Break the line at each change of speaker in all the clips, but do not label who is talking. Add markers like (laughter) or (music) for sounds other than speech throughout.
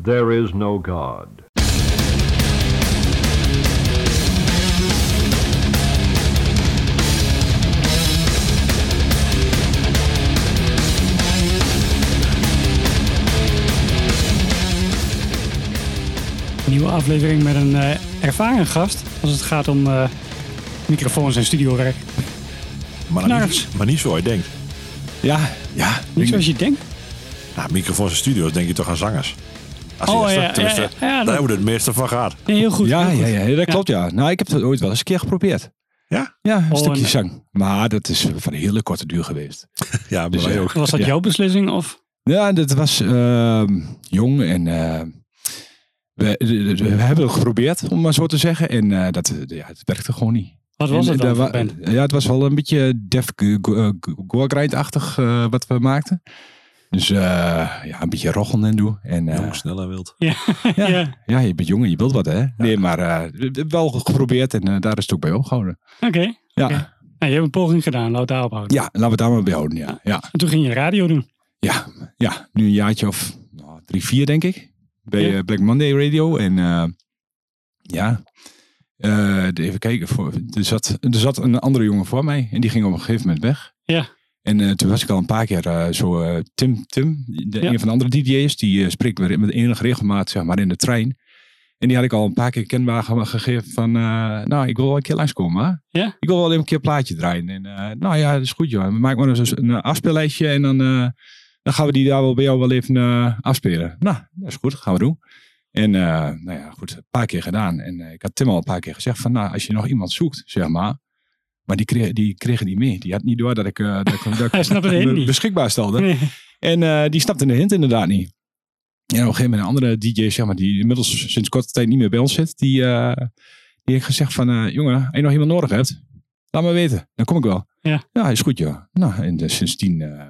There is no God.
nieuwe aflevering met een eh, ervaren gast. Als het gaat om eh, microfoons en studiowerk.
Maar, dan
Knarfs.
niet, maar niet zoals je denkt.
Ja,
Ja,
Niet
ik-
zoals je denkt.
nou, microfoons en studio's denk je toch aan zangers? Als
Oh,
eerste,
ja, ja,
tenminste,
ja, ja, dat-
daar hebben we het meeste van gehad.
Nee, heel goed.
Nou, ja,
heel
ja,
goed.
ja, dat klopt ja. Nou, ik heb dat ooit wel eens een keer geprobeerd.
Ja?
Ja, een stukje
Oh, en-
zang. Maar dat is van een hele korte duur geweest.
Ja, bij
Dus
mij
ja.
ook.
Was dat
Ja.
jouw beslissing? Of?
Ja, dat was ehm, jong en eh, we, we- we hebben het geprobeerd, om maar zo te zeggen. En eh, dat, ja, het werkte gewoon niet.
Wat was
En
het
daar
dan? voor
wa-
band?
ja, het was wel een beetje Def G- G- eh, G- Gorgrind-achtig eh, wat we maakten. Dus eh, ja, een beetje roggelen en doen. En, eh,
Jong, snel en wild.
(laughs) ja.
Ja,
ja, je bent jong en je wilt wat, hè? Nee, maar eh, we hebben wel geprobeerd en eh, daar is het ook bij opgehouden.
oké.
Ja.
Oké. Nou, je hebt een poging gedaan, laat het daar ophouden.
Ja, laten we het daar maar bij houden. Ja, ja,
En toen ging je radio doen.
ja, ja. nu een jaartje of nou, drie, vier denk ik. Bij
Ja.
eh, Black Monday Radio. En eh, ja, Eh, de- even kijken. Voor, er, zat, er zat een andere jongen voor mij. En die ging op een gegeven moment weg.
Ja.
En eh, toen was ik al een paar keer eh, zo eh, Tim, Tim de,
Ja.
een van de andere DJ's. Die eh, spreekt me met enige regelmaat zeg maar, in de trein. En die had ik al een paar keer kenbaar ge- gegeven van, eh, nou, ik wil wel een keer langskomen. Hè?
Ja.
Ik wil wel even een keer een plaatje draaien. En, eh, nou ja, dat is goed joh. Maak maar eens een eh, afspeellijstje en dan, eh, dan gaan we die daar wel bij jou wel even eh, afspelen. Nou, dat is goed, dat gaan we doen. En eh, nou ja, goed, een paar keer gedaan. En eh, ik had Tim al een paar keer gezegd van, nou, als je nog iemand zoekt, zeg maar. Maar die, kreeg, die kregen niet mee. Die had niet door dat ik, eh,
(laughs)
dat ik, dat ik
Hij snapte de hint
me
niet. (laughs)
beschikbaar stelde.
Nee.
En eh, die snapte de hint inderdaad niet. En op een gegeven moment een andere DJ, zeg maar, die inmiddels sinds korte tijd niet meer bij ons zit, die, eh, die heeft gezegd van, eh, jongen, als je nog iemand nodig hebt, laat maar weten. Dan kom ik wel.
Ja.
ja is goed joh. Nou, en eh, sindsdien, eh,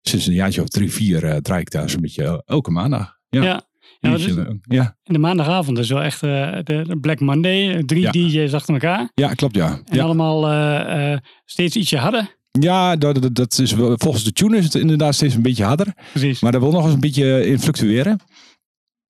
sinds een jaartje of drie, vier, eh, draai ik daar zo'n beetje elke maandag. Ja.
Ja. Ja,
Uurtje,
dus-
eh, ja.
En de maandagavond is wel echt eh, de de Black Monday. eh, Drie
Ja.
DJ's achter elkaar.
ja, klopt ja.
En
Ja,
allemaal eh, eh, steeds ietsje harder.
ja dat, dat, dat is, wel- volgens de tune is het inderdaad steeds een beetje harder.
Precies.
Maar daar wil nog eens een beetje in fluctueren.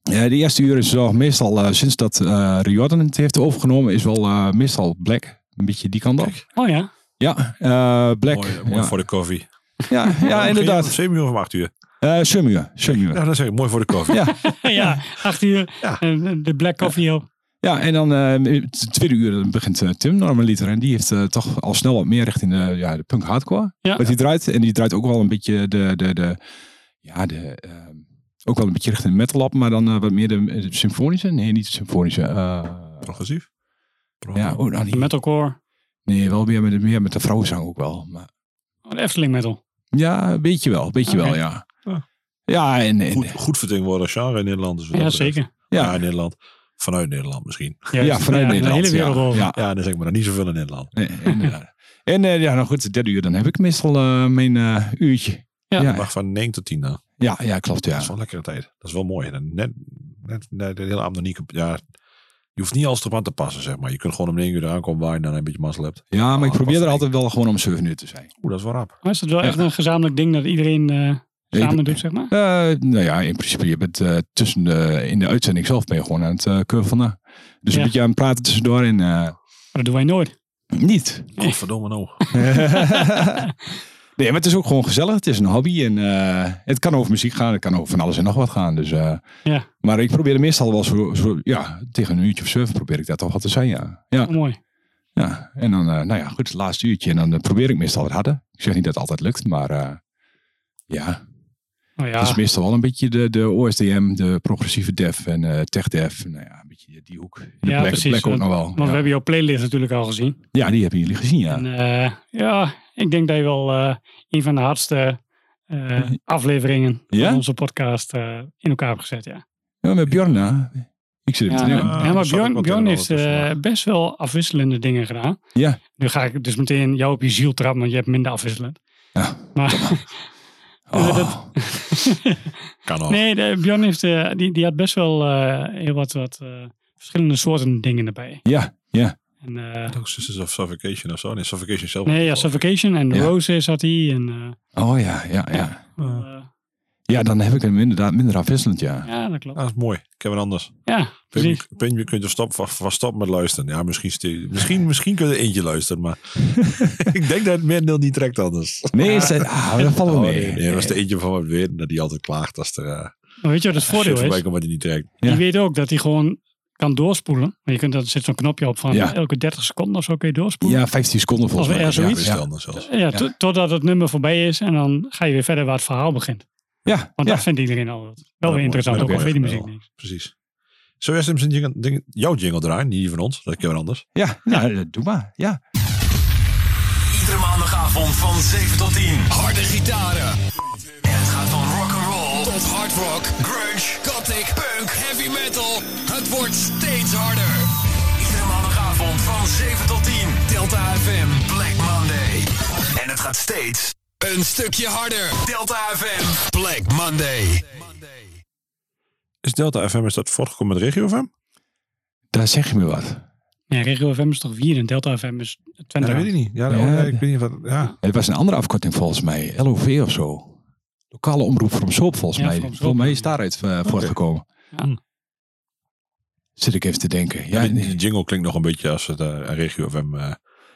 Eh, de eerste uur is wel meestal, eh, sinds dat eh Riordan het heeft overgenomen, is wel eh, meestal black. Een beetje die kant op.
Oh
(laughs)
ja.
Ja, eh, black.
Mooi, mooi
ja.
voor de koffie. (laughs)
ja, ja, inderdaad.
7 uur of 8 uur.
Eh Summuur. Summuur.
Nou, dat zeg ik, mooi voor de koffie.
Ja.
ja, acht uur.
Ja.
eh, de black coffee op.
ja, en dan eh, het tweede uur begint eh, Tim normaliter. En die heeft eh, toch al snel wat meer richting de, ja, de punk hardcore.
Ja.
Wat hij draait. En die draait ook wel een beetje de... de, de ja, de... ehm, ook wel een beetje richting de metal op. Maar dan eh, wat meer de, de symfonische. Nee, niet de symfonische. eh,
Progressief.
Ja,
Progressief.
oh, nou,
De
niet-
metalcore.
nee, wel meer met, meer met de vrouwenzang ook wel. Maar,
Oh, De Efteling metal.
ja, een beetje wel, een beetje
Oké.
wel, ja.
Ja.
Ja, en, en-
Goed, goed vertegenwoordigd genre in Nederland. Dus wat
Ja,
dat betreft.
zeker.
Ja,
ja,
in Nederland. Vanuit Nederland misschien.
ja,
Juist.
vanuit
Ja,
Nederland.
De hele wereld
ja,
over.
Ja,
Ja, dan zeg ik maar nog niet zoveel in Nederland.
nee, inderdaad. En eh, ja, nou goed, het derde uur, dan heb ik meestal eh, mijn eh, uurtje.
Ja.
ja,
Mag van 9 tot 10 dan.
ja, ja, klopt,
Dat
ja.
is wel een lekkere tijd. Dat is wel mooi. En dan net, net, net de hele avond nog niet. kap- Ja, je hoeft niet alles erop aan te passen, zeg maar. Je kunt gewoon om 9 uur eraan komen waar je dan een beetje mazzel hebt.
Ja, maar ik
Oh,
probeer
pas één.
er altijd wel gewoon om 7 uur te zijn.
Oeh, dat is wel rap.
Maar is het wel
Ja.
echt een gezamenlijk ding dat iedereen eh, samen
ben-
doet, zeg maar?
Eh, nou ja, in principe, je bent eh, tussen de, in de uitzending zelf ben je gewoon aan het eh curven van na. Dus
Ja.
een beetje aan het praten tussendoor en eh,
Maar dat doen wij nooit.
niet.
Godverdomme nou.
(laughs) nee, maar het is ook gewoon gezellig. Het is een hobby. En eh, het kan over muziek gaan. Het kan over van alles en nog wat gaan. Dus, eh,
Ja.
Maar ik probeer er meestal wel zo, zo- ja, tegen een uurtje of zeven probeer ik dat toch wat te zijn, ja. Ja,
Oh, mooi.
ja. En dan, eh, nou ja, goed, het laatste uurtje. En dan eh, probeer ik meestal wat harder. Ik zeg niet dat het altijd lukt, maar eh, ja.
Nou ja,
Het is meestal wel een beetje de, de OSDM, de progressieve dev en eh, tech dev. Nou ja, een beetje die, die hoek. De
Ja,
black,
precies,
black ook nog wel.
want we
Ja.
hebben jouw playlist natuurlijk al gezien.
Ja, die hebben jullie gezien, ja.
En, eh, ja, ik denk dat je wel eh, een van de hardste eh, afleveringen
Ja?
van onze podcast eh, in elkaar hebt gezet, ja.
ja met Bjorn, hè? Ik zit even
Ja,
te denken.
ja, maar
dat zat ik
Bjorn,
wel
Bjorn
te
heeft
horen tussen,
eh, best wel afwisselende dingen gedaan.
Ja.
Nu ga ik dus meteen jou op je ziel trappen, want je hebt minder afwisselend.
(laughs) Ja.
Maar
Oh.
dat-
Kan ook.
Nee, de, Björn heeft, eh, die, die had best wel eh, heel wat, wat eh, verschillende soorten dingen erbij.
Ja, ja.
En, eh,
Ook Sisters of Suffocation of zo. Nee, Suffocation zelf.
nee, ja, Suffocation en
Ja.
Roses had hij. En, eh,
Oh ja, ja, ja.
eh,
Ja, Ja, dan heb ik hem inderdaad minder afwisselend, ja.
Ja, dat klopt.
Ah, dat is mooi. Ik heb een anders.
Ja,
Pim,
precies.
je- Pim, je kunt er stop, vast vast stoppen met luisteren. Ja, misschien, ste- misschien, misschien kun je er eentje
(laughs)
luisteren, maar ik denk dat het merendeel niet trekt anders.
Nee, het zijn, ah, dat valt wel
Oh,
mee.
nee, nee, dat was de eentje van het weer dat die altijd klaagt als er eh
Maar weet je wat het
shit
voordeel
voorbij
is?
komt wat hij niet trekt.
Ja.
Je weet ook dat hij gewoon kan doorspoelen. Maar je kunt, er zit zo'n knopje op van
Ja.
elke 30 seconden of zo kun je doorspoelen.
Ja, 15 seconden volgens
Of
mij.
er
Ja,
zoiets?
is
Ja,
het
ja.
anders zelfs.
Ja, to- totdat het nummer voorbij is en dan ga je weer verder waar het verhaal begint.
ja.
Want
ja.
dat vindt iedereen al wat. wel
mooi.
weer interessant,
Ja,
ook al
oké.
weet die
Ja,
muziek
wel.
niks.
Precies. Zo eerst hem zijn jingle, ding- jouw jingle draaien, niet die van ons. Dat is weer anders.
Ja, nou, eh, doe maar. Ja.
Iedere maandagavond van 7 tot 10. Harde gitaren. En het gaat van rock'n'roll tot hard rock, grunge, gothic, punk, heavy metal. Het wordt steeds harder. Iedere maandagavond van 7 tot 10. Delta FM Black Monday. En het gaat steeds een stukje harder. Delta FM Black Monday.
Is Delta FM, is dat voortgekomen met Regio FM?
Daar zeg je me wat.
Ja, Regio FM is toch 4 en Delta FM is 20.
dat weet ik niet. Ja,
Ja,
oh, nee,
de-
ik weet niet wat... Ja.
Het was een andere afkorting volgens mij. LOV of zo. Lokale omroep van Soap volgens
Ja,
mij.
From Soap.
Volgens mij is daaruit eh, voortgekomen.
Ja.
Zit ik even te denken. Ja,
Die-
nee.
die jingle klinkt nog een beetje als het eh, Regio FM... eh,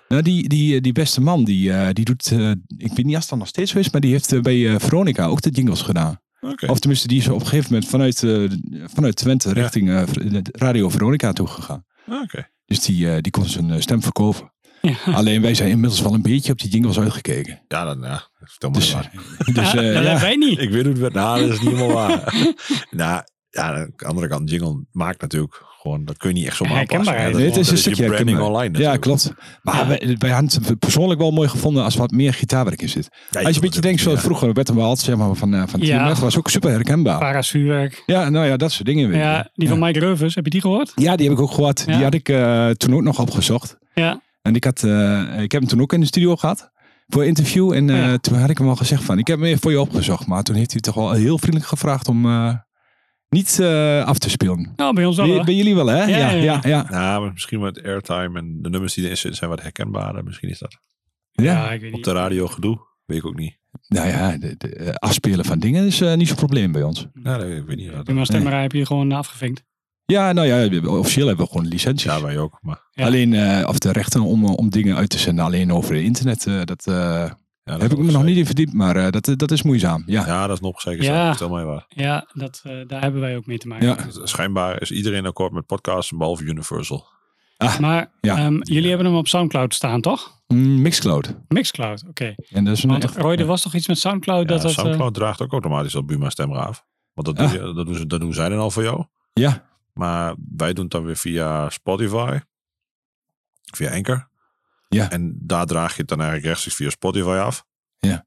Nou, die, die, die beste man, die, eh, die doet, eh, ik weet niet of dat nog steeds zo is, maar die heeft eh, bij eh, Veronica ook de jingles gedaan.
Oké.
Of tenminste, die is op een gegeven moment vanuit, eh, vanuit Twente richting eh, Ver- Radio Veronica toegegaan.
Oké.
Dus die, eh, die kon zijn eh, stem verkopen.
Ja.
Alleen wij zijn inmiddels wel een beetje op die jingles uitgekeken.
Ja, dan ja. Vertel maar
Dus,
waar.
(laughs) dus
Ja, dat
eh, ja.
hebben wij niet.
Ik weet hoe het werd. Nou, dat is niet helemaal
(laughs)
waar. nou, ja, aan de andere kant, jingle maakt natuurlijk gewoon, dat kun je niet echt zomaar
Herkenbaar,
aanpassen.
hè?
Dat
Nee, het is
dat
een stukje
je branding
herkenbaar.
online
Ja,
natuurlijk.
klopt. Maar
Ja.
Wij, wij hadden het persoonlijk wel mooi gevonden als wat meer gitaarwerk in zit.
Ja,
als je
kan
een beetje denkt
natuurlijk,
zoals vroeger, werd hem wel altijd zeg maar, van, eh, van
Ja.
TMF, was ook super
Oh.
herkenbaar.
Parasuurwerk.
Ja, nou ja, dat soort dingen weer.
Ja, die van Mike Reuvers, heb je die gehoord?
Ja, die heb ik ook gehoord.
Ja.
Die had ik eh, toen ook nog opgezocht.
Ja.
En ik, had, eh, ik heb hem toen ook in de studio gehad. Voor een interview. En eh,
Oh ja.
toen had ik hem al gezegd van, ik heb hem even voor je opgezocht. Maar toen heeft hij toch wel heel vriendelijk gevraagd om eh, niet eh, af te spelen.
Nou, bij ons al.
Bij,
hoor.
bij jullie wel, hè?
Ja, ja, ja.
ja.
ja. Nou, maar misschien wat airtime en de nummers die erin zitten zijn wat herkenbaarder. Misschien is dat
ja.
Ja, ik weet
op
niet.
de radio gedoe. Weet ik ook niet.
Nou ja, de, de, eh, afspelen van dingen is eh, niet zo'n probleem bij ons.
Nou, dat- ik weet niet. Wat,
In mijn stemmerij heb je gewoon afgevinkt.
Ja, nou ja, officieel hebben we gewoon licenties.
ja, wij ook. Maar
Ja.
Alleen, eh, of de rechten om, eh, om dingen uit te zenden alleen over internet, eh, dat eh,
ja, dat
heb
is
ik me nog
opgezeik.
niet in verdiept, maar eh, dat, dat is moeizaam. Ja,
Ja, dat is nog zeker.
Ja.
Ja. Vertel mij waar.
Ja, dat, eh, daar hebben wij ook mee te maken.
Ja.
Schijnbaar is iedereen akkoord met podcasts, behalve Universal.
Oh, Maar
Ja.
ehm, jullie hebben hem op Soundcloud staan, toch?
Mm, Mixcloud.
Mixcloud, oké.
En dat is een
Want
echt-
Roy, er was toch iets met Soundclloud?
Ja,
dat dat, eh,
Soundcloud draagt ook automatisch dat Buma stemra af. Want dat,
Ah.
doe je- dat, doen ze, dat doen zij dan al voor jou.
Ja,
Maar wij doen het dan weer via Spotify. Via Anchor.
Ja.
En daar draag je het dan eigenlijk rechtstreeks via Spotify af.
Ja.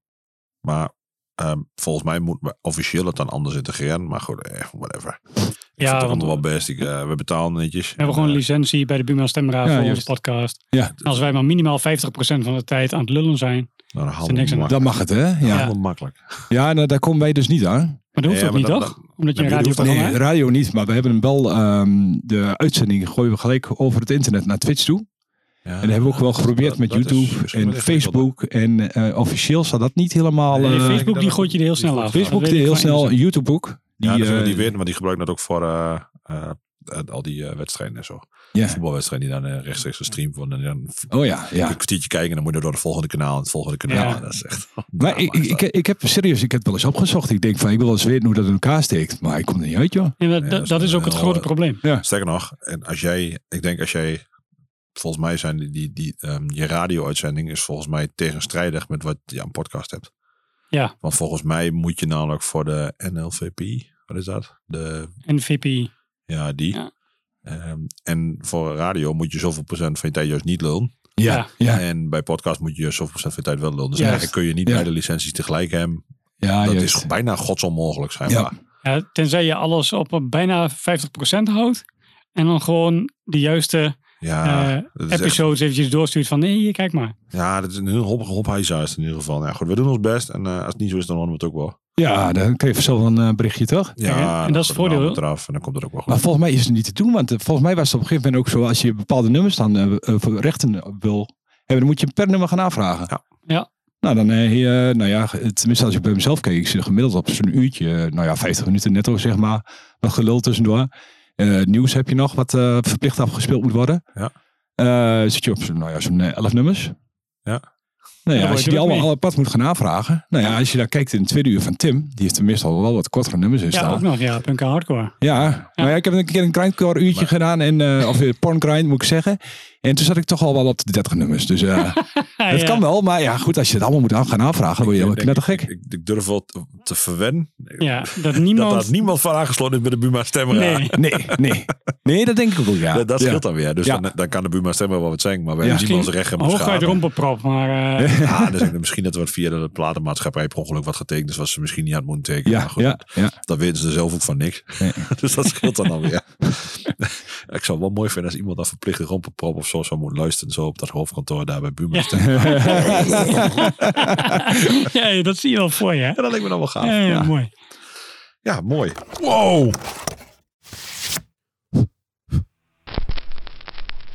Maar ehm, volgens mij moet we officieel het dan anders integreren. Maar goed, eh, whatever. Ik
Ja,
vind het ook
want-
allemaal wel best. Ik, eh, we betalen netjes. Eh,
we hebben gewoon een licentie bij de Buma Stemra
Ja,
voor onze
juist.
podcast.
ja.
En als wij maar minimaal 50% van de tijd aan het lullen zijn.
Nou, dan
Is er niks aan-
handelen
dat mag het, hè? Ja,
Ja.
ja.
makkelijk.
nou, daar komen wij dus niet aan.
Maar dat hoeft
Ja,
ook niet,
maar dat-
toch?
dat-
Omdat je een
Nee, dat hoeft
radioprogramma
Nee,
hebt.
radio niet, maar we hebben hem wel, ehm, de uitzending gooien we gelijk over het internet naar Twitch toe.
Ja.
En dat hebben we ook wel geprobeerd
Dat-
met
dat is
YouTube
misschien
en
wel ingewikkeld.
Facebook. En eh, officieel staat dat niet helemaal...
Nee,
eh,
Nee,
eh,
Facebook die
dat-
gooit je er heel snel af.
Facebook
Dat
die
weet ik
heel
van
snel,
Amazon.
YouTube ook. Die,
Ja, dat zullen
eh,
die weten, want die gebruiken dat ook voor eh, eh, eh, al die eh, wedstrijden en zo.
ja.
Voetbalwedstrijden die dan eh, rechtstreeks gestreamd worden. En dan
Oh ja, ja.
een kwartiertje kijken en dan moet je door het volgende kanaal en het volgende kanaal.
Ja.
Dat is echt...
Maar ik, ik, ik, ik heb serieus, ik heb het wel eens opgezocht. Ik denk van, ik wil wel eens weten hoe dat in elkaar steekt. Maar ik kom er niet uit, joh.
Ja, maar dat-
dat is
dat is ook
wel,
het grote
eh,
probleem.
Sterker nog, en als jij, ik denk als jij, volgens mij zijn die, die, die ehm, je radio-uitzending is volgens mij tegenstrijdig met wat je aan podcast hebt.
Ja.
Want volgens mij moet je namelijk voor de NLVP, wat is dat? De,
NVP.
ja, die.
Ja.
Ehm, en voor radio moet je zoveel procent van je tijd juist niet lullen.
Ja.
ja.
En bij podcast moet je zoveel procent van je tijd wel lullen. Dus
Juist.
eigenlijk kun je niet
Ja.
beide licenties tegelijk hebben.
ja
dat
juist.
is bijna godsonmogelijk, zijn
Ja.
Ja, Eh, tenzij je alles op een bijna 50% houdt. En dan gewoon de juiste
Ja,
eh,
Ah, dat is echt-
episodes eventjes doorstuurt van... Nee, hier, kijk maar.
ja, dat is een heel hoppige hophijzaars in ieder geval. Nou Ja, goed, we doen ons best. En eh, als het niet zo is, dan horen we het ook wel.
ja, dan krijg je zelf een eh, berichtje, toch?
Kijk, en- en
dan
dat is het
wordt de naam
voordeel.
Eraf, en dan komt er ook wel
Maar
goed.
volgens mij is het niet te doen. Want eh, volgens mij was het op een gegeven moment ook zo... als je eh, bepaalde nummers dan eh, eh, voor rechten wil hebben... dan moet je per nummer gaan aanvragen.
Ja.
Ja.
Nou, dan eh hier, nou ja, tenminste als ik bij mezelf keek, ik zit gemiddeld op zo'n uurtje, eh, nou ja, 50 minuten netto zeg maar, wat gelul tussendoor. Eh, nieuws heb je nog, wat eh, verplicht afgespeeld moet worden.
Ja.
Eh, zit je op zo'n, nou ja, zo'n eh, 11 nummers.
Ja.
Nou ja,
Ja,
als je
doe
die
ik
allemaal
mee.
alle pad moet gaan aanvragen. Nou ja, als je daar kijkt in het tweede uur van Tim, die heeft er meestal wel wat kortere nummers in
Ja,
staan.
ook nog, ja, punk en hardcore.
Ja, nou ja, ik heb een keer een grindcore uurtje gedaan. En, eh of een porngrind moet ik zeggen. En toen zat ik toch al wel op de 30 nummers. Dus eh
Ja,
dat
ja.
kan wel. Maar ja, goed, als je het allemaal moet aan- gaan aanvragen, word je
Ik
helemaal
denk-
knettergek.
Ik, ik- ik durf wel te, te verwennen
Ja, dat
dat
niemand...
daar niemand van aangesloten is bij de Buma Stemra.
Nee,
Nee, nee. Nee, dat denk ik ook wel, ja.
Dat, dat
Ja.
scheelt dan weer. Dus
Ja.
dan, dan kan de Buma Stemra wel wat zeggen, maar wij
Ja.
zien wel onze recht
hoog uit de
gaan.
rompenprop, maar... eh,
Ja, dus ik- misschien dat we het via de platenmaatschappij per ongeluk wat getekend is, wat ze misschien niet had moeten tekenen.
Ja,
Maar goed,
ja, ja.
Dat weten ze zelf ook van niks.
Nee.
(laughs) dus dat scheelt dan alweer. (laughs) ik zou het wel mooi vinden als iemand dan verplicht een rompenprop of zo zou moeten luisteren. Zo op dat hoofdkantoor daar bij Buma. Stemra.
(laughs) ja, ja, dat zie je wel voor je, hè?
En dat lijkt me dan wel gaaf.
Ja, ja, mooi.
Ja, mooi. Wow!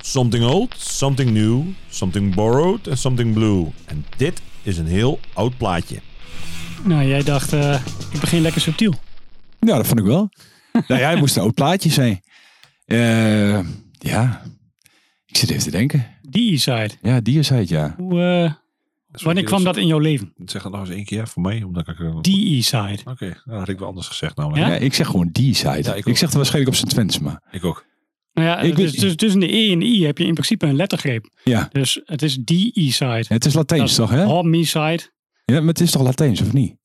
Something old, something new, something borrowed en something blue. En dit is een heel oud plaatje.
Nou, jij dacht, eh, ik begin lekker subtiel.
Ja, dat vond ik wel. nou ja, het moest een oud plaatje zijn. Eh, ja. Ik zit even te denken.
Die side.
Ja, die zei het, ja.
Hoe, eh, wanneer kwam dat in jouw leven?
Zeg dat nog eens één keer voor mij. Omdat ik, eh,
Die side.
Oké, nou, dat had ik wel anders gezegd namelijk.
Ja?
Ja, ik zeg gewoon die side.
Ja, ik
ik,
ook.
zeg het waarschijnlijk op zijn Twents, maar...
Ik ook.
Nou ja,
Ik
dus,
weet-
dus tussen de E en de I heb je in principe een lettergreep.
Ja.
Dus het is die E-side.
Het is Latijns, toch, hè?
Hop me side.
Ja, maar het is toch Latijns, of niet?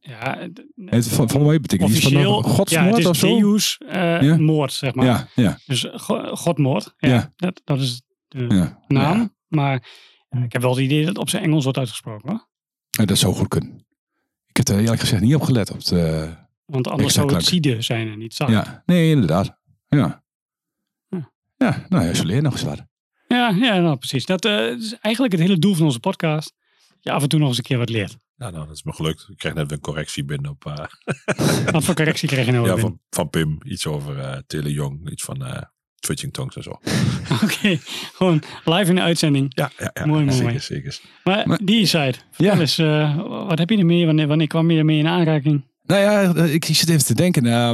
Ja, d-
Het, van, van mij betekent iets van
officieel.
een
ja, het
godsmoord
is
of zo?
Deus eh,
Ja.
moord, zeg maar.
Ja, ja,
Dus go- godmoord. Ja,
Ja.
Dat, dat is de
ja.
naam.
Ja,
Maar eh, ik heb wel het idee dat het op zijn Engels wordt uitgesproken. Hoor.
Ja, dat zou goed kunnen. Ik heb er eerlijk gezegd niet op gelet. Op het, eh,
Want anders
Exact
zou het
ook.
zieden zijn en niet side.
ja, nee, inderdaad. Ja.
Oh. Hm.
Ja, nou ja, ze leren nog eens wat.
Ja, ja nou, precies. Dat eh, is eigenlijk het hele doel van onze podcast. Je af en toe nog eens een keer wat leert.
Ja, nou, dat is me gelukt. Ik kreeg net weer een correctie binnen op... eh,
Oh, Wat voor correctie kreeg
(laughs)
je nou?
ja,
weer?
van, van Pim. Iets over eh Tele Jong. Iets van eh Twitching Tongues en zo.
Oké, gewoon live in de uitzending.
Ja, ja, ja.
Mooi, mooi,
zeker,
mooi.
zeker.
Maar,
Maar-
die side, vertel
Ja.
eens, eh, wat heb je ermee? Wanneer, wanneer kwam je ermee in aanraking?
Nou ja, ik zit even te denken. eh,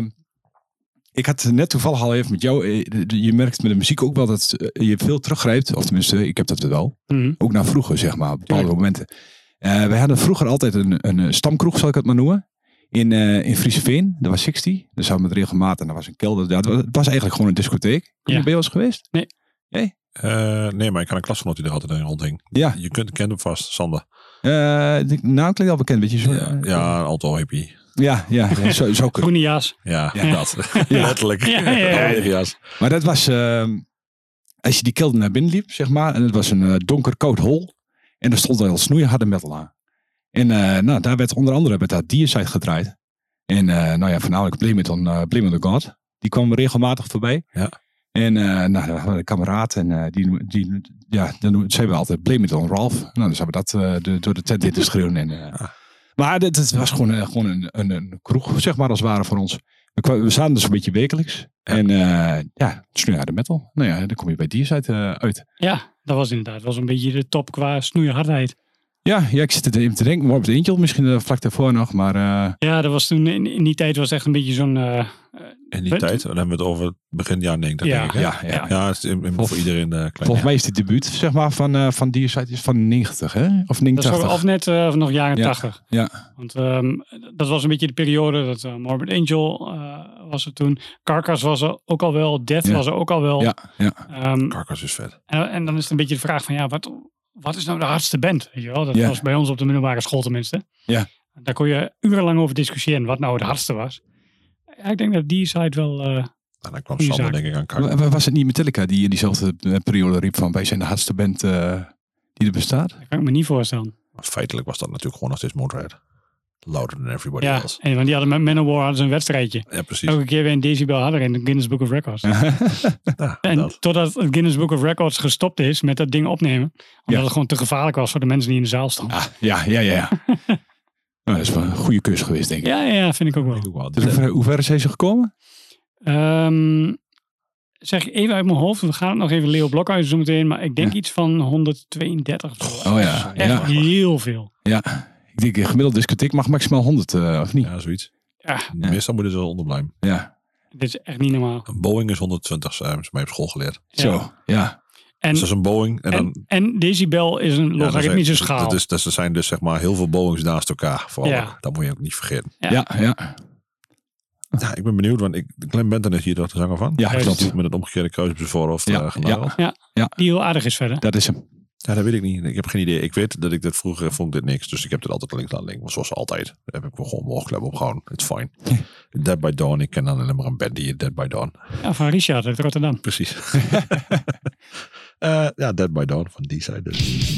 ik had net toevallig al even met jou. eh, de- de- Je merkt met de muziek ook wel dat eh, je veel teruggrijpt. Of tenminste, ik heb dat wel.
Mhm.
Ook naar vroeger, zeg maar. op Bepaalde
Tuurlijk.
momenten. Eh, wij hadden vroeger altijd een, een eh, stamkroeg, zal ik het maar noemen. In, eh in Frieseveen. Dat was 60. Daar zaten we met regelmatig. En daar was een kelder. Ja, het wa- het was eigenlijk gewoon een discotheek.
Ja.
Ben je wel eens geweest?
Eh, nee, maar ik had een klasgenoot die er altijd in rondhing.
Ja.
Je kunt, kent hem vast, Sander.
Eh, de naam klinkt al bekend. Weet je zo?
Ja, ja een auto hippie.
Ja, ja, ja, zo, zo kunnen.
Groene jas.
Ja,
Ja.
dat. (laughs) Letterlijk.
Ja, ja, ja.
Yes.
Maar dat was, ehm, als je die kelder naar binnen liep, zeg maar, en het was een eh, donker koud hol. En er stond al snoeiharde metal aan. En eh, nou, daar werd onder andere werd daar Deicide gedraaid. En eh, nou ja, voornamelijk Playmetal uh, God. Die kwam regelmatig voorbij.
Ja.
En eh nou, daar hadden we een kameraad en eh, die, die, ja, dan noemen- zeiden we altijd Playmetal Ralph. Nou, dan zijn we dat eh, de- door de tent in te schreeuwen. En, eh, Maar dit, dit was gewoon, eh, gewoon een, een, een kroeg, zeg maar, als het ware voor ons. We, kwa- we zaten dus een beetje wekelijks. En eh, ja, het is nu harde metal. Nou ja, dan kom je bij Deicide eh, uit.
Ja, dat was inderdaad. was een beetje de top qua snoeihardheid.
Ja, ja, ik zit er even te denken. Morbid Angel misschien eh, vlak daarvoor nog. Maar eh,
Ja, dat was toen, in, in die tijd was het echt een beetje zo'n... eh,
In die
Weet-
tijd, dan hebben we het over begin jaren 90
Ja.
denk ik. Hè?
ja, ja,
Ja.
Ja, het is in- in- voor iedereen eh klein.
volgens mij is het debuut zeg maar, van, eh van Deicide is van 90, hè? Of
dat was
89.
ook- of net eh, of nog jaren
Ja,
80.
ja.
Want ehm, dat was een beetje de periode dat eh, Morbid Angel eh, was er toen. Carcass was er ook al wel. Death
Ja.
was er ook al wel.
Ja, ja.
Ehm,
Carcass is vet.
En, en dan is het een beetje de vraag van ja, wat, wat is nou de hardste band? Weet je wel? Dat
Ja.
was bij ons op de middelbare school tenminste.
Ja.
Daar kon je urenlang over discussiëren wat nou het hardste was. Ja, ik denk dat die side wel. eh,
En dan kwam
Goeie
Sander
zaak.
denk ik aan Carcass.
Wa- wa- Was het niet Metallica die in diezelfde eh, periode riep van wij zijn de hardste band eh, die er bestaat? (laughs)
dat kan ik me niet voorstellen.
Maar feitelijk was dat natuurlijk gewoon nog steeds Motorhead. Louder than everybody
Ja,
else.
en, want die hadden met Manowar hadden ze een wedstrijdje.
Ja, precies.
Elke keer weer een decibel harder in de Guinness Book of Records.
Ah,
Ja,
En
dat.
totdat het Guinness Book of Records gestopt is met dat ding opnemen. Omdat
Ja.
het gewoon te gevaarlijk was voor de mensen die in de zaal stonden.
Ah, ja, ja, ja. ja. nou, dat is wel een goede keus geweest, denk ik.
Ja, ja, vind ik ook wel.
Ik ook wel.
Dus hoe, ver, hoe ver zijn ze gekomen?
Ehm, zeg ik even uit mijn hoofd. We gaan het nog even Leo Blokhuizen zo meteen. Maar ik denk iets van 132. of zo.
Oh ja,
Echt
ja.
heel veel.
Ja. Ik denk, een gemiddelde discotheek mag maximaal 100, eh, of niet?
Ja, zoiets.
Ja.
Meestal moeten ze wel onder blijven.
Ja.
Dit is echt niet normaal.
Een Boeing is 120, hebben ze mij op school geleerd.
Ja.
Zo. Ja.
En,
Dus dat is een Boeing. En, dan,
en, en decibel is een
ja, dat
logaritmische
zijn-
schaal.
Dat, is, dat zijn dus zeg maar heel veel Boeings naast elkaar. Vooral.
Ja.
Dat moet je ook niet vergeten.
Ja.
Ja. Ja.
Ja, ik ben benieuwd, want ik, Clem Benton is hier toch de zanger van?
Ja,
Hij is
klopt.
natuurlijk met een omgekeerde kruis op zijn voorhoofd eh,
Ja,
ja, genageld. Ja.
die heel aardig is verder.
Dat is hem.
dat weet ik niet. Ik heb geen idee. Ik weet dat ik dit vroeger vond ik dit niks. Dus ik heb dit altijd links laten liggen. Maar zoals altijd heb ik me gewoon mijn oogklep opgehouden. Het is (laughs) fijn. Dead by Dawn. Ik ken dan alleen maar een band die Dead by Dawn.
Ja, van Richard uit Rotterdam.
Precies. (laughs) Eh, ja, Dead by Dawn van die zijde. Dus.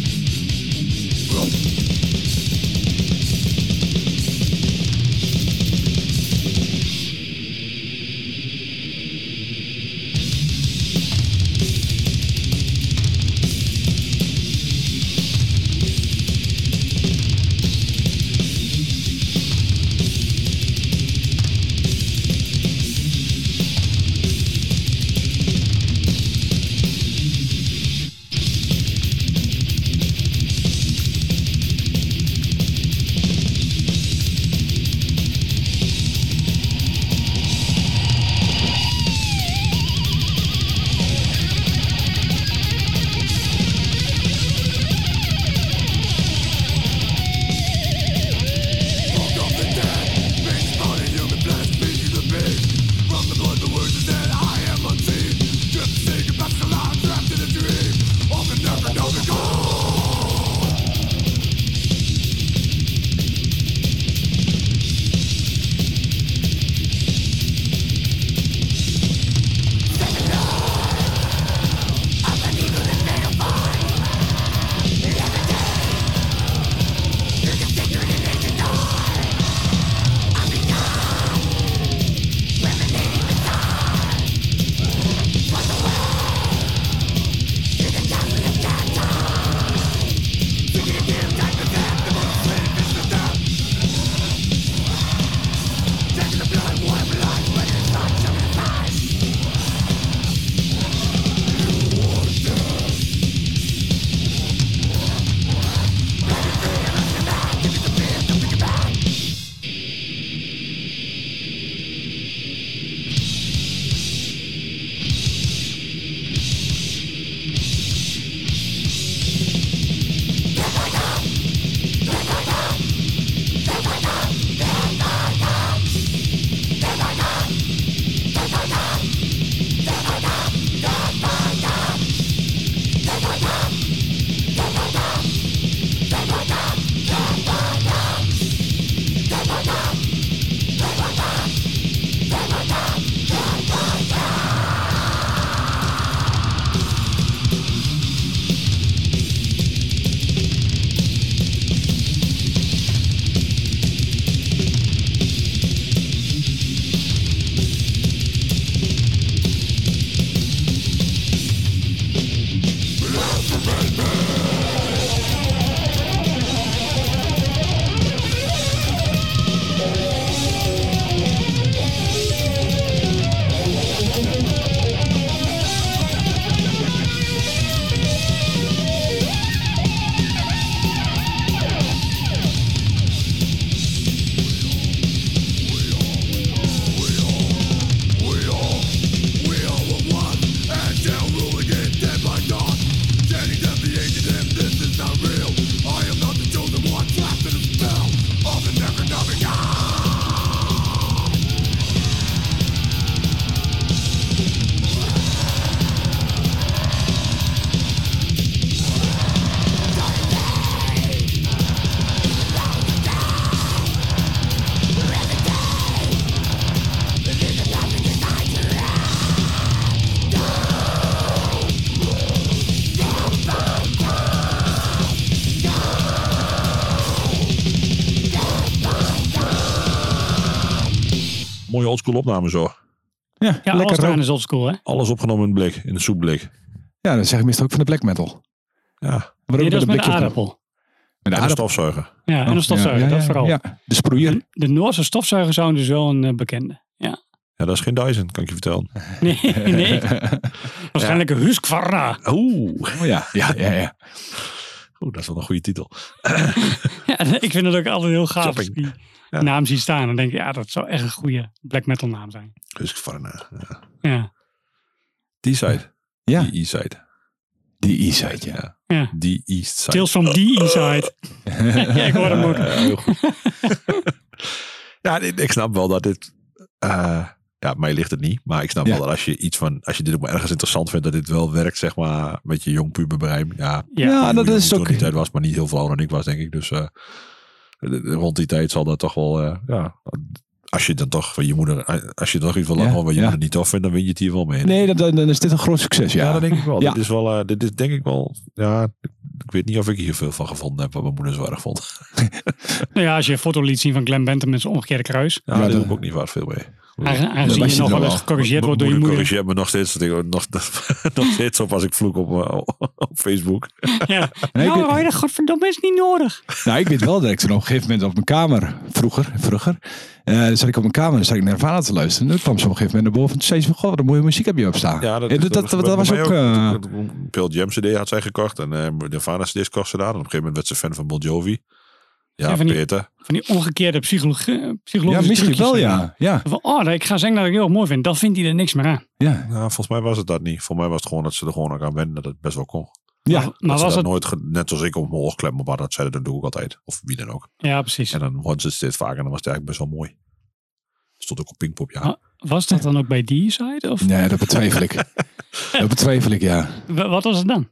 Mooie oldschool opname zo.
Ja,
lekker
alles eraan
rook.
is oldschool, hè?
Alles opgenomen in een blik. In een soepblik.
Ja, dat zeg ik meestal ook van de black metal.
Ja.
Maar
Nee,
ook
dat is
met
met een
een blikje op-
aardappel.
Met
En
de
een
aardappel.
stofzuiger.
Ja, en
Oh,
een stofzuiger,
ja, ja,
dat
ja,
vooral.
Ja, de sproeier.
dus De Noorse stofzuigerzoon is wel een eh, bekende. Ja.
Ja, dat is geen Dyson, kan ik je vertellen.
Nee, (laughs) nee. Waarschijnlijk een Husqvarna.
Oeh.
(laughs) Oh ja, ja, ja. ja.
Oeh, dat is wel een goede titel.
Ja, ik vind het ook altijd heel gaaf als ik die
Ja.
naam zie staan. En denk ik, ja, dat zou echt een goede black metal naam zijn.
Dus Husqvarna. Ja.
Ja,
eh, Die side.
Ja.
Die east side.
Die E-side, ja.
Ja.
ja.
Die east side.
Tales from the Inside. ja, ik hoor hem ook.
Ja, heel goed. (laughs) ja, dit- ik snap wel dat dit... eh, ja, mij ligt het niet. Maar ik snap
Ja.
wel dat als je iets van... Als je dit ook maar ergens interessant vindt, dat dit wel werkt, zeg maar. Met je jong puberbrein. Ja,
Ja.
Ja.
ja.
Ah,
hoe
dat
jong
is
ik toen
ook-
die tijd was, maar niet heel veel ouder dan ik was, denk ik. Dus eh, rond die tijd zal dat toch wel... eh, ja, als je dan toch van je moeder... eh, Als je toch iets van
Ja,
lang hoort wat je
ja.
moeder niet tof vindt, dan win je het hier wel mee.
Nee, dat- dan, dan is dit een groot succes, ja.
Ja, dat denk ik wel.
Ja.
Dit is wel, eh, dit is denk ik wel. Ja, ik weet niet of ik hier veel van gevonden heb wat mijn moeder zo erg vond.
Nou ja, als je een foto liet zien van Glenn Bentham met zijn omgekeerde kruis.
Ja,
Ja,
daar
dat-
doe ik ook niet waar veel mee.
Aange-
dat
Aangezien
was
je
je
nog wel
dan
eens
wel.
gecorrigeerd
Mijn
wordt door je
moeder
moeder.
corrigeert me nog steeds, dat ik- nog, nog (laughs) steeds op als ik vloek op, eh, op Facebook.
Ja.
Nee, ik
nou,
weet-
Roy, dat godverdomme is niet nodig.
Nou, ik weet wel dat ik toen op een gegeven moment op mijn kamer, vroeger, vroeger, eh, zat ik op mijn kamer en zat ik naar Nirvana te luisteren. En toen kwam ze op een gegeven moment naar boven en toen zei ze van, goh, wat een mooie muziek heb je op staan. en dat, dat, dat, was ook... eh,
Pil Jam CD had zij gekocht en eh Nirvana CD's kocht ze daar. En op een gegeven moment werd ze fan van Bon Jovi. Ja,
Ja, van die-
Peter.
Van die omgekeerde psychologie.
ja, misschien wel, ja. ja,
Van, oh, ik ga zingen dat ik heel erg mooi vind. Dan vindt hij er niks meer aan.
ja.
Nou, volgens mij was het dat niet. Volgens mij was het gewoon dat ze er gewoon ook aan wennen dat het best wel kon.
ja.
maar
dat ze
was
dat
het...
nooit, ge- net zoals ik op mijn oorklep, maar dat zeiden, dat doe ik altijd. Of wie dan ook.
Ja, precies.
En dan hoorden ze het steeds vaker en dan was het eigenlijk best wel mooi. Stond ook op Pinkpop, ja.
Ah. Was dat dan ook bij die side? Of
Nee, dat betwijfel (laughs) ik. dat betwijfel ik, ja.
wa- wat was het dan?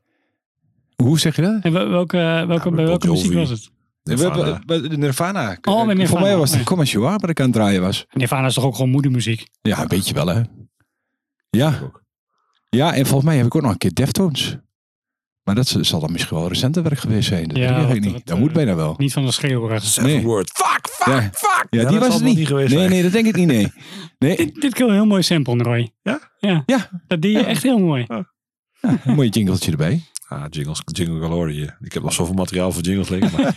Hoe zeg je dat?
En wel- welke, welke,
met
bij welke
Bon
muziek
Jovi.
was het?
Nirvana.
de Nirvana.
Oh, met Nirvana.
Voor mij was het
Ja.
Commercial War waar ik aan het draaien was.
Nirvana is toch ook gewoon moedermuziek?
Ja, een beetje wel, hè. Ja.
ook.
Ja, en volgens mij heb ik ook nog een keer Deftones. Maar dat z- zal dan misschien wel recenter werk geweest zijn. Dat
Ja,
weet ik eigenlijk
dat-
niet.
dat,
Dat moet
eh,
bijna wel.
Niet van de schreeuwerige.
Seven
Nee.
Word. Fuck, fuck,
Ja.
fuck.
Ja, die
dat
was
zal
het niet.
wel geweest
nee,
zijn.
nee, dat denk ik niet, nee.
(laughs)
nee
Dit, dit kan een heel mooi sample, Roy.
Ja?
Ja.
Ja.
Dat deed je echt heel mooi.
een mooi jingletje erbij.
Ah, jingles, jingle galore hier. Ik heb nog zoveel materiaal voor jingles liggen.
(laughs)
Maar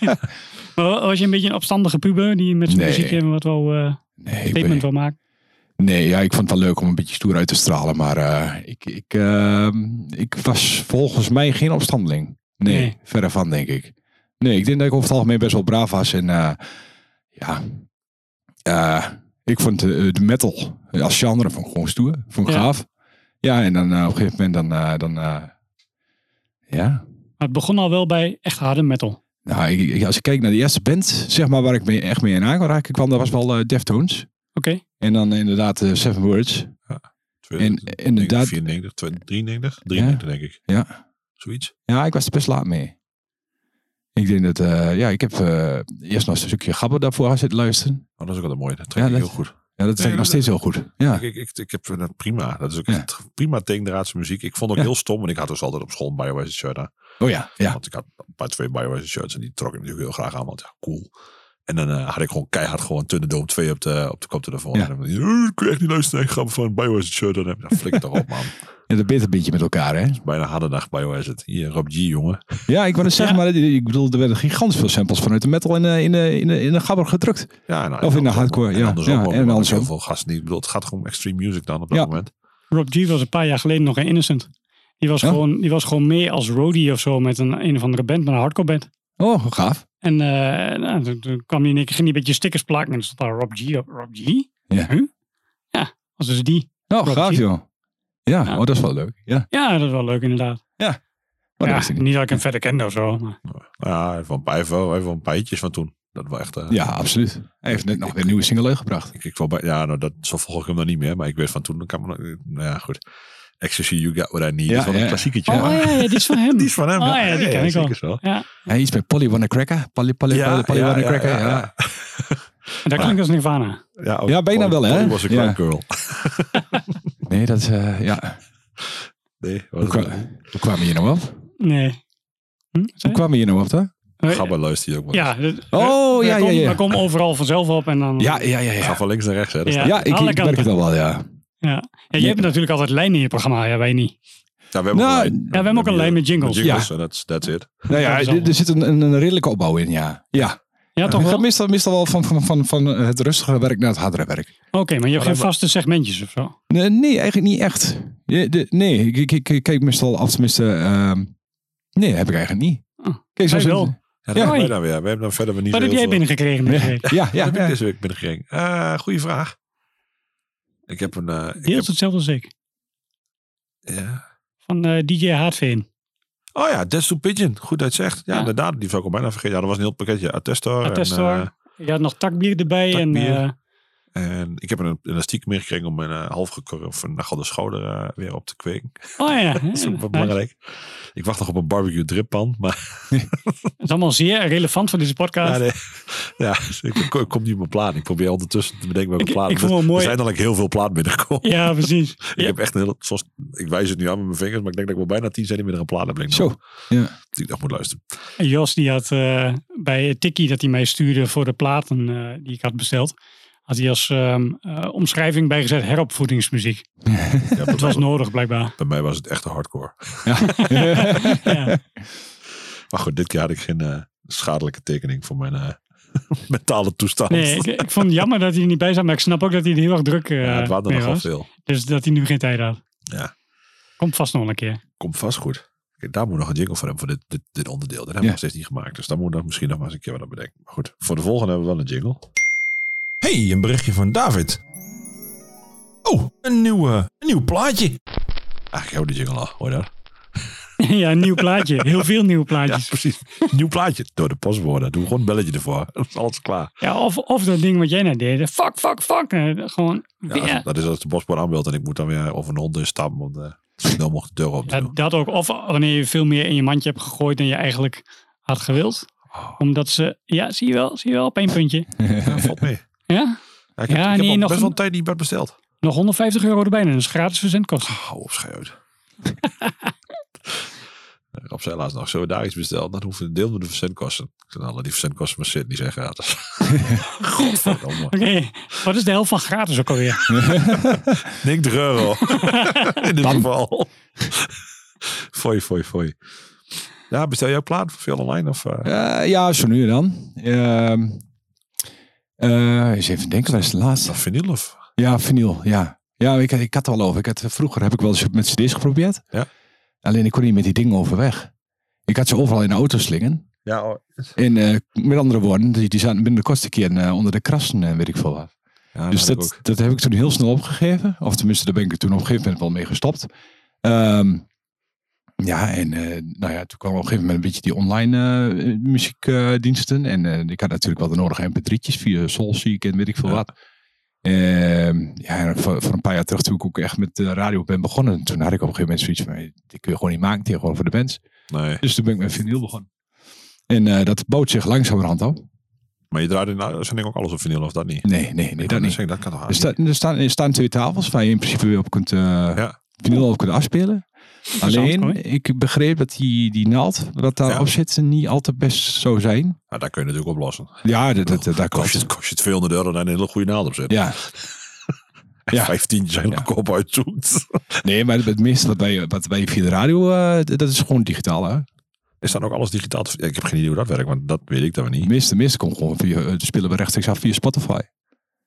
Maar wa- was je een beetje een opstandige puber die met zijn
Nee.
muziekje wat wel eh,
Nee, ik
statement
ben-
wil maken?
nee ja, ik vond het wel leuk om een beetje stoer uit te stralen. Maar eh, ik, ik, ehm, ik was volgens mij geen opstandeling. Nee,
Nee.
verre van, denk ik. Nee, ik denk dat ik over het algemeen best wel braaf was. En eh, ja, eh, ik vond eh, de metal als genre vond ik gewoon stoer. Vond ik
Ja.
gaaf. Ja, en dan eh, op een gegeven moment dan... eh, dan eh, ja,
Maar het begon al wel bij echt harde metal.
nou, ik, ik- als ik kijk naar de eerste band, zeg maar, waar ik mee, echt mee in aanraking kwam, dat was wel eh, Deftones.
Oké?
En dan inderdaad eh, Seven Words. En,
Tweede-
en inderdaad,
94, 92, 93, 93 denk ik.
Ja.
Zoiets.
ja, ik was er best laat mee. Ik denk dat, eh, ja, ik heb eh, eerst nog een stukje gabber daarvoor zitten luisteren.
Maar dat is ook altijd mooi. Dat
Ja,
trek ik
dat-
heel goed.
Ja, dat vind ik
dat-
nog steeds heel goed. Ja,
Ik, ik, ik, ik heb eh, prima. Dat is ook
Ja.
echt prima tegendraadse muziek. Ik vond ook
Ja.
heel stom. En ik had dus altijd op school een Biowizard shirt aan.
oh ja, ja.
Want ik had een paar twee Bioware shirts en die trok ik natuurlijk heel graag aan, want ja, cool. En dan eh, had ik gewoon keihard gewoon Thunderdome 2 op de, op de koptelefoon.
Ja.
En dan eh, ik kun je echt niet luisteren. Ik ga me van een Bioware shirt aan hebben. Dan flikker toch op, man.
ja dat beter beetje met elkaar, hè.
Bijna harde nacht Biowizard. Hier, Rob G, jongen.
Ja, ik wou het zeggen,
Ja.
maar eh, ik bedoel, er werden gigantisch veel samples vanuit de metal in, eh, in, eh, in, eh, in de gabber gedrukt.
Ja, nou,
Of in de
andersom-
hardcore,
En
ja.
andersom,
Ja,
ook,
en
want
andersom.
Heel veel gasten niet. Ik bedoel, het gaat gewoon om extreme music dan op dat
Ja.
moment.
Rob G was een paar jaar geleden nog een innocent. Die was,
Ja?
gewoon, die was gewoon mee als roadie of zo met een, een of andere band, met een hardcore band.
Oh, gaaf.
En eh, nou, toen, toen kwam hij in één keer, ging hij een beetje stickers plakken. En toen stond daar Rob G op. Rob G?
Ja.
Huh? Ja, was dus die.
Oh,
Rob
gaaf,
G.
joh. Ja,
Ja.
Oh, dat is wel leuk. Ja,
Ja, dat is wel leuk inderdaad.
oh, dat
ja,
wist ik niet.
niet dat ik hem verder kende of zo. Maar.
Ja, even een, paar, even, even een paar hitjes van toen. Dat was echt... eh,
ja absoluut. Hij heeft net nog weer een nieuwe single uitgebracht.
Ik, ik wel bij, ja, nou, dat, zo volg ik hem dan niet meer. Maar ik weet van toen, dan kan me, nog- nou ja, goed. Ecstasy, You Got What I Need.
Ja,
is wel een
ja.
klassieketje.
Oh ja, ja, die (laughs) is van hem.
(laughs) Die is van hem.
Oh ja, die ken ik wel.
zeker zo.
Ja,
Hij iets met Polly Wanna Cracker. Polly, Polly, Polly, Polly Wanna Cracker. Ja,
ja.
dat klinkt als Nirvana.
Ja, ook
Ja, bijna
Polly-
wel, hè?
Polly was een
Ja.
crack girl.
Nee, dat is, eh, ja.
Nee,
Hoe,
wat
kwa- hoe kwamen we hier nou af?
Nee. Hm?
Hoe
Sorry?
kwamen we hier nou af, dan?
Eh,
Gabba luistert hier ook wel.
Ja,
Oh, ja, ja, ja.
We komen overal vanzelf op en dan...
Ja, ja, ja,
Ga
ja.
van links naar rechts, hè? Dat is-
Ja.
Ja.
Ja, ik,
alle
ik merk het
kanten.
al wel, ja.
Ja, je hebt natuurlijk altijd lijnen in je programma, ja, wij niet.
we hebben
Nou,
ook
ja,
een lijn.
Ja, we hebben ook een lijn met jingles.
jingles. En that's, that's it.
Nou ja,
Dat is
er-
allemaal.
er zit een, een, een redelijke opbouw in, ja. Ja,
Ja, toch
ik
wel?
ga
Oké,
meestal, meestal wel van, van, van, van het rustigere werk naar het hardere werk.
maar je hebt
Ja,
geen vaste segmentjes of zo.
Nee, nee, eigenlijk niet echt. Je- de- nee, ik, ik, ik, ik kijk meestal af, tenminste. ehm, nee, heb ik eigenlijk niet.
Oh,
Kijk,
wij wel.
Ja, dat
Ja.
hebben wij dan weer. We hebben dan verder weer niet
Wat heb
zo heel
jij
veel-
binnengekregen? deze week?
Ja,
Wat
ja,
heb
ja.
ik deze week binnengekregen? Eh goeie vraag. Ik heb een... eh, ik
Deels
heb-
hetzelfde als ik.
ja.
Van eh, DJ Haatveen.
Oh ja, Death to Pigeon. Goed dat je zegt. Ja,
Ja.
inderdaad. Die zou ik al bijna vergeten. Ja, dat was een heel pakketje. Attestor.
Attestor.
En, eh,
Je had nog takbier erbij.
Takbier.
En, eh,
eh, en ik heb een elastiek meegekregen om mijn eh, halfgekorven of een nagelde schouder eh, weer op te kweken.
oh ja,
(laughs) Dat is ook wel
ja,
belangrijk. Ik wacht nog op een barbecue drippan. Maar
Het is allemaal zeer relevant voor deze podcast.
Ja, nee. ja ik, ik kom niet op mijn plaat. Ik probeer ondertussen te bedenken welke
Ik-
plaat.
ik vond het mooi.
Er zijn dan ook heel veel plaat binnengekomen.
Ja, precies.
Ik
Ja.
heb echt een hele, zoals, ik wijs het nu aan met mijn vingers, maar ik denk dat ik wel bijna 10 centimeter aan plaat heb.
dus-
liggen.
Zo. Ja.
Die ik nog moet luisteren.
En Jos die had eh, bij Tikkie dat hij mij stuurde voor de platen eh, die ik had besteld. Had hij als ehm, eh, omschrijving bijgezet heropvoedingsmuziek.
Ja, bij,
Het
(laughs)
was
mij,
nodig blijkbaar.
bij mij was het echt een hardcore.
Ja.
Maar goed, dit keer had ik geen eh, schadelijke tekening voor mijn eh, (laughs) mentale toestand.
Nee, ik, ik vond het jammer dat hij er niet bij zat. Maar ik snap ook dat hij er heel erg druk eh
ja, het waren er
mee
nogal
was.
veel.
Dus dat hij nu geen tijd had.
Ja.
Komt vast nog een keer. (laughs)
Komt vast goed. Kijk, daar moet nog een jingle voor hebben voor dit, dit, dit onderdeel. Dat hebben we
Ja.
nog steeds niet gemaakt. Dus daar moet nog misschien nog maar eens een keer wat aan bedenken. Maar goed, voor de volgende hebben we wel een jingle.
Hey, een berichtje van David. Oh, een, nieuwe, een nieuw plaatje.
Ah, ik hou die jingle al. Hoor je dat?
ja, een nieuw plaatje. Heel veel nieuwe
Ja,
plaatjes. Ja,
precies. (laughs) Nieuw plaatje. Door de post worden. Doe gewoon een belletje ervoor. (laughs) Dan is alles klaar.
of, of dat ding wat jij net deed. Fuck, fuck, fuck. Eh, gewoon
Ja,
weer.
Dat is als de postbode aanbelt en ik moet dan weer over een hond instappen. Want eh zo snel mocht de deur op te
Ja,
doen.
Eh, dat ook. Of wanneer je veel meer in je mandje hebt gegooid dan je eigenlijk had gewild. Omdat ze, ja, zie je wel, zie je wel, op één puntje.
Ja, valt mee.
Ja,
Ja, ik heb,
Ja,
ik heb
nee,
al
nog
best wel
een-
een tijd niet bed besteld.
nog 150 euro erbij en dat is gratis verzendkosten. (laughs)
Hou op, schei (laughs) uit. Op zijn laatst nog zo daar iets besteld. Dan hoefde een deel van de verzendkosten. Ik zei, alle die verzendkosten van Sydney zijn
(laughs)
gratis. Godverdomme.
Oké, wat is de helft van gratis ook alweer?
Nick de
(laughs)
euro. In dit geval. (laughs) Fooi, fooi, fooi. Ja, bestel jij ook plaat voor veel online? Of, eh,
Eh, ja, zo nu en dan. Ehm eh, eens even denken, wat is de laatste?
Of vinyl of?
Ja, vinyl, ja. Ja, ik, ik had het al over. Ik had, vroeger heb ik wel eens met cd's geprobeerd.
Ja.
Alleen ik kon niet met die dingen overweg. Ik had ze overal in de auto slingen.
Ja, oh,
Dus
En eh, met andere woorden, die, die zaten binnen de kortste keer eh, onder de krassen en weet ik veel wat.
ja
dus
Nou, dat
dat,
had ik ook.
dat heb ik toen heel snel opgegeven. Of tenminste, daar ben ik er toen op een gegeven moment wel mee gestopt. Ehm, ja, en eh, nou ja, toen kwam op een gegeven moment een beetje die online eh, muziekdiensten. en eh, ik had natuurlijk wel de nodige mp3'tjes via Soulseek en weet ik veel
Ja.
wat. Ehm, ja, en voor, voor een paar jaar terug toen ik ook echt met de radio ben begonnen. Toen had ik op een gegeven moment zoiets van, eh, dit kun je gewoon niet maken tegenwoordig voor de bands.
Nee,
Dus toen ben ik met vinyl begonnen. En eh, dat bood zich langzamerhand op.
maar je draait in de uitzending ook alles op vinyl of dat niet?
Nee, nee, nee,
Ik
dat
wou net
niet.
zeggen, dat kan toch
Ah,
Er,
haast
sta- er staan, er staan twee tafels waar je in principe weer op kunt, eh vinyl op kunt afspelen.
hoor.
Alleen, ik begreep dat die, die naald wat daarop
Ja.
zit niet altijd best zou zijn.
niet? Ja, dat kun je natuurlijk oplossen.
Ja, dat, dat, dat, dat
Kost je,
klopt.
het- kost je het 200 euro en een hele goede naald op zetten.
Ja,
En
Ja.
15 zijn
Ja.
kop
(laughs)
uitzoekt.
nee, maar het meeste wat wij, wat wij via de radio, eh, dat is gewoon digitaal. Hè?
Is dan ook alles digitaal? te- Ik heb geen idee hoe dat werkt, want dat weet ik dan weer
Het
niet.
meeste, meeste komt gewoon via, eh, spelen we rechtstreeks af via Spotify.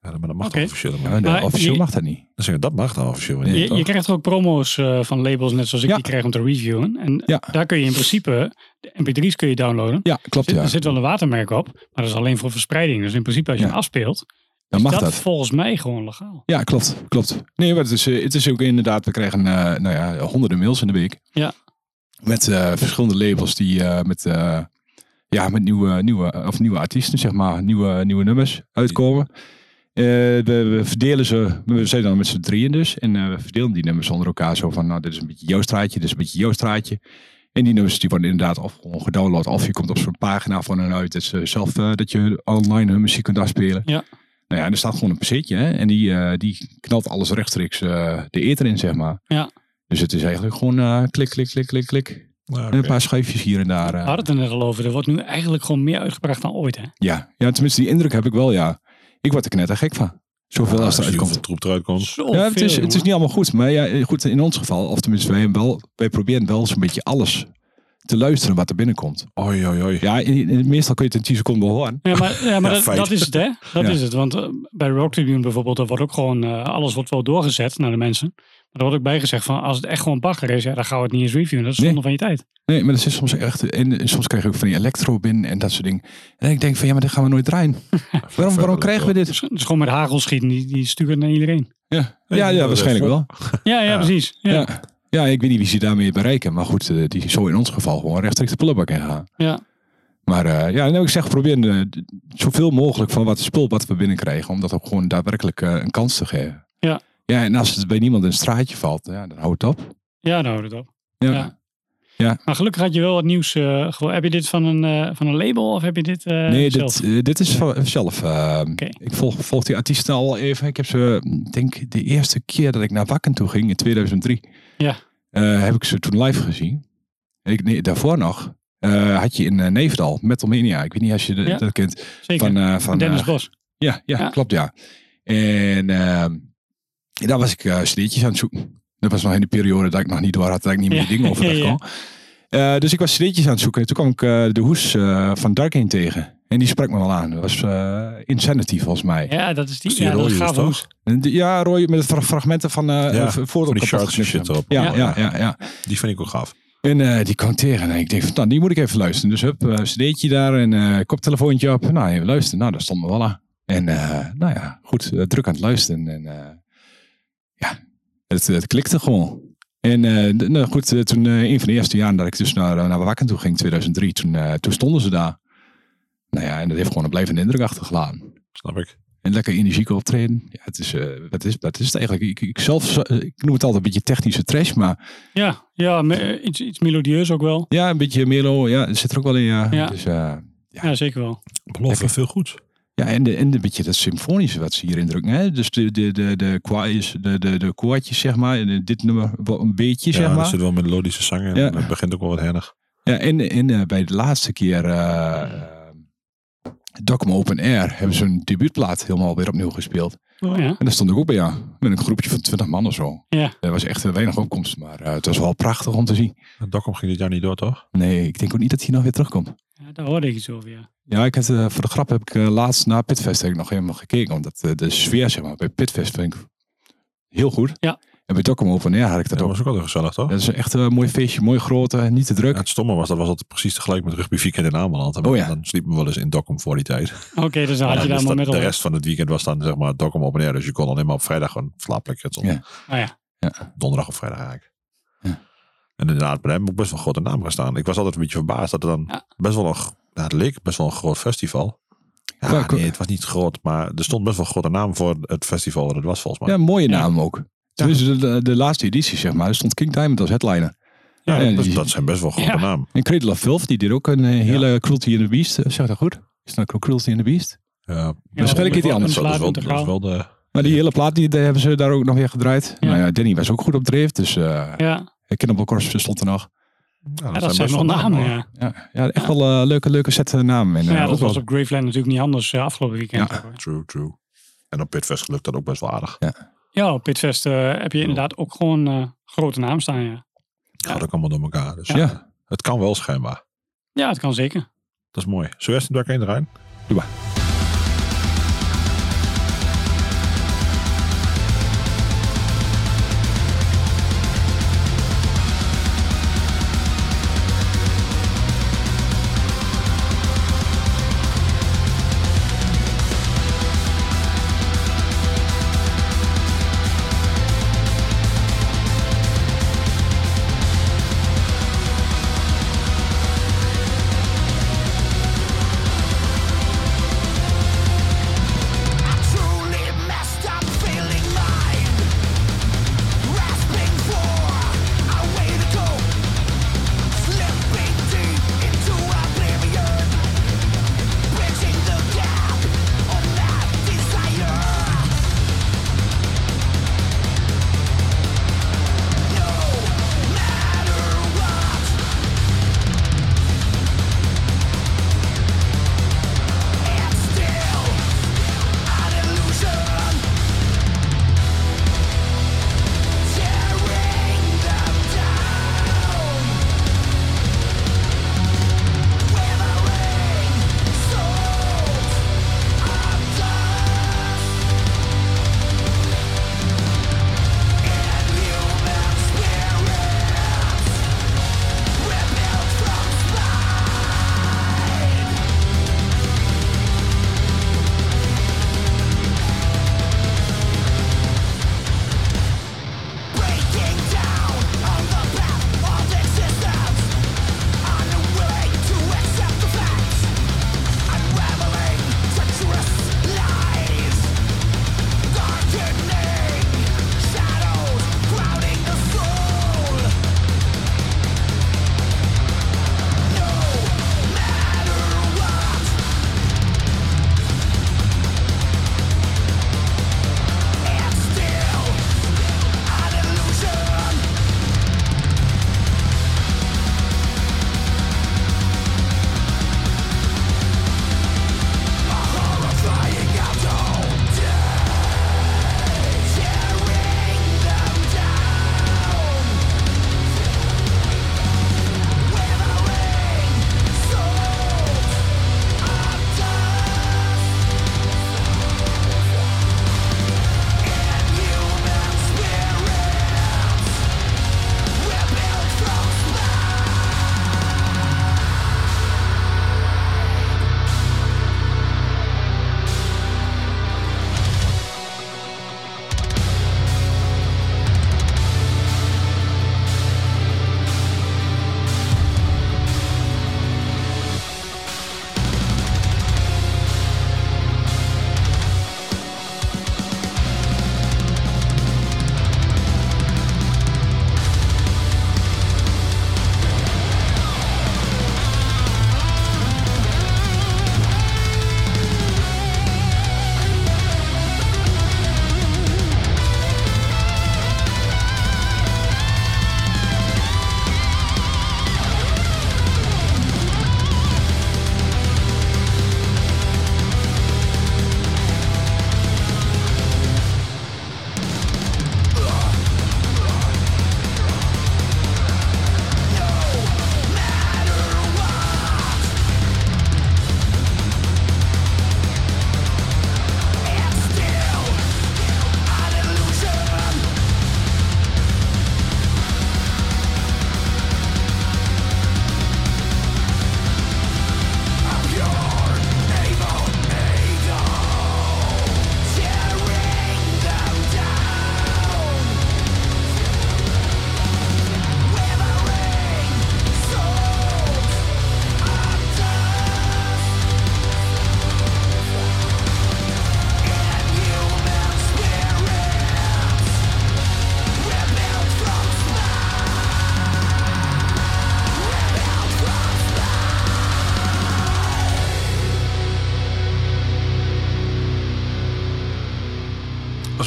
Ja, maar dat mag
Oké.
dan officieel.
Ja,
Maar.
maar de-
Maar
officieel
je-
mag dat niet.
Dan zeg ik, dat mag dan officieel weer
Ja,
niet.
Je, je
toch?
krijgt er ook promo's eh, van labels, net zoals ik
Ja.
die kreeg om te reviewen. En
Ja.
daar kun je in principe, de mp3's kun je downloaden.
Ja, klopt
Er
ja.
zit wel een watermerk op, maar dat is alleen voor verspreiding. Dus in principe als je
Ja.
hem afspeelt,
Dan
is
mag
dat,
dat.
volgens mij gewoon legaal.
Ja, klopt, klopt. Nee, maar het is, eh, het is ook inderdaad, we krijgen eh, nou ja, honderden mails in de week.
Ja.
Met eh, verschillende labels die eh, met, eh, ja, met nieuwe, nieuwe, of nieuwe artiesten, zeg maar, nieuwe, nieuwe nummers uitkomen. Eh, we, we verdelen ze, we zijn dan met z'n drieën dus. En eh, we verdelen die nummers onder elkaar zo van, nou dit is een beetje jouw straatje, dit is een beetje jouw straatje. En die nummers die worden inderdaad of gewoon gedownload of je komt op zo'n pagina van hun uit dat ze zelf eh, dat je online hun muziek kunt afspelen.
Ja.
Nou ja, en er staat gewoon een pc'tje hè, en die, eh, die knalt alles rechtstreeks eh, de ether in, zeg maar.
Ja.
Dus het is eigenlijk gewoon eh, klik, klik, klik, klik, klik.
Ja,
En
oké.
Een paar scheefjes hier en daar. eh.
We hadden het er net al over. Er wordt nu eigenlijk gewoon meer uitgebracht dan ooit. Hè?
Ja. ja, tenminste die indruk heb ik wel, ja. Ik word er knettergek van. Zoveel
Ja,
als
zie
er
je
uitkomt.
hoeveel troep eruit komt.
Zoveel,
Ja, het is, het
Oh, jongen.
eh, is niet allemaal goed. Maar ja, goed, in ons geval, of tenminste wij, hebben wel, wij proberen wel zo'n beetje alles te luisteren wat er binnenkomt.
Oi, oi, oi.
Ja, in- in- meestal kun je het in 10 seconden wel horen.
Ja, maar,
(laughs)
ja, maar
Ja,
dat,
feit.
dat is het, hè? Dat
Ja.
is het. Want eh, bij Rock Tribune bijvoorbeeld, er wordt ook gewoon eh, alles wordt wel doorgezet naar de mensen. Maar er wordt ook bijgezegd van, als het echt gewoon bagger is, ja, dan gaan we het niet eens reviewen. Dat is
Nee.
zonde van je tijd.
Nee, maar dat is soms echt. En en soms krijg je ook van die elektro binnen en dat soort dingen. En ik denk van ja, maar dit gaan we nooit draaien.
(laughs)
waarom, waarom krijgen we dit?
Dus, dus gewoon met hagel schieten, die, die sturen naar iedereen.
Ja, ja, ja waarschijnlijk wel.
Ja, ja, precies. Ja.
Ja. ja, ik weet niet wie ze daarmee bereiken. Maar goed, eh, die zo in ons geval gewoon rechtstreeks de prullenbak ingaan.
Ja.
Maar eh, ja, nou, ik zeg, probeer eh, d- zoveel mogelijk van wat spul wat we binnenkrijgen, om dat ook gewoon daadwerkelijk eh, een kans te geven.
Ja.
Ja, en als het bij niemand in het straatje valt, ja, dan houdt het op.
Ja, nou, dat op.
Ja.
Ja. Maar gelukkig had je wel wat nieuws. eh, gevo- heb je dit van een, eh, van een label of heb je dit eh,
nee,
zelf?
dit, eh, dit is van- zelf. eh,
Oké.
Ik volg, volg die artiesten al even. Ik heb ze, mm, denk de eerste keer dat ik naar Wakken toe ging, in 2003,
Ja.
eh, heb ik ze toen live gezien. Ik, nee, daarvoor nog eh, had je in eh, Neefdal, Metalmania, ik weet niet als je de-
Ja.
dat kent,
Zeker.
van, eh, van
Dennis
eh,
Bos.
Ja, ja,
Ja.
klopt ja. En ehm, daar was ik eh cd'tjes aan het zoeken. Dat was nog in de periode dat ik nog niet door had, dat ik niet meer
Ja,
die dingen overweg
(laughs) ja, ja.
kon. Eh, dus ik was cd'tjes aan het zoeken. En toen kwam ik eh, de hoes eh, van Darkane tegen. En die sprak me wel aan. Dat was eh, Insanity volgens mij.
Ja, dat is die.
is die
ja, dat is
rode,
gaaf
toch?
hoes.
En die- Ja, Roy, met fra- fragmenten van eh
Ja,
eh, v- voor
die
kapot
shards en
geknipt.
shit erop.
Ja,
Ja.
ja, ja, ja.
Die vind ik ook gaaf.
En eh, die kwam tegen. En ik dacht van, nou, die moet ik even luisteren. Dus hup, eh, cd'tje daar en eh, koptelefoontje op. Nou, even luisteren. Nou, daar stond me wel aan. En eh, nou ja, goed, eh, druk aan het luisteren. En eh, ja, het, het klikte gewoon. En eh, d- nou goed, eh, toen eh, een van de eerste jaren dat ik dus naar, naar Wakken toe ging, 2003, toen, eh, toen stonden ze daar. Nou ja, en dat heeft gewoon een blijvende indruk achtergelaten.
Snap ik.
En lekker energiek optreden. Ja, het is, eh, wat, is, wat is het eigenlijk? Ik, ik, zelf, eh, ik noem het altijd een beetje technische trash, maar
Ja, ja me- eh, iets, iets melodieus ook wel.
ja, een beetje Melo. Ja, het zit er ook wel in. Ja.
Ja.
Dus, eh,
Ja, zeker wel.
Beloof veel goed.
ja, en, de, en een beetje dat symfonische wat ze hier indrukken. Hè? Dus de, de, de, de, kwaaiers, de, de, de koortjes, zeg maar. En, eh, Dit nummer wel een beetje,
Ja,
zeg
er
maar.
zitten wel melodische zangen.
Ja.
En het begint ook wel wat hernig.
Ja, en, en eh, bij de laatste keer eh eh, Dokkum Open Air hebben ze hun debuutplaat helemaal weer opnieuw gespeeld.
Ja.
En daar stond ik ook bij aan. Met een groepje van 20 man of zo.
Ja.
Er was echt weinig opkomst, maar eh, het was wel prachtig om te zien.
Dokkum ging dit jaar niet door, toch?
Nee, ik denk ook niet dat hij nog weer terugkomt.
ja, daar hoorde ik iets over, ja.
Ja, ik had, eh, voor de grap heb ik eh, laatst na Pitfest heb ik nog helemaal gekeken. Omdat eh, de sfeer zeg maar, bij Pitfest vind ik heel goed.
Ja.
En bij Dokkum Open Air had ik dat
Dat
ook.
was ook altijd gezellig, toch?
Dat is echt een mooi feestje, mooi groot, eh, niet te druk.
Ja, het stomme was, dat was altijd precies tegelijk met rugby weekend in Ameland. En
Oh ja.
Dan sliepen we wel eens in Dokkum voor die tijd.
Oké, dus dan had
Ja,
je
dus
daar maar
dat-
met
de
al.
rest van het weekend was dan zeg maar Dokkum op en neer. Dus je kon alleen maar op vrijdag een slaapplekje. Het stond
Ja.
Ah ja.
Donderdag of vrijdag eigenlijk.
Ja.
En inderdaad, bij hem ook best wel een grote naam gestaan. Ik was altijd een beetje verbaasd dat er dan
Ja.
best wel een, g- ja, het leek best wel een groot festival.
Ja,
Ja,
ik-
nee, het was niet groot, maar er stond best wel een grote naam voor het festival dat het was volgens mij.
Ja, mooie naam ook. Tenminste, de, de, de laatste editie, zeg maar. Er stond King Diamond als headliner.
Ja,
en
dat,
die-
dat zijn best wel grote
Ja.
naam.
En Cradle of Filth, die deed ook een eh, hele Cruelty in the Beast. eh, Zeg dat goed? Is dat Cruelty in the Beast?
Ja,
speel ik
dat-
iets anders.
dat,
dat
is wel,
slaat
dat
niet
is
te gauw.
wel de...
Maar die hele plaat, die, die hebben ze daar ook nog weer gedraaid.
Ja.
Nou ja, Danny was ook goed op dreef. Dus eh
Ja,
Cannibal Corpse stond er nog.
Ja,
ja, dat zijn wel namen, ja.
Ja, ja echt wel eh, leuke, leuke set eh, namen. En, eh,
Nou ja,
ook
dat
wel-
was op Graveland natuurlijk niet anders eh, afgelopen weekend.
Ja.
ook, hoor.
True, true. En op Pitfest gelukt dat ook best wel aardig.
Ja, op Pitfest eh, heb je inderdaad ook gewoon eh, grote naam staan, ja.
Gaat ook allemaal door elkaar. Dus
Ja.
ja, het kan wel schijnbaar.
Ja, het kan zeker.
Dat is mooi. Zullen we eerst een dak in erin?
Doe maar.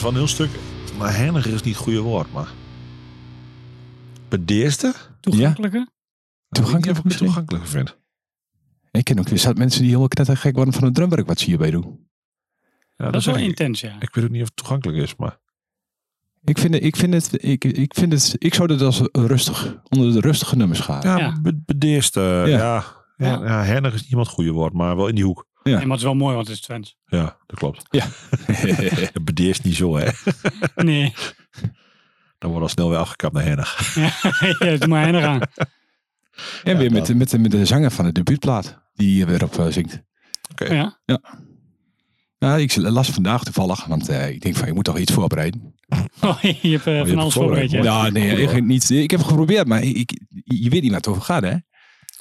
wel een heel stuk. Maar henniger is niet het goede woord, maar. Bedeerste?
Toegankelijker?
Toegankelijk
Ik weet niet of ik het
misschien?
toegankelijker vind.
Ik ken ook weer zat mensen die helemaal knettergek worden van het drumwerk wat ze hierbij doen.
Ja,
dat is wel
zeg ik.
intens, ja.
Ik weet ook niet of het toegankelijk is, maar.
Ik vind, het- ik, vind het, ik, ik vind het, ik zou dat als rustig, onder de rustige nummers gaan.
Ja,
Ja.
be- bedeerste. Ja. Ja.
Ja.
ja, hennig is niemand het goede woord, maar wel in die hoek.
Ja.
Nee, maar het is wel mooi, want het is Twents.
Ja, dat klopt. (laughs)
Ja.
Bedeerst niet zo, hè?
Nee, (laughs)
Dan wordt al snel weer afgekapt naar hennig.
ja, doe maar hen eraan.
En
Ja,
weer met,
dat-
met, met de zanger van de debuutplaat, die hier weer op eh, zingt.
Ja.
Ja, ik las vandaag toevallig, want eh, ik denk van, ik moet toch iets voorbereiden.
Oh, je hebt eh, van
hebt
alles
het voorbereid,
voorbereid, ja.
mooi.
Ja, nee, ik, heb niet, ik heb het geprobeerd, maar ik, ik- je weet niet waar het over gaat, hè?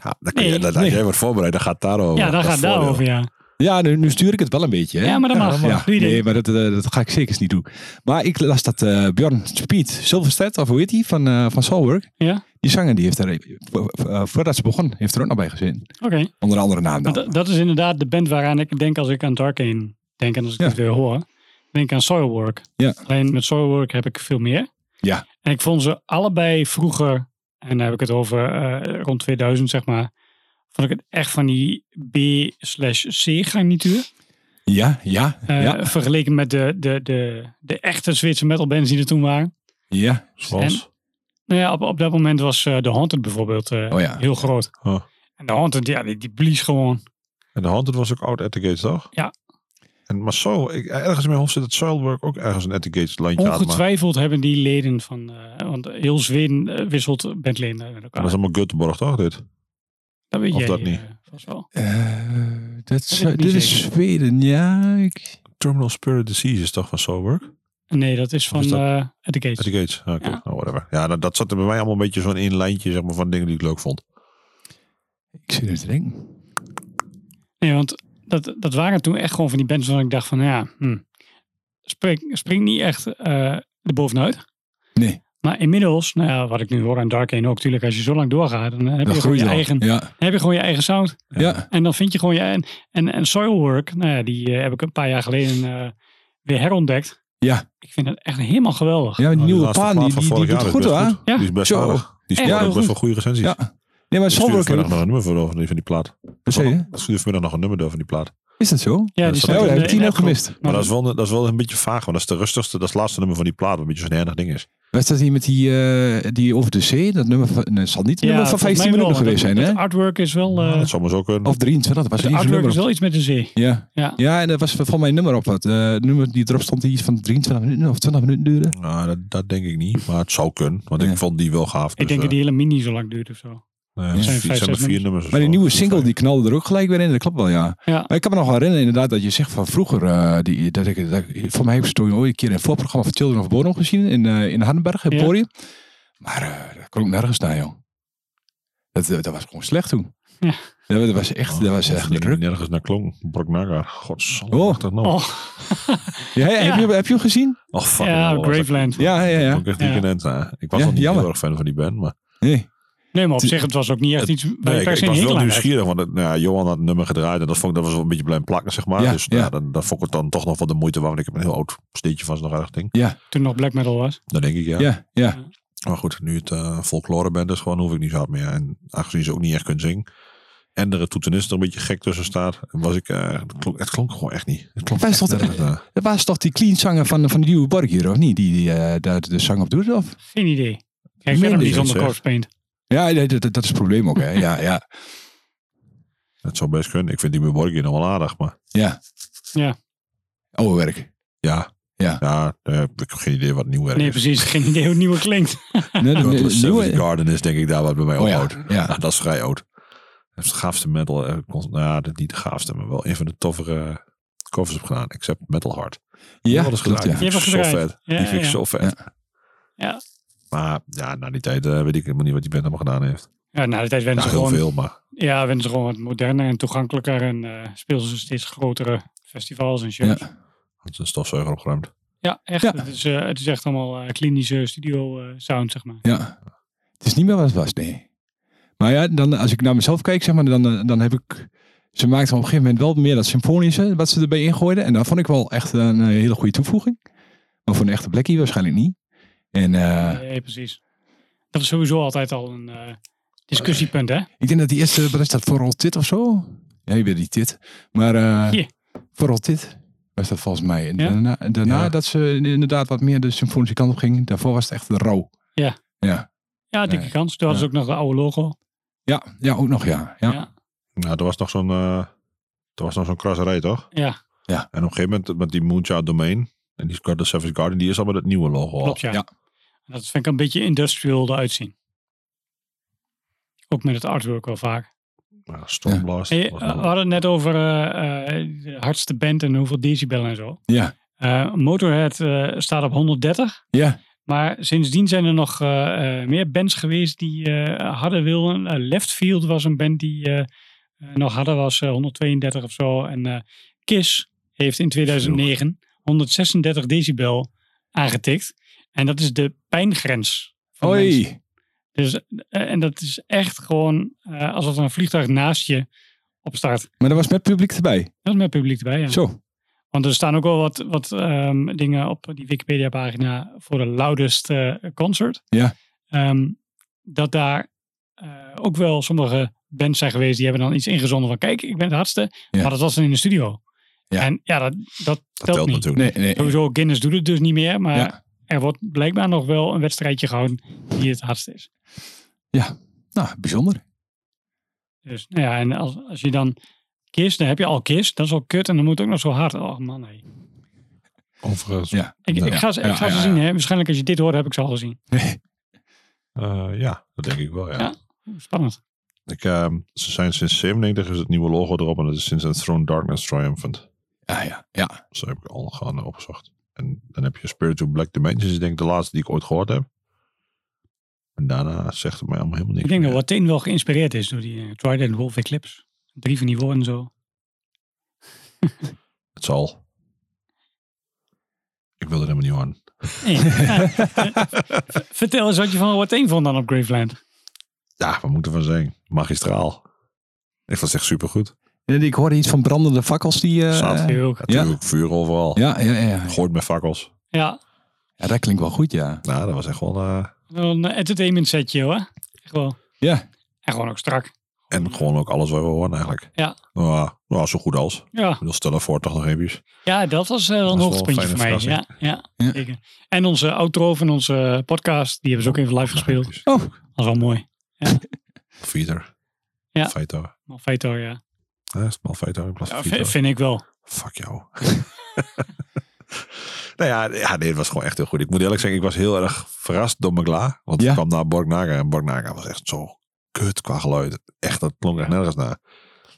Ja, dan kun
Nee,
je, dan, als
nee.
jij wordt voorbereid, dan gaat het daarover.
Ja, daar
Dat is
gaat
het voordeel.
daarover, ja.
Ja, nu, nu stuur ik het wel een beetje, hè?
Ja, maar dat mag.
Ja,
Doe je ding.
nee, maar dat, eh, dat ga ik zeker eens niet doen. Maar ik las dat eh, Bjorn Speed, Silverstedt, of hoe heet die, van, eh van Soulwork.
Ja,
Die zanger, die heeft er, eh, vo- eh, voordat ze begon, heeft er ook nog bij gezin.
oké.
Onder andere naam
Maar
dan.
dat- dat is inderdaad de band waaraan ik denk als ik aan Darkane denk en als ik
Ja.
het weer hoor. Ik denk aan Soilwork.
Ja.
Alleen met Soilwork heb ik veel meer.
Ja.
En ik vond ze allebei vroeger, en dan heb ik het over eh, rond 2000 zeg maar, vond ik het echt van die B slash C garnituur.
Ja, ja,
Eh,
ja,
Vergeleken met de, de, de, de echte Zwitserse metal bands die er toen waren.
ja.
Zoals?
Nou ja, op, op dat moment was eh The Haunted bijvoorbeeld eh,
Oh ja.
heel groot.
Oh.
En The Haunted, ja, die, die blies gewoon.
En de hand, het was ook oud Etiquette, toch?
Ja.
En, maar zo, ik, ergens in mijn hoofd zit het Soilwork ook ergens een Etiquette landje aan. Maar,
Ongetwijfeld hebben die leden van, eh, want heel Zweden eh, wisselt bandleden met
maar
elkaar.
dat is allemaal Göteborg, toch? Dit?
dat weet
of
jij
dat
eh,
niet.
vast wel.
Eh, dat is-
weet ik niet
dit is Zweden, ja. Ik,
Terminal Spirit Disease is toch van Soilwork?
Nee, dat is van
is dat?
eh, At the Gates.
Etiquette, oké.
Ja.
Nou, whatever. Ja, dat, dat zat er bij mij allemaal een beetje zo'n in lijntje zeg maar, van dingen die ik leuk vond.
ik zit er te denken.
Nee, want dat, dat waren toen echt gewoon van die bands waarvan ik dacht van, ja, hm, spring, spring niet echt eh erbovenuit.
Nee,
Maar inmiddels, nou ja, wat ik nu hoor aan Darkane ook, natuurlijk, als je zo lang doorgaat, dan heb,
dat
je gewoon
groeit
je,
al.
eigen,
Ja,
dan heb je gewoon je eigen sound.
ja.
En dan vind je gewoon je. En, en, en Soilwork, nou ja, die eh, heb ik een paar jaar geleden eh, weer herontdekt.
Ja.
Ik vind het echt helemaal geweldig.
Ja, maar die
Nou,
nieuwe
laatste
paan,
plaat
die,
van
die, die
vorig
doet
jaar
het
is best
goed, hoor.
Ja.
Die is best
Zo.
aardig. Die
Echt heel
speelt ook best
goed.
wel goede recensies.
Ja. Nee, maar
Ik stuurde
Soulwork...
vanmiddag nog een nummer voor over die- van die plaat.
Wat zei je?
Ik stuurde vanmiddag nog een nummer door van die plaat.
Is dat zo?
Ja,
dat
die
is
staat
wel-
Oh,
in
dat
de-
heb ik die
in de
nou
appgroep.
gemist.
Maar dat is, wel, dat is wel een beetje vaag, want dat is de rustigste, dat is het laatste nummer van die plaat, wat een beetje zo'n hernig ding is.
Was dat die met die, eh, die over de zee? Dat nummer van, nee, het zal niet een nummer van
volgens mij wel,
15 minuten
want
geweest zijn,
het-
hè?
Het artwork is wel. eh,
dat zou maar zo kunnen.
Of 23, dat was
het
niet zo'n
artwork is
nummer.
wel iets met de zee.
op- Ja.
Ja.
ja, en dat was van mijn nummer op wat. eh, het nummer die erop stond, die iets van 23 minuten of 20 minuten duurde.
Nou, dat, dat denk ik niet, maar het zou kunnen, want
Ja.
ik vond die wel gaaf.
Ik denk dat
dat
die hele mini zo lang duurt of zo.
nee,
zijn
zijn,
vijf,
zijn er
zes
vier nummers. of
Maar die
zo.
nieuwe single, die knalde er ook gelijk weer in. Dat klopt wel, ja.
Ja.
Maar ik kan me nog wel herinneren inderdaad dat je zegt van vroeger... eh, die, dat ik, dat ik- voor mij heb ik ze toen ooit een keer in een voorprogramma van Children of Bodom gezien. In, eh in Hardenberg, in
Ja.
Porië. Maar eh, dat kon ook nergens naar, joh. Dat, dat was gewoon slecht toen.
Ja. Oh,
Dat, dat was echt, dat was
Of
echt
die
druk.
nergens naar klonk. Brok Naga. Godsamme.
Oh.
wat dat nou?
Oh,
Ja, Heb, je, heb je hem gezien?
Oh, fuck.
ja, Graveland.
Ja, ja, ja.
Ik echt niet
Ja.
in Enta. Ik was
Ja,
nog niet
jammer.
heel erg fan van die band, maar...
Nee.
Nee, maar op zich, het was ook niet echt iets waar
Nee,
je
ik,
per
ik
se
was
een
wel
hekel aan hebt.
nieuwsgierig, want het- nou ja, Johan had een nummer gedraaid en dat, vond ik, dat was wel een beetje blijven plakken, zeg maar.
Ja,
dus nou,
ja.
dan, dan vond ik het dan toch nog wel de moeite waard, want ik heb een heel oud steentje van zo'n aardig ding.
Toen nog black metal was.
Dat denk ik, ja.
Ja, ja.
Maar goed, nu het eh folklore band is, gewoon hoef ik niet zo hard meer. En aangezien ze ook niet echt kunnen zingen en er een toetenist er een beetje gek tussen staat, was ik... eh, het, klonk, het klonk gewoon echt niet. eh, Het klonk
Wij stonden-
nergens naar.
Dat was toch die clean zanger van, van de nieuwe Borg hier, of niet? Die, die eh, daar de zang op doet, of?
Geen idee. Kijk, ik ken
Minder
hem niet zonder
zeg.
corpse paint.
Ja, nee, dat, dat, dat is het probleem ook, hè. Ja, ja.
Het zou best kunnen. Ik vind die Borgi nog wel aardig, maar...
Ja.
Ja.
Oh, werk.
Ja.
Ja.
ja eh, ik heb geen idee wat nieuw werk
Nee,
is.
precies. Geen idee hoe het nieuwe klinkt.
Nee, de-
Douglas
de- de-
Savage
nieuwe-
Garden is denk ik daar wat bij mij
Oh ja,
ophoudt.
ja.
Nou, dat is vrij oud. Dat is het gaafste metal. eh, kon- Nou ja, dat- niet de gaafste, maar wel een van de toffere covers heb gedaan. Except Metal Heart.
Ja,
dat is
klopt, ja.
Die vind ik
Die
zo
hebben we
vet.
Ja,
(laughs) die vind ik
ja.
zo vet.
Ja.
Ja.
Maar ja, na die tijd eh, weet ik helemaal niet wat die band allemaal gedaan heeft.
Ja, na de tijd
Ja,
werden
heel
ze gewoon
veel, maar
Ja, werden ze gewoon wat moderner en toegankelijker en eh speelden ze steeds grotere festivals en shows. Ja,
Ja.
het is een stofzuiger opgeruimd.
echt.
Ja.
Het, is, eh, het is echt allemaal eh, klinische studio eh, sound, zeg maar.
ja. Het is niet meer wat het was, nee. Maar ja, dan, als ik naar mezelf kijk, zeg maar, dan, eh, dan heb ik... Ze maakten op een gegeven moment wel meer dat symfonische wat ze erbij ingooiden. En dat vond ik wel echt een eh, hele goede toevoeging. Maar voor een echte blackie waarschijnlijk niet. En eh,
Nee, precies. Dat is sowieso altijd al een eh, discussiepunt, hè?
ik denk dat die eerste, wat is dat, vooral tit of zo? Ja, je bent die tit. Maar eh
Hier.
vooral tit was dat volgens mij. En
Ja?
daarna, daarna
Ja.
dat ze inderdaad wat meer de symfonische kant op ging. Daarvoor was het echt de rauw.
Ja.
Ja,
Ja, Oh, dikke
Nee.
kans. Toen hadden ze ook nog de oude logo.
ja, ja ook nog ja. ja.
Ja.
Nou, er was nog zo'n eh er was nog zo'n crosserij, toch?
Ja,
En op een gegeven moment met die Moonchild Domain en die Squad of Savage Garden, die is al met het nieuwe logo. al.
klopt ja.
ja.
Dat vind ik een beetje industrial eruit zien. Ook met het artwork wel vaak.
Ja, Stormblast.
Hey,
was
eh,
nog-
we hadden het net over eh, eh, de hardste band en hoeveel decibel en zo.
Ja.
Eh, Motorhead eh, staat op 130.
Ja.
Maar sindsdien zijn er nog eh, eh, meer bands geweest die eh harder wilden. Eh, Left Field was een band die eh, eh, nog harder was, eh, 132 of zo. En eh, Kiss heeft in 2009 136 decibel aangetikt. En dat is de pijngrens. van mensen.
Oei.
Dus, eh, en dat is echt gewoon eh, alsof er een vliegtuig naast je opstart.
Maar er was met publiek erbij.
Dat is met publiek erbij, ja.
Zo.
Want er staan ook wel wat, wat ehm, dingen op die Wikipedia-pagina voor de loudest eh, concert.
Ja.
Ehm, dat daar eh, ook wel sommige bands zijn geweest die hebben dan iets ingezonden van kijk, ik ben het hardste.
Ja.
Maar dat was dan in de studio.
Ja.
En ja, dat, dat,
dat
telt
telt
niet.
natuurlijk.
Nee, nee.
Sowieso, Guinness doet het dus niet meer. Maar
Ja.
er wordt blijkbaar nog wel een wedstrijdje gehouden die het hardst is.
Nou, bijzonder.
Dus nou ja, en als, als je dan kist, dan heb je al kist. Dat is al kut en dan moet het ook nog zo hard. Oh man, hé.
Overigens. Ja.
Ja.
Ik,
Ja.
ik ga ze, ik ga
Ja,
ze
ja,
zien,
ja.
hè. Waarschijnlijk als je dit hoort, heb ik ze al gezien.
eh, ja, dat denk ik wel, ja.
Ja. Spannend.
Ik, ehm, ze zijn sinds 97 is het nieuwe logo erop en dat is sinds het Throne Darkness Triumphant.
Ja, ja, ja.
Zo heb ik al gaan eh, opgezocht. En dan heb je Spiritual Black Dimensions, ik denk ik de laatste die ik ooit gehoord heb. En daarna zegt het mij allemaal helemaal niks
Ik denk dat
meer.
Watin wel geïnspireerd is door die eh, Trident Wolf Eclipse. Drie van die woorden en zo.
Het zal. Ik wil er helemaal niet aan.
Nee. Ja. Vertel eens wat je van Watin vond dan op Graveland.
Ja, wat moet ik van zeggen? Magistraal. Ik vond het echt supergoed.
En ik hoorde iets van brandende fakkels die... eh,
Zaad.
Heel ook.
Natuurlijk vuur overal.
ja, ja, ja.
Gooit met fakkels.
Ja,
Ja, dat klinkt wel goed, ja.
Nou, dat was echt wel... eh,
wel een eh, entertainment setje hoor. Echt wel.
Ja.
En gewoon ook strak.
En gewoon ook alles wat we horen eigenlijk.
Ja.
Nou, nou, zo goed als. Ik
Ja,
bedoel, stel voor toch nog eventjes.
ja dat was eh, wel een
wel een
hoogtepuntje voor mij.
fijne
Ja, ja,
Ja.
zeker. En onze outro van onze podcast, die hebben ze ook even live gespeeld.
Nog eventjes.
Oh,
Dat was wel mooi.
Vieter.
Ja.
Veto.
Malfeto, ja.
Ja, is Malveto in plaats van
ja
Vieter.
v- vind ik wel.
Fuck jou. (laughs) nou ja, ja, nee, het was gewoon echt heel goed. Ik moet eerlijk zeggen, ik was heel erg verrast door Magla. Want
Ja.
ik kwam naar Borgnaga en Borgnaga was echt zo kut qua geluid. Echt, dat klonk echt nergens naar.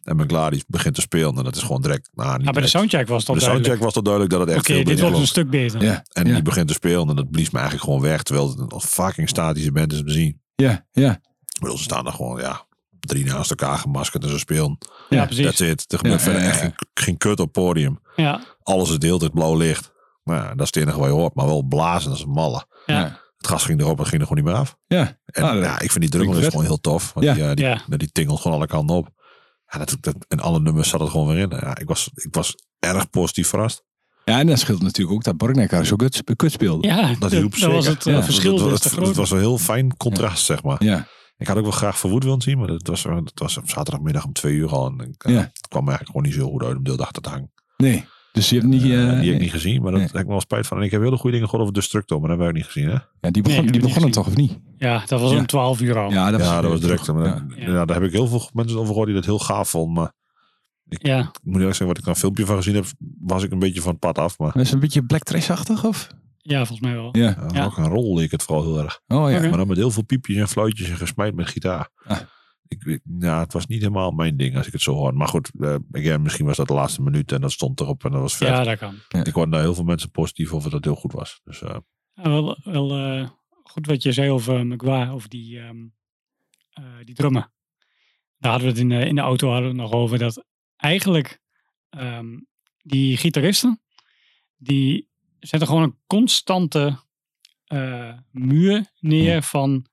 En Magla die begint te spelen en dat is gewoon direct... Nou, niet
Maar bij de
direct.
soundcheck was
Bij
dat
de
duidelijk.
soundcheck was dat duidelijk dat het echt
Oké,
veel
dit
beter
wordt een
klonk.
stuk beter.
ja.
En
ja.
die begint te spelen en dat blies me eigenlijk gewoon weg. Terwijl het een fucking statische band is om te zien.
Ja, ja.
Ik bedoel, ze staan er gewoon, ja, drie naast elkaar gemaskerd en ze spelen.
Ja,
Ja,
That's
precies.
it. Er gebeurt
Ja,
verder
ja,
echt
ja.
geen, geen kut op podium.
Ja.
Alles is deelt het blauw licht. Nou, ja, dat is het enige wat je hoort, maar wel blazen als een malle.
Ja.
Het gas ging erop, het ging er gewoon niet meer af.
Ja.
En
Ah, dat-
ja, ik vind die drummer
vind
is
ik
gewoon heel tof. Want
Ja.
die, eh, die,
Ja.
die tingelt gewoon alle kanten op. Ja, dat, dat, en alle nummers zat het gewoon weer in. Ja, ik, was, ik was erg positief verrast.
Ja, en dat scheelt natuurlijk ook dat Borgnekkar zo kut, kut speelde.
Ja,
Dat
dat-
hielp
dat
zeker.
was het eh,
Ja.
verschil.
dat,
dus
dat,
te
dat,
groot.
was een heel fijn contrast, zeg maar.
Ja.
Ik had ook wel graag verwoed willen zien, maar dat was, eh, dat was op zaterdagmiddag om twee uur al. En ik,
Ja.
eh, het kwam eigenlijk gewoon niet zo goed uit om deel achter te hangen.
Nee. Dus je hebt niet...
Eh, die
eh,
heb ik
nee.
niet gezien, maar dat
Nee.
heb ik me wel spijt van. En ik heb hele goede dingen gehoord over Destructo, maar dat hebben we ook niet gezien. Hè?
Ja,
Nee,
die begon, die
heb ik
begonnen
niet
toch, of niet?
Ja, dat was
Ja.
om 12 uur al. Ja,
Ja, dat
ja, dat was direct. Maar
Ja.
dat- ja, daar heb ik heel veel mensen over gehoord die dat heel gaaf vonden. Maar
ja.
ik moet eerlijk zeggen, wat ik er een filmpje van gezien heb, was ik een beetje van het pad af. Maar
Maar is het een beetje Black Trash-achtig, of?
volgens mij wel.
Ja.
ja,
Ja.
rock en roll leek het vooral heel erg.
Oh ja.
Oké.
Maar dan met heel veel piepjes en fluitjes en gesmijt met gitaar.
Ah.
Ik, weet- ja, het was niet helemaal mijn ding als ik het zo hoor. Maar goed, eh, again, misschien was dat de laatste minuut en dat stond erop en dat was vet.
Ja, dat kan.
Ik hoorde daar heel veel mensen positief over dat het heel goed was. Dus eh,
Ja, wel wel eh, goed wat je zei over McGuire, over die, ehm eh, die drummen. Daar hadden we het in de, in de auto hadden we het nog over. Dat eigenlijk ehm, die gitaristen, die zetten gewoon een constante eh, muur neer van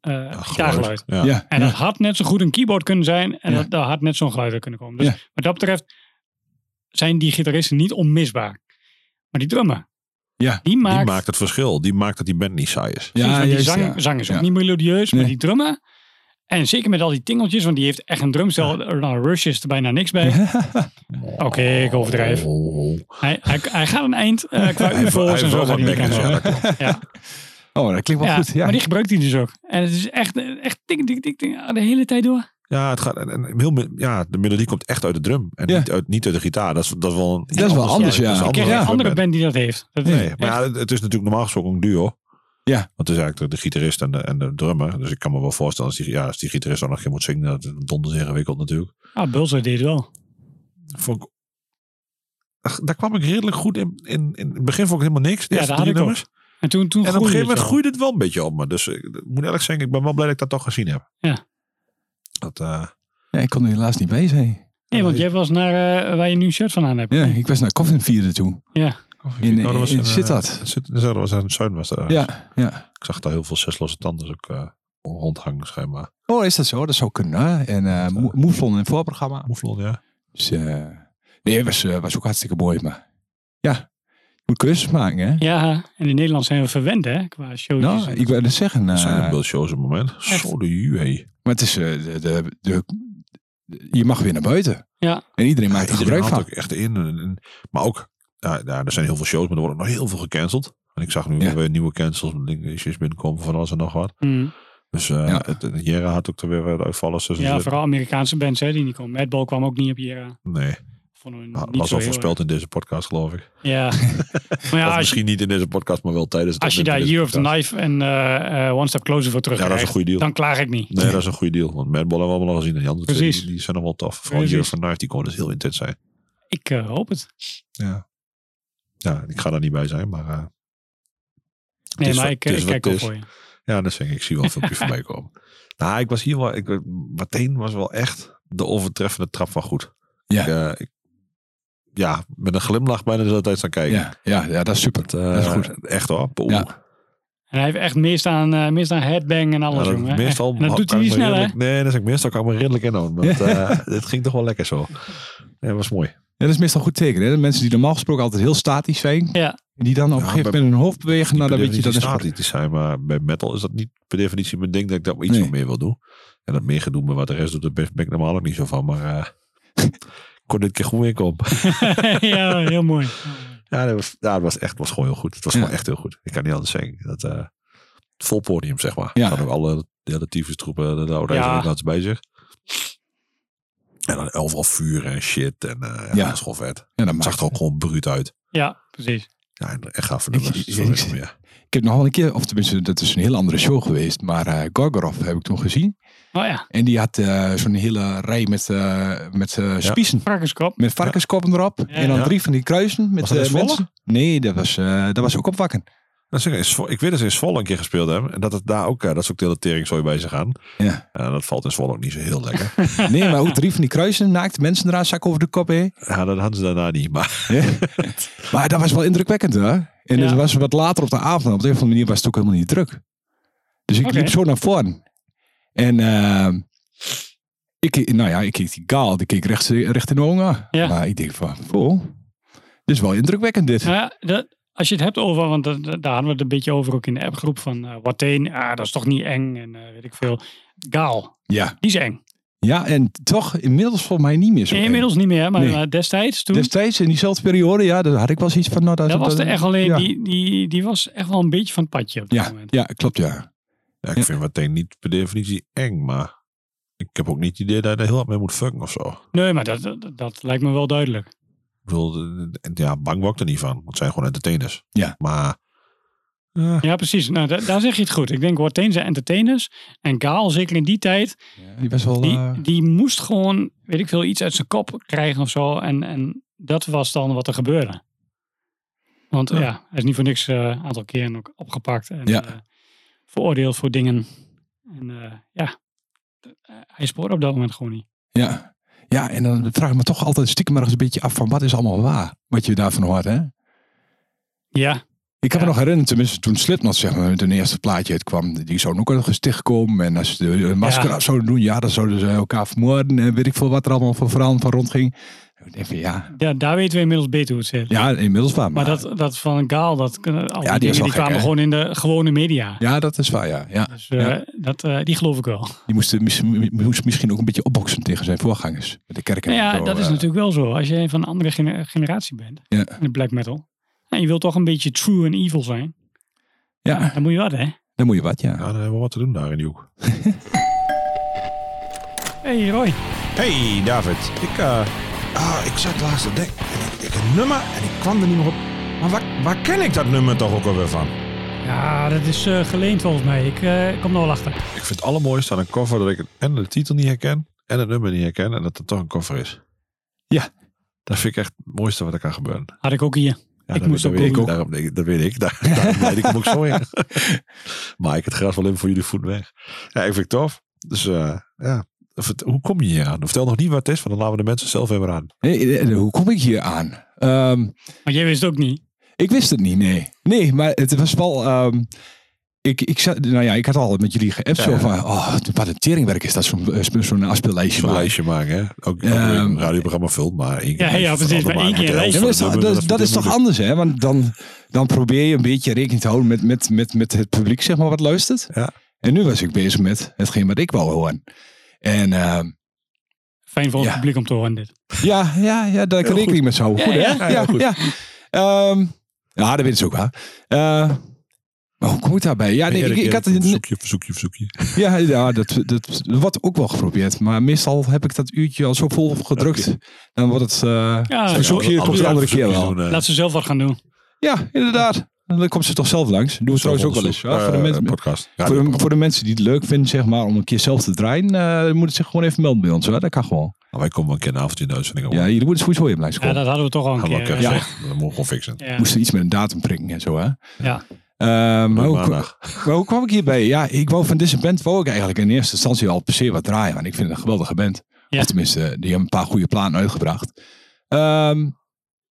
eh
ja,
gitaargeluid.
Ja.
Ja.
En dat had net zo goed een keyboard kunnen zijn. En
Ja.
dat, daar had net zo'n geluid uit kunnen komen. Dus
Ja.
wat dat betreft zijn die gitaristen niet onmisbaar. Maar die drummer,
Ja.
Die maakt,
Die maakt het verschil. Die maakt dat die band niet saai is.
precies, want die
juist,
zang,
ja.
zang is ook
Ja.
niet melodieus, maar
Nee.
die drummen. En zeker met al die tingeltjes, want die heeft echt een drumstel. Nou, Rush is er bijna niks bij.
(laughs)
Oké, ik overdrijf. Hij, hij, hij gaat een eind eh qua
Hij heeft wel- hij
UFO's en
heeft
zo.
wel
gaat
wat
hij
bekken.
bekend
Ja,
worden.
dat klopt.
Ja.
Oh, dat klinkt wel
Ja,
goed. Ja.
Maar die gebruikt hij dus ook. En het is echt, echt tik, tik, tik, tik, ah, de hele tijd door.
Ja, het gaat, en, en heel, me- ja, de melodie komt echt uit de drum. En
Ja.
niet, uit, niet uit de gitaar. Dat is, dat is wel een,
is wel anders, ja.
dat is een
Ik
Ik ken geen
andere
andere
band.
band die dat heeft. Dat is
Nee, maar ja, het- het is natuurlijk normaal gesproken een duo.
Ja.
Want het is eigenlijk de, de gitarist en de, en de drummer. Dus ik kan me wel voorstellen, als die, ja, als die gitarist ook nog geen moet zingen, dat is donders ingewikkeld natuurlijk.
Ah, Bulzer deed het wel.
Vond ik, Ach, daar kwam ik redelijk goed in. In, in het begin vond ik helemaal niks. De
Ja,
eerste
daar had
drie
ik ook.
nummers.
En toen, toen
En op een gegeven moment
het wel.
groeide het wel een beetje op me. Dus ik ik moet eerlijk zeggen, ik ben wel blij dat ik dat toch gezien heb.
Ja.
Dat, eh,
Ja, ik kon er helaas niet bij zijn.
Nee, want jij was naar eh, waar je nu een shirt van aan hebt.
Ja, ik was naar Coffin vieren toe.
Ja.
In,
Nou, dat was
in
een, eh,
Sittard.
het zit, dat was aan het zuiden. Was daar.
Ja, ja.
Ik zag daar heel veel zeslosse tanden ook eh, rondhangen schijnbaar.
Oh, is dat zo? Dat zou kunnen. hè? En eh Mo- Moeflon in het voorprogramma.
Moeflon, ja.
Dus, eh, nee, het was, eh, was ook hartstikke mooi, maar ja, je moet keuzes maken, hè?
Ja, en in Nederland zijn we verwend, hè? Qua shows.
Nou, ik wilde zeggen, eh,
Dat
Nou,
zijn ook wel shows op het moment. Zo de juwe.
maar het is, eh, de, de, de- de- je mag weer naar buiten.
Ja.
En iedereen maakt er
Iedereen
gebruik
haalt
van.
ook echt in. En- en- maar ook, ja, ja, er zijn heel veel shows, maar er worden ook nog heel veel gecanceld. En ik zag nu
Ja.
weer nieuwe cancels, dingen, issues binnenkomen van alles en nog wat.
Mm.
Dus eh
Ja.
het, het Jera had ook er weer eh, wat uitvallers. tussen
Ja,
zitten.
vooral Amerikaanse bands, hè? Die niet komen. Madball kwam ook niet op Jera.
Nee,
Vonden we niet
dat
zo
Ah, was al
heel
voorspeld in deze podcast, geloof ik.
erg. Ja. maar
(laughs) of
ja, als je,
misschien niet in deze podcast, maar wel tijdens het
als je daar
opnemen
Year
van
of the
deze podcast.
Knife en eh, eh, One Step Closer voor terug
Ja, dat is een Nou. goede deal.
dan klaag ik niet.
Nee, dat is een goede deal. Want Madball hebben we allemaal al gezien. En die andere twee,
Precies.
die, die zijn allemaal tof. Vooral
Precies.
Year of the Knife, die kon dus heel intens zijn.
Ik eh, hoop het.
Ja, ik ga daar niet bij zijn, maar eh,
Nee,
is
maar
wat-
ik, eh,
het is
ik
wat
kijk
het
ook
is.
voor je.
Ja, dat zeg ik. Ik zie wel
(laughs)
een filmpje voorbij komen. Nou, ik was hier wel... Ik, meteen was wel echt de overtreffende trap van goed.
Ja.
Ik, eh, ik- ja, met een glimlach bijna de hele tijd staan kijken.
Ja, ja, ja, dat is super.
Het, eh,
dat is goed.
Echt hoor. Poeh.
Ja.
En hij heeft echt mist aan, eh, mist aan headbang en
Ja,
alles,
dat-
jongen.
meestal
en dat doet
kan
hij
ik
niet
me
snel, hè?
redelijk- Nee, dat is ik meestal kan ik me redelijk inhouden.
(laughs)
Want eh, het ging toch wel lekker zo. Ja, was mooi.
Ja, dat is meestal een goed teken, hè? De mensen die normaal gesproken altijd heel statisch zijn,
Ja.
die dan op een
Ja,
gegeven
bij-
moment hun hoofd bewegen, nou dan
Per
weet je dat is
definitie
goed.
statisch zijn, maar bij metal is dat niet per definitie mijn ding dat ik daar wel iets
Nee.
van meer wil doen. En dat meer gedoe met wat de rest doet, daar ben ben ik normaal ook niet zo van. Maar eh, (laughs) ik kon dit keer goed inkomen.
(laughs) ja, heel mooi.
(laughs) Ja, dat was, ja, dat was echt was gewoon heel goed. Het was
Ja.
gewoon echt heel goed. Ik kan niet anders zeggen. Dat, eh, vol podium, zeg maar.
Ja.
Dan ook alle de hele tyfustroepen, de- de oude
Ja.
ja. bij zich. En dan elf vuren en shit. En eh, ja,
Ja.
dat is gewoon vet.
Ja, dat
Het
maakt
zag er ook gewoon bruut uit.
Ja, precies.
Ja, en echt gaaf
Ik-
nummers.
ik-
Zo weer
ik-
nog meer.
Ik heb nog wel een keer, of tenminste, dat is een heel andere show geweest, maar eh Gorgorov heb ik toen gezien.
Oh ja,
En die had eh, zo'n hele rij met, eh, met eh, spiezen.
varkenskop.
Met varkenskoppen erop. en dan
ja.
drie van die kruisen met
Was dat in
eh,
Zwolle?
mensen. Nee, dat was, eh, dat was ook op Wakken.
Nou, zeg, in Zwo- ik weet dat ze in Zwolle een keer gespeeld hebben. En dat het daar ook, eh, dat is ook de hele teringzooi bij zich aan.
Ja.
En dat valt in Zwolle ook niet zo heel
(laughs)
lekker.
Nee,
(laughs)
maar ook drie van die kruisen, naakt mensen eraan, zak over de kop heen.
ja, dat hadden ze daarna niet. Maar
Ja. (laughs) maar dat was wel indrukwekkend hoor. En
Ja.
het was wat later op de avond. En op de een of andere manier was het ook helemaal niet druk. Dus ik
Oké.
liep zo naar voren. En ehm, ik, keek- nou ja, ik keek die gaal, die keek recht, recht in de ogen.
Ja.
Maar ik denk van, oh, dit is wel indrukwekkend dit.
Nou ja, dat, als je het hebt over, want dat, dat- daar hadden we het een beetje over ook in de appgroep van eh Wateen. Ah, dat is toch niet eng en eh, weet ik veel. Gaal,
Ja.
die is eng.
ja, en toch inmiddels volgens mij niet meer zo. eng.
Inmiddels niet meer, maar
Nee.
eh, destijds toen.
Destijds in diezelfde periode, ja, daar had ik wel eens iets van. Nou,
dat was er echt alleen,
ja.
die, die, die was echt wel een beetje van het padje op dat
Ja,
moment.
ja, klopt ja.
ja, ik
Ja.
vind meteen niet per definitie eng. Maar ik heb ook niet het idee dat je daar heel hard mee moet fucken of zo.
Nee, maar dat, dat, dat lijkt me wel duidelijk.
Ik bedoel, eh, eh, ja, bang word ik er niet van. Want het zijn gewoon entertainers.
Ja.
Maar
Ja, precies. Nou, da- daar zeg je het goed. Ik denk Wateen zijn entertainers. En Gaal, zeker in die tijd,
Die was wel... eh,
Die, die moest gewoon, weet ik veel, iets uit zijn kop krijgen of zo. En, en dat was dan wat er gebeurde. Want ja, hij is niet voor niks eh, een aantal keren ook opgepakt en
Ja.
eh, veroordeeld voor dingen. En eh, ja, d- eh, hij spoorde op dat moment gewoon niet.
Ja. ja, en dan vraag ik me toch altijd stiekem ergens een beetje af van wat is allemaal waar, wat je daarvan hoort. Hè?
Ja,
Ik kan
Ja.
me nog herinneren, tenminste toen Slipknot zeg maar, met hun eerste plaatje uitkwam, die zouden ook uit het gesticht komen. En als ze de- de masker
Ja.
af zouden doen, ja, dan zouden ze elkaar vermoorden en weet ik veel wat er allemaal voor verhaal van rondging. Ik denk van ja.
Ja, daar weten we inmiddels beter hoe het zit.
Ja, inmiddels waar.
Maar dat, dat van Gaal, dat, kunnen- al die,
is
dingen,
wel
die
gek,
kwamen
hè?
gewoon in de gewone media.
Ja, dat is waar, ja. ja.
Dus eh,
Ja.
dat, eh, die geloof ik wel.
Die moest, eh, mis- moest misschien ook een beetje opboksen tegen zijn voorgangers. Met de kerk en
Nou ja,
zo,
dat is
eh.
natuurlijk wel zo. Als je van een andere gener- generatie bent,
Ja.
in de black metal, en je wilt toch een beetje true en evil zijn,
Ja,
dan moet je wat, hè?
dan moet je wat, ja.
Ja, dan hebben we wat te doen daar in die hoek.
hey, Roy.
Hey David, ik, eh, ah, ik zat laatst te denken. en Ik, ik een nummer en ik kwam er niet meer op. Maar waar, waar ken ik dat nummer toch ook alweer van?
Ja, dat is eh, geleend volgens mij. Ik eh, kom er wel achter.
Ik vind het allermooiste aan een cover dat ik het- en de titel niet herken en het nummer niet herken en dat het toch een cover is.
Ja.
Dat vind ik echt het mooiste wat er kan gebeuren.
Had ik ook hier.
Ja,
Ik
dat
moest
weet-
ook
dat weet
googlen.
daarom, denk ik- dat weet ik.
(laughs)
Daar, daarom weet ik hem ook zo in. (laughs) maar ik het gras wel in voor jullie voet weg. Ja, ik vind het tof. Dus eh, ja, Vert- hoe kom je hier aan? Vertel nog niet wat het is, want dan laten we de mensen zelf even aan.
Hé, eh, hoe kom ik hier aan? Ehm,
Maar jij wist het ook niet.
ik wist het niet, nee. Nee, maar het was wel... ehm, ik, ik, zat, nou ja, ik had al met jullie geappt zo
Ja.
van... Oh, wat een teringwerk is dat, zo'n eh, sp- zo'n afspeellijstje.
Zo'n
maken.
lijstje maken, hè? Ook
Ehm,
ook een radioprogramma film, maar één keer
Ja, ja,
lijstje
precies,
van
maar één
allemaal
keer een
maken.
Ja, maar dat, is toch- dat, dat is toch anders, hè? Want dan, dan probeer je een beetje rekening te houden met, met, met, met het publiek, zeg maar, wat luistert.
Ja.
En nu was ik bezig met hetgeen wat ik wou horen. En ehm,
Fijn voor het
Ja.
publiek om te horen dit.
Eh,
ja, ja, ja, daar kan ik rekening met zo. Goed, hè?
ja.
Ja, ja. Ehm, ja, dat weet ze ook wel. Eh, maar hoe kom ik daarbij? Ja, nee, ik, ik had het,
Verzoekje, verzoekje, verzoekje.
ja, ja dat, dat wordt ook wel geprobeerd. Maar meestal heb ik dat uurtje al zo vol gedrukt. Dan wordt het eh, het verzoekje,
Alle-
komt de
alle
andere keer
verzoekjes
wel.
doen, eh,
Laat ze zelf wat gaan doen.
Ja, inderdaad. En Dan komt ze toch zelf langs. Doen we trouwens ook wel eens.
zelfonderzoek.
hoor. voor, de
Eh,
mensen,
een podcast. Ja,
voor, de, voor de mensen die het leuk vinden, zeg maar, om een keer zelf te draaien, eh, moeten ze zich gewoon even melden bij ons. Hoor. Dat kan gewoon.
maar Oh, wij komen wel een keer een avondje in de uitzending.
Ja,
Ja,
jullie moeten sowieso even langs
Ja,
komen.
dat hadden we toch al een
gaan we eh,
keer.
elkaar
eh,
zeggen. Dat mogen we gewoon fixen.
ja.
Moesten iets met een datum prikken en zo, hè?
Ja.
Eh, maar hoe,
Maandag.
maar hoe kwam ik hierbij? Ja, ik wou van deze band wou ik eigenlijk in eerste instantie al per se wat draaien. Want ik vind het een geweldige band.
Ja.
Of tenminste, die hebben een paar goede platen uitgebracht. Ehm,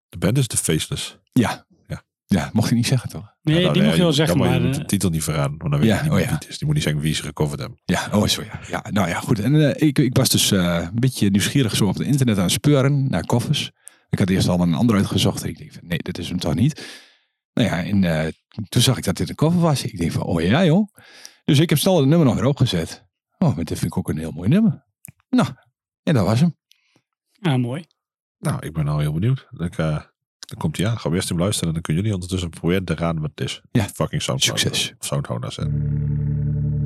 De band is de Faceless.
ja.
Ja.
ja, mocht ik niet zeggen, toch?
Nee,
Ja, nou,
die
ja,
mocht je wel zeggen,
jammer,
maar...
je moet
eh,
de titel niet verraden, want dan weet
Ja,
je niet
oh
meer
ja.
wie het is. Die moet niet zeggen wie ze gecoverd hebben.
Ja, oh zo ja. ja. Nou ja, goed. En eh, ik, ik was dus eh, een beetje nieuwsgierig zo op het internet aan het speuren naar koffers. Ik had eerst al een ander uitgezocht en ik dacht van nee, dit is hem toch niet. Nou ja, en eh, toen zag ik dat dit een koffer was. Ik dacht van oh ja joh. Dus ik heb snel het nummer nog weer opgezet. Oh, maar dit vind ik ook een heel mooi nummer. Nou, en dat was hem.
ah, mooi.
Nou, ik ben nou heel benieuwd. Dan, eh, dan komt hij aan. Gaan we eerst hem luisteren en dan kunnen jullie ondertussen proberen te raden wat het is.
Ja.
Fucking Soundcloud.
Succes.
Of Soundhound zetten.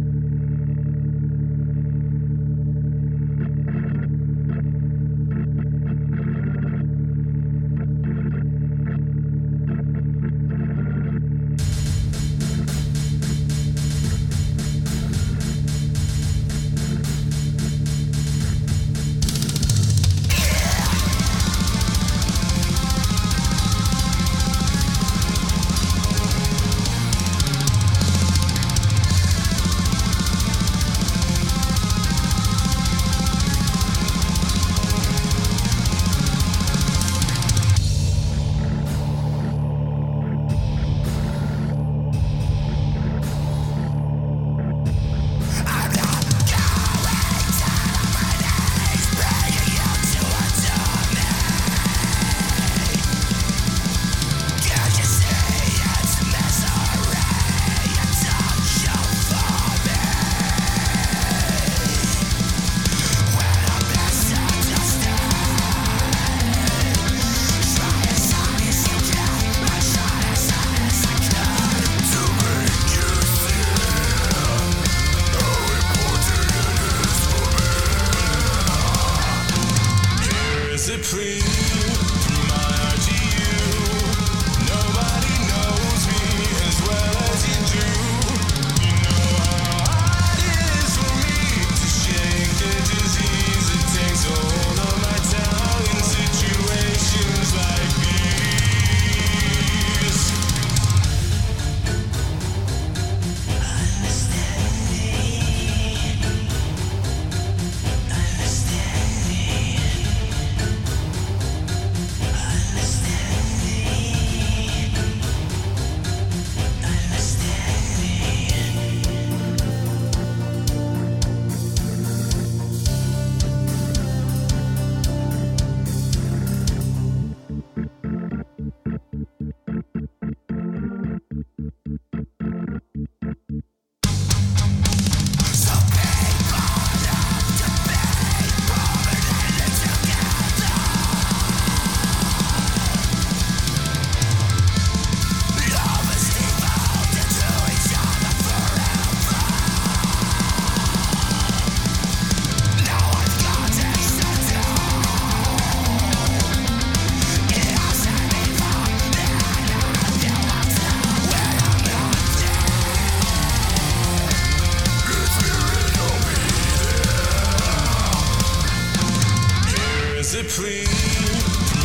free.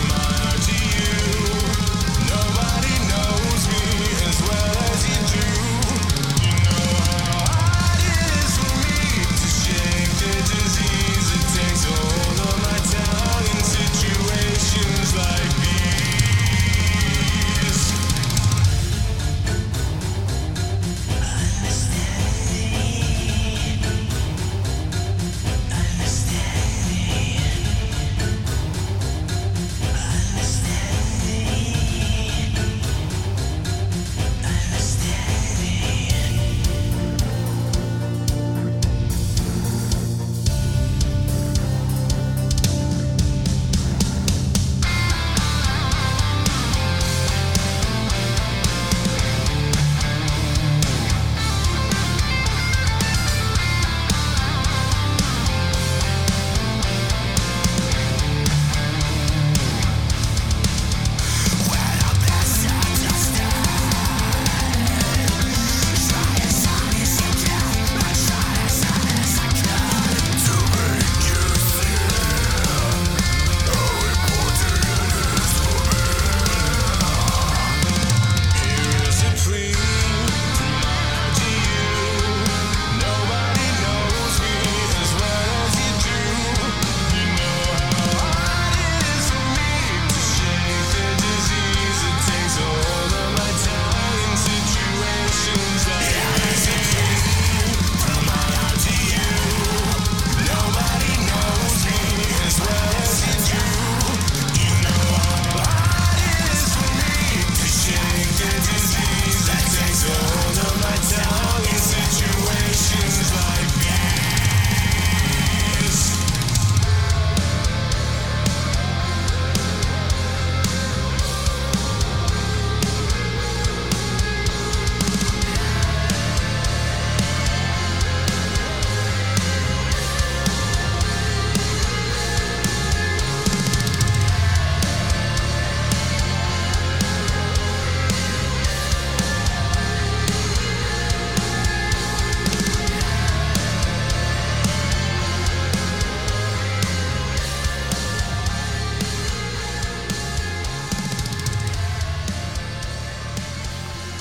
My heart to you. Nobody knows me as well as you do. You know how hard it is for me to shake the disease that takes hold of my town in situations like these.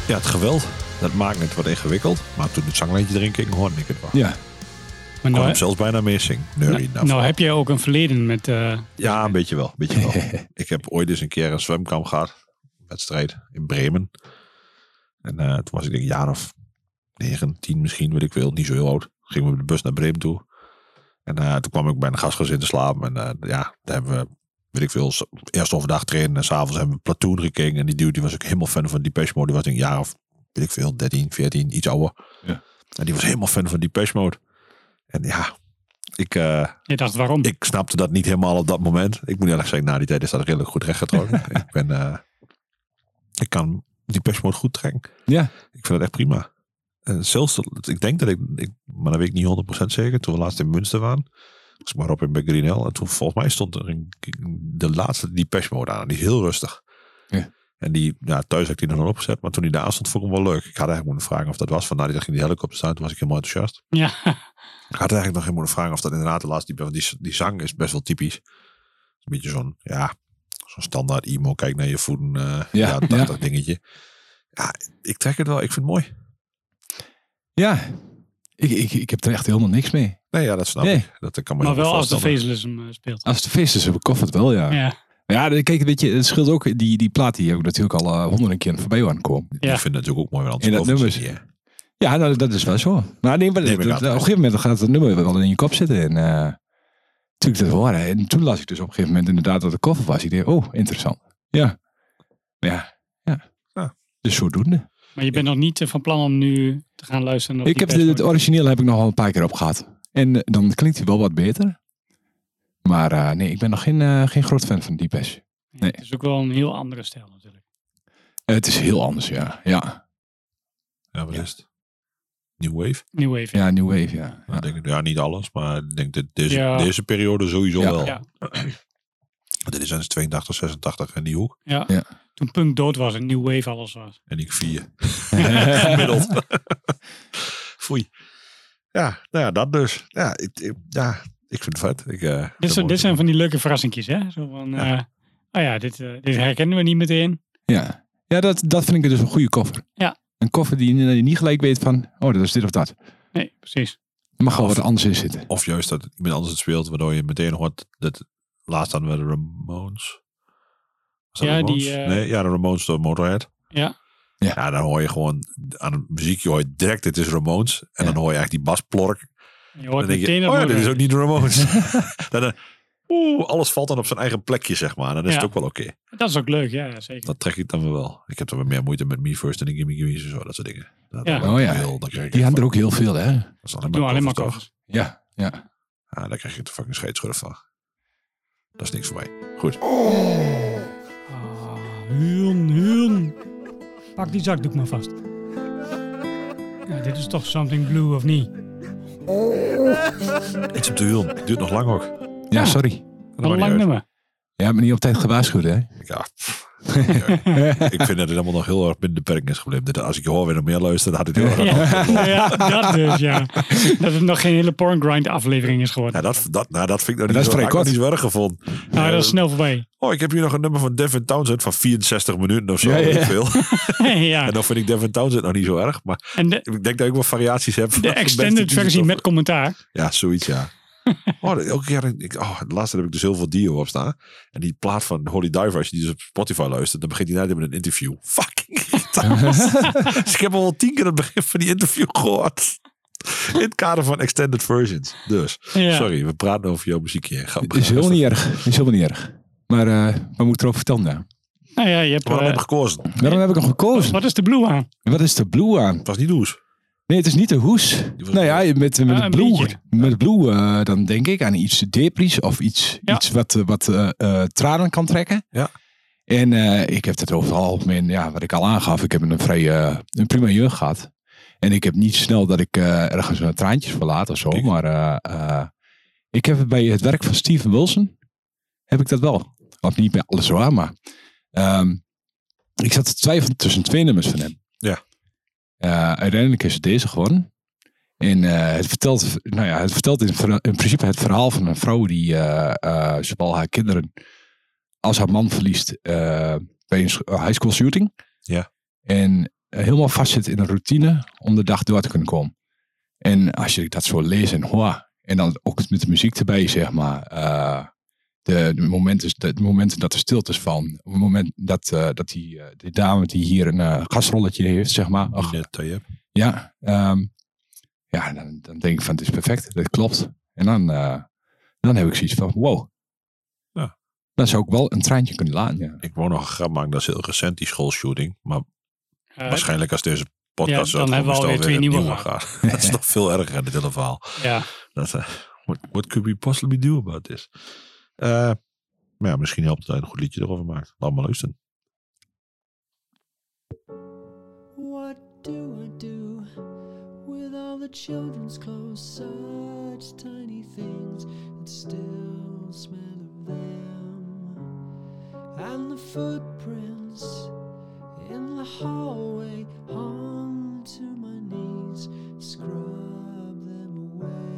Ja, het geweld. Dat maakt het wat ingewikkeld. Maar toen het zanglijntje erin ging, hoorde ik het wel.
Ja.
Maar
Ik kon
nou,
hem zelfs bijna meer zingen. Neuriën
nou,
daarvan.
nou heb je ook een verleden met... eh,
Ja, een beetje wel. Een beetje wel. ik heb ooit eens een keer een zwemkamp gehad. Een wedstrijd in Bremen. En eh, toen was ik denk ik een jaar of negen, tien misschien, weet ik veel. Niet zo heel oud. Gingen we met de bus naar Bremen toe. En eh, toen kwam ik bij een gastgezin te slapen. En eh, ja, daar hebben we, weet ik veel, s- eerst overdag trainen. En s'avonds hebben we platoon gekeken. En die dude die was ook helemaal fan van Depeche Mode. Die was denk ik een jaar of, weet ik veel, 13, 14, iets ouder.
Ja.
En die was helemaal fan van Depeche Mode. En ja, ik... eh,
je dacht, waarom?
(laughs) ik snapte dat niet helemaal op dat moment. Ik moet eerlijk zeggen, na die tijd is dat redelijk goed
(laughs)
rechtgetrokken. ik ben, eh, ik kan die persmoot goed trekken.
Ja.
Ik vind dat echt prima. En zelfs, dat- ik denk dat ik, ik- maar dat weet ik niet 100% zeker, toen we laatst in Münster waren, was ik maar op in bij Greenhill. En toen volgens mij stond er een, de laatste die persmoot aan. Die is heel rustig.
Ja.
En die, ja, thuis had ik die nog nooit opgezet, maar toen die daar aan stond, vond ik hem wel leuk. Ik had eigenlijk moeten vragen of dat was. Vandaar die dag in die helikopter staan, toen was ik helemaal enthousiast.
Ja,
Ik had eigenlijk nog geen moeten vragen of dat inderdaad de laatste die, want die, die zang is best wel typisch. Een beetje zo'n, ja, zo'n standaard emo, kijk naar je voeten, eh
Ja,
ja,
ja.
80 dingetje. Ja, ik trek het wel, ik vind het mooi.
Ja. Ik, ik, ik heb er echt helemaal niks mee.
Nee, ja, dat snap
Nee.
ik. Dat kan me
maar
heel
wel
goed
als de
voorstellen.
Faceless hem eh, speelt.
Ah.
Als het feest is, heb ik koffert wel, ja. Ja,
Ja,
kijk, weet je, het scheelt ook, die, die plaat die heb ik natuurlijk al eh, honderden keer voorbij aan komen.
Ja.
Ik vind het natuurlijk ook mooi, want
En
anders
dat
hoeft het
nummer
niet, hè.
Ja, nou, dat is wel zo. Maar nee, maar
Nee, maar
dat- dat-
dat-
op een gegeven moment gaat het nummer wel in je kop zitten. En eh natuurlijk dat horen. En toen las ik dus op een gegeven moment inderdaad dat de koffer was. Ik dacht, oh, interessant. Ja. Ja. Ja.
Ja.
Dus zodoende.
maar je bent nog niet eh, van plan om nu te gaan luisteren. op
Ik
die
heb de- het
persmode.
origineel heb ik nog wel een paar keer op gehad. En eh, dan klinkt hij wel wat beter. Maar eh, nee, ik ben nog geen, eh, geen groot fan van Deepesh.
Ja,
nee.
Het is ook wel een heel andere stijl natuurlijk.
Eh, Het is heel anders, ja. Ja,
Ja, wat is het? New Wave?
New Wave.
ja New Wave, ja.
Ja.
ja.
Denk ik, ja, niet alles, maar ik denk dat deze,
Ja.
deze periode sowieso
Ja.
wel. (clears throat)
Ja.
Dit is eens 82, 86 en die hoek.
Ja.
Ja.
Toen punk dood was en New Wave alles was.
En ik vier.
(laughs)
gemiddeld. Foei. Ja, nou ja, dat dus. Ja, ik, ik- ja, Ik vind het vet. Ik, eh,
Dit, zijn,
dat
dit zijn van die leuke verrassingjes, hè? Zo van,
Ja.
eh, oh ja, dit, eh, dit herkennen we niet meteen.
(laughs) Ja, ja dat, dat vind ik dus een goede koffer.
Ja.
Een koffer die je niet gelijk weet van, oh, dat is dit of dat.
Nee, precies.
Er mag wel wat anders in zitten.
Of juist dat iemand anders het speelt, waardoor je meteen hoort dat laatst hadden we de Ramones. Was dat
Ja,
Ramones?
die, eh,
Nee, ja, de Ramones door Motorhead.
Ja.
Ja.
Ja. dan hoor je gewoon aan het muziekje hoor je direct dit is Ramones. En
Ja.
dan hoor je eigenlijk die basplork.
Je
Dan
hoort
denk je,
meteen dat
oh ja, dit
Motorhead
is ook niet de Ramones.
(laughs)
(laughs) dan, eh, oeh, alles valt dan op zijn eigen plekje, zeg maar. Dan is het
Ja.
ook wel oké.
is. Dat is ook leuk, ja, ja, zeker.
Dat trek ik dan wel. Ik heb dan weer meer moeite met Me First en de Gimme Gimme's en zo, dat soort dingen. Dat-
Ja.
dat-
Oh ja.
heel- dan krijg ik
Die
echt
hebben er
van-
ook heel veel, hè?
dat is alleen
Doe alleen maar
covers, toch?
covers.
Ja, ja.
Ja, daar krijg je de fucking scheetschudden van. Dat is niks voor mij. Goed.
Ah, huun, huun. Pak die zakdoek maar vast. Ja, dit is toch something blue, of niet?
Iets op de wiel. Duurt nog lang ook.
Ah.
Ja, sorry.
Wat een lang nummer.
Ja, maar niet op tijd gewaarschuwd, hè?
Ja,
(laughs)
pff. ik vind dat het allemaal nog heel erg binnen de beperking is gebleven. Dat Als ik je hoor weer nog meer luister, dan had het heel erg... Ja. (laughs)
Ja, ja, dat dus, ja. Dat het nog geen hele porn grind aflevering is geworden.
Nou, dat, dat, nou, dat vind ik nou
Dat
niet, zo,
is vrij
had ik nog
kort.
niet zo erg gevonden.
Nou, dat is
Eh,
snel voorbij. (laughs)
Oh, ik heb hier nog een nummer van Devin Townsend van 64 minuten of zo.
Ja, ja.
weet ik
(laughs)
Veel. En
ja.
dan vind ik Devin Townsend nog niet zo erg. Maar
En de,
ik denk dat ik wel variaties heb. van
de
mensen die
extended
het
versie
over-
met commentaar.
Ja, zoiets,
(laughs)
ja. Oh, dat- elke keer, ik, oh, de laatste heb ik dus heel veel Dio op staan. En die plaat van Holy Diver, als je die dus op Spotify luistert, dan begint hij net met een interview.
(laughs)
Fucking irritant. dus ik heb al wel tien keer het begin van die interview gehoord. In het kader van extended versions. Dus,
Ja.
sorry, we praten over jouw muziekje. Ga,
Is heel niet erg. Is helemaal niet erg. Maar eh wat moet ik erover vertellen nou?
Nou ja, je hebt...
Waarom
eh,
heb ik gekozen?
Waarom heb ik hem gekozen?
wat is de blue aan?
Wat is de blue aan?
Het was niet Does.
Nee, het is niet de hoes.
was-
Nou ja, met, met
Ah,
het
een
blue,
biertje.
met blue eh, dan denk ik aan iets depries of iets,
Ja.
iets wat, eh, wat eh, eh, tranen kan trekken.
Ja.
En eh, ik heb het over het algemeen, ja, wat ik al aangaf, ik heb een vrij eh, een prima jeugd gehad. En ik heb niet snel dat ik eh, ergens een traantjes verlaat of zo.
Ik-
Maar eh, eh, ik heb het bij het werk van Steven Wilson, heb ik dat wel. Of niet bij alles hoor, maar ehm, ik zat te twijfelen tussen twee nummers van hem.
Ja.
Eh, uiteindelijk is het deze geworden. En eh, het vertelt, nou ja, het vertelt in, ver- in principe het verhaal van een vrouw die eh, eh, zowel haar kinderen als haar man verliest eh, bij een sch- eh, high school shooting.
Ja.
En eh, helemaal vastzit in een routine om de dag door te kunnen komen. En als je dat zo leest en hoa, en dan ook met de muziek erbij, zeg maar. eh, de, de momenten, de, momenten dat er stiltes van. Op het moment dat, eh, dat die, eh, die dame die hier een eh, gasrolletje heeft, zeg maar. Ach,
Net, eh,
ja, ehm, ja dan, dan denk ik van het is perfect, dat klopt. En dan, eh, dan heb ik zoiets van wow.
Ja.
Dan zou ik wel een treintje kunnen laten. Ja.
ik wou nog een grap maken, dat is heel recent, die schoolshooting. Maar
Eh,
waarschijnlijk als deze podcast...
Ja, dan
uitkomt,
hebben we alweer
is het alweer
twee
een
nieuwe
nieuwe gaat. (laughs) dat is nog veel erger, dit hele verhaal.
ja.
Dat, eh, what, what could we possibly do about this? Eh, maar ja, misschien helpt het dat je een goed liedje erover maakt. Laat maar luisteren.
Ah,
What do I do with all the children's clothes? Such tiny things that still smell of them. And the footprints in the hallway hung to my knees, scrub them away.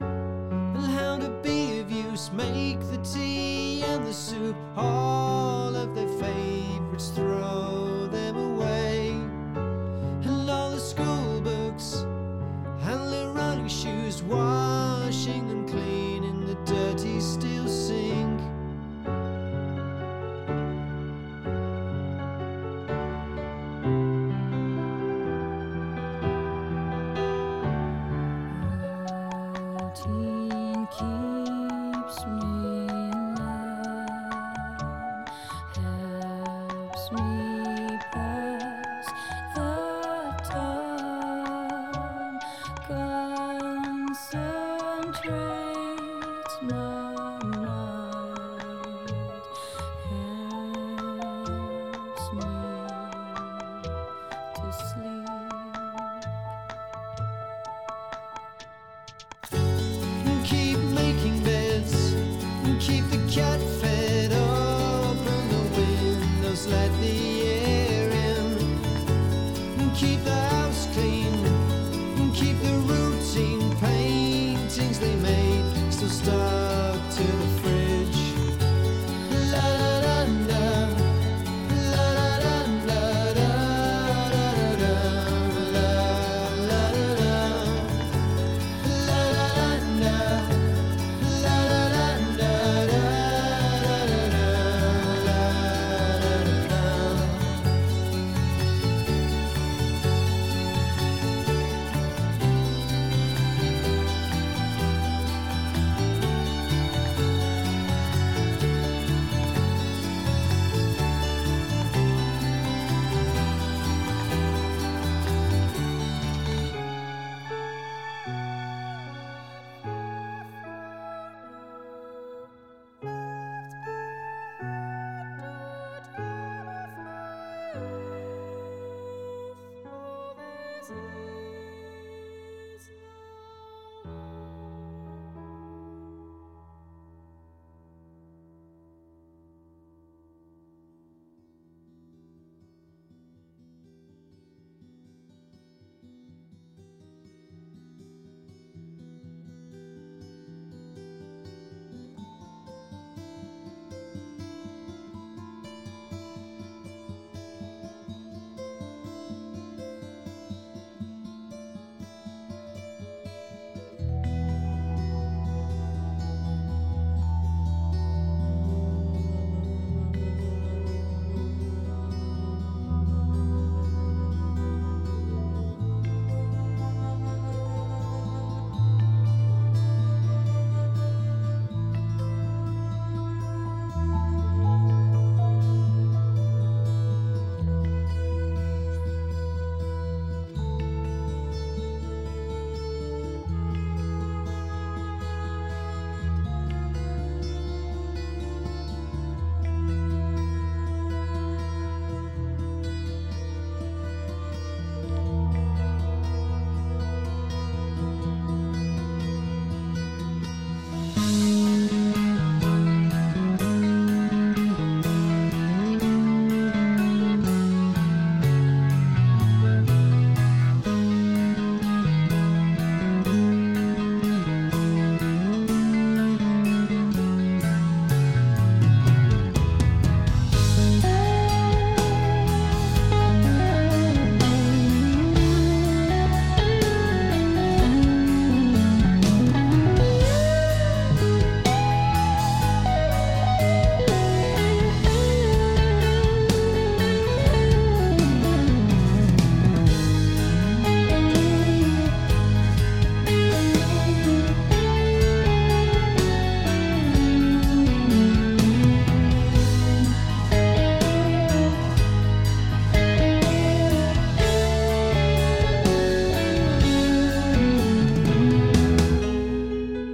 and how to be of use. Make the tea and the soup, all of their favorites, throw them away. And all the school books and their running shoes, washing them clean in the dirty steel sink.
Routine keeps me in line, helps me is no one.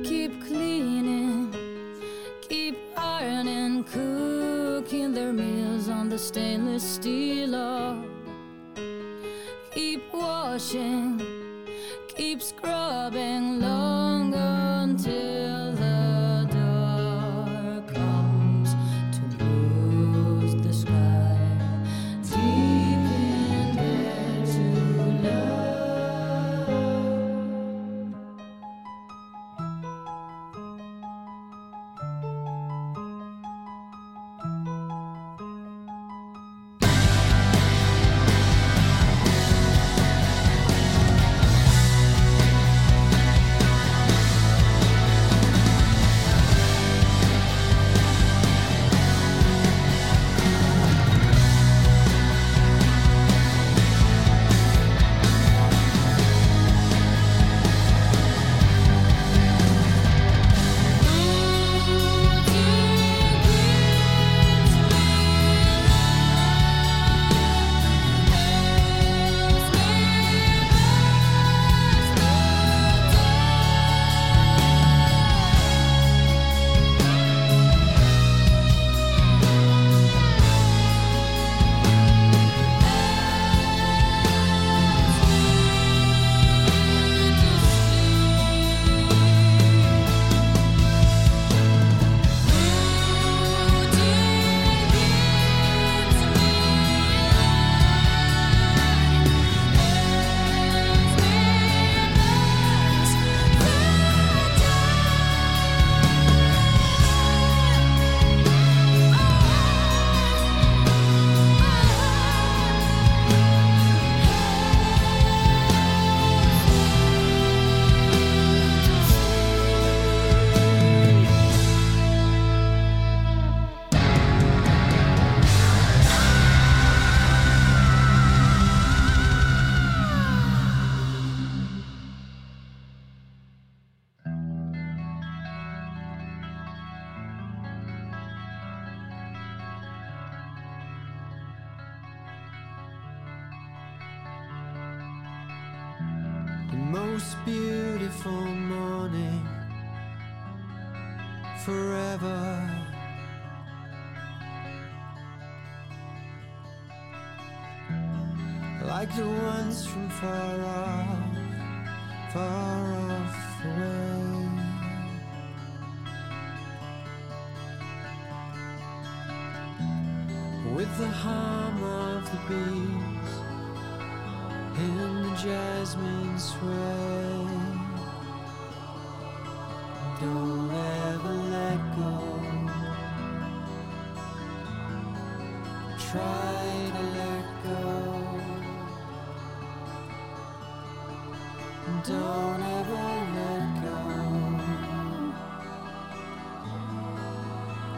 Keep cleaning, keep ironing, cooking their meals on the stainless steel. hob. Keep washing, keep scrubbing long until the dark comes to bruise the sky. Deep in there to love.
the most beautiful morning forever. Like the ones from far
jasmine sway. Don't ever let go. Try to let go. Don't ever let go.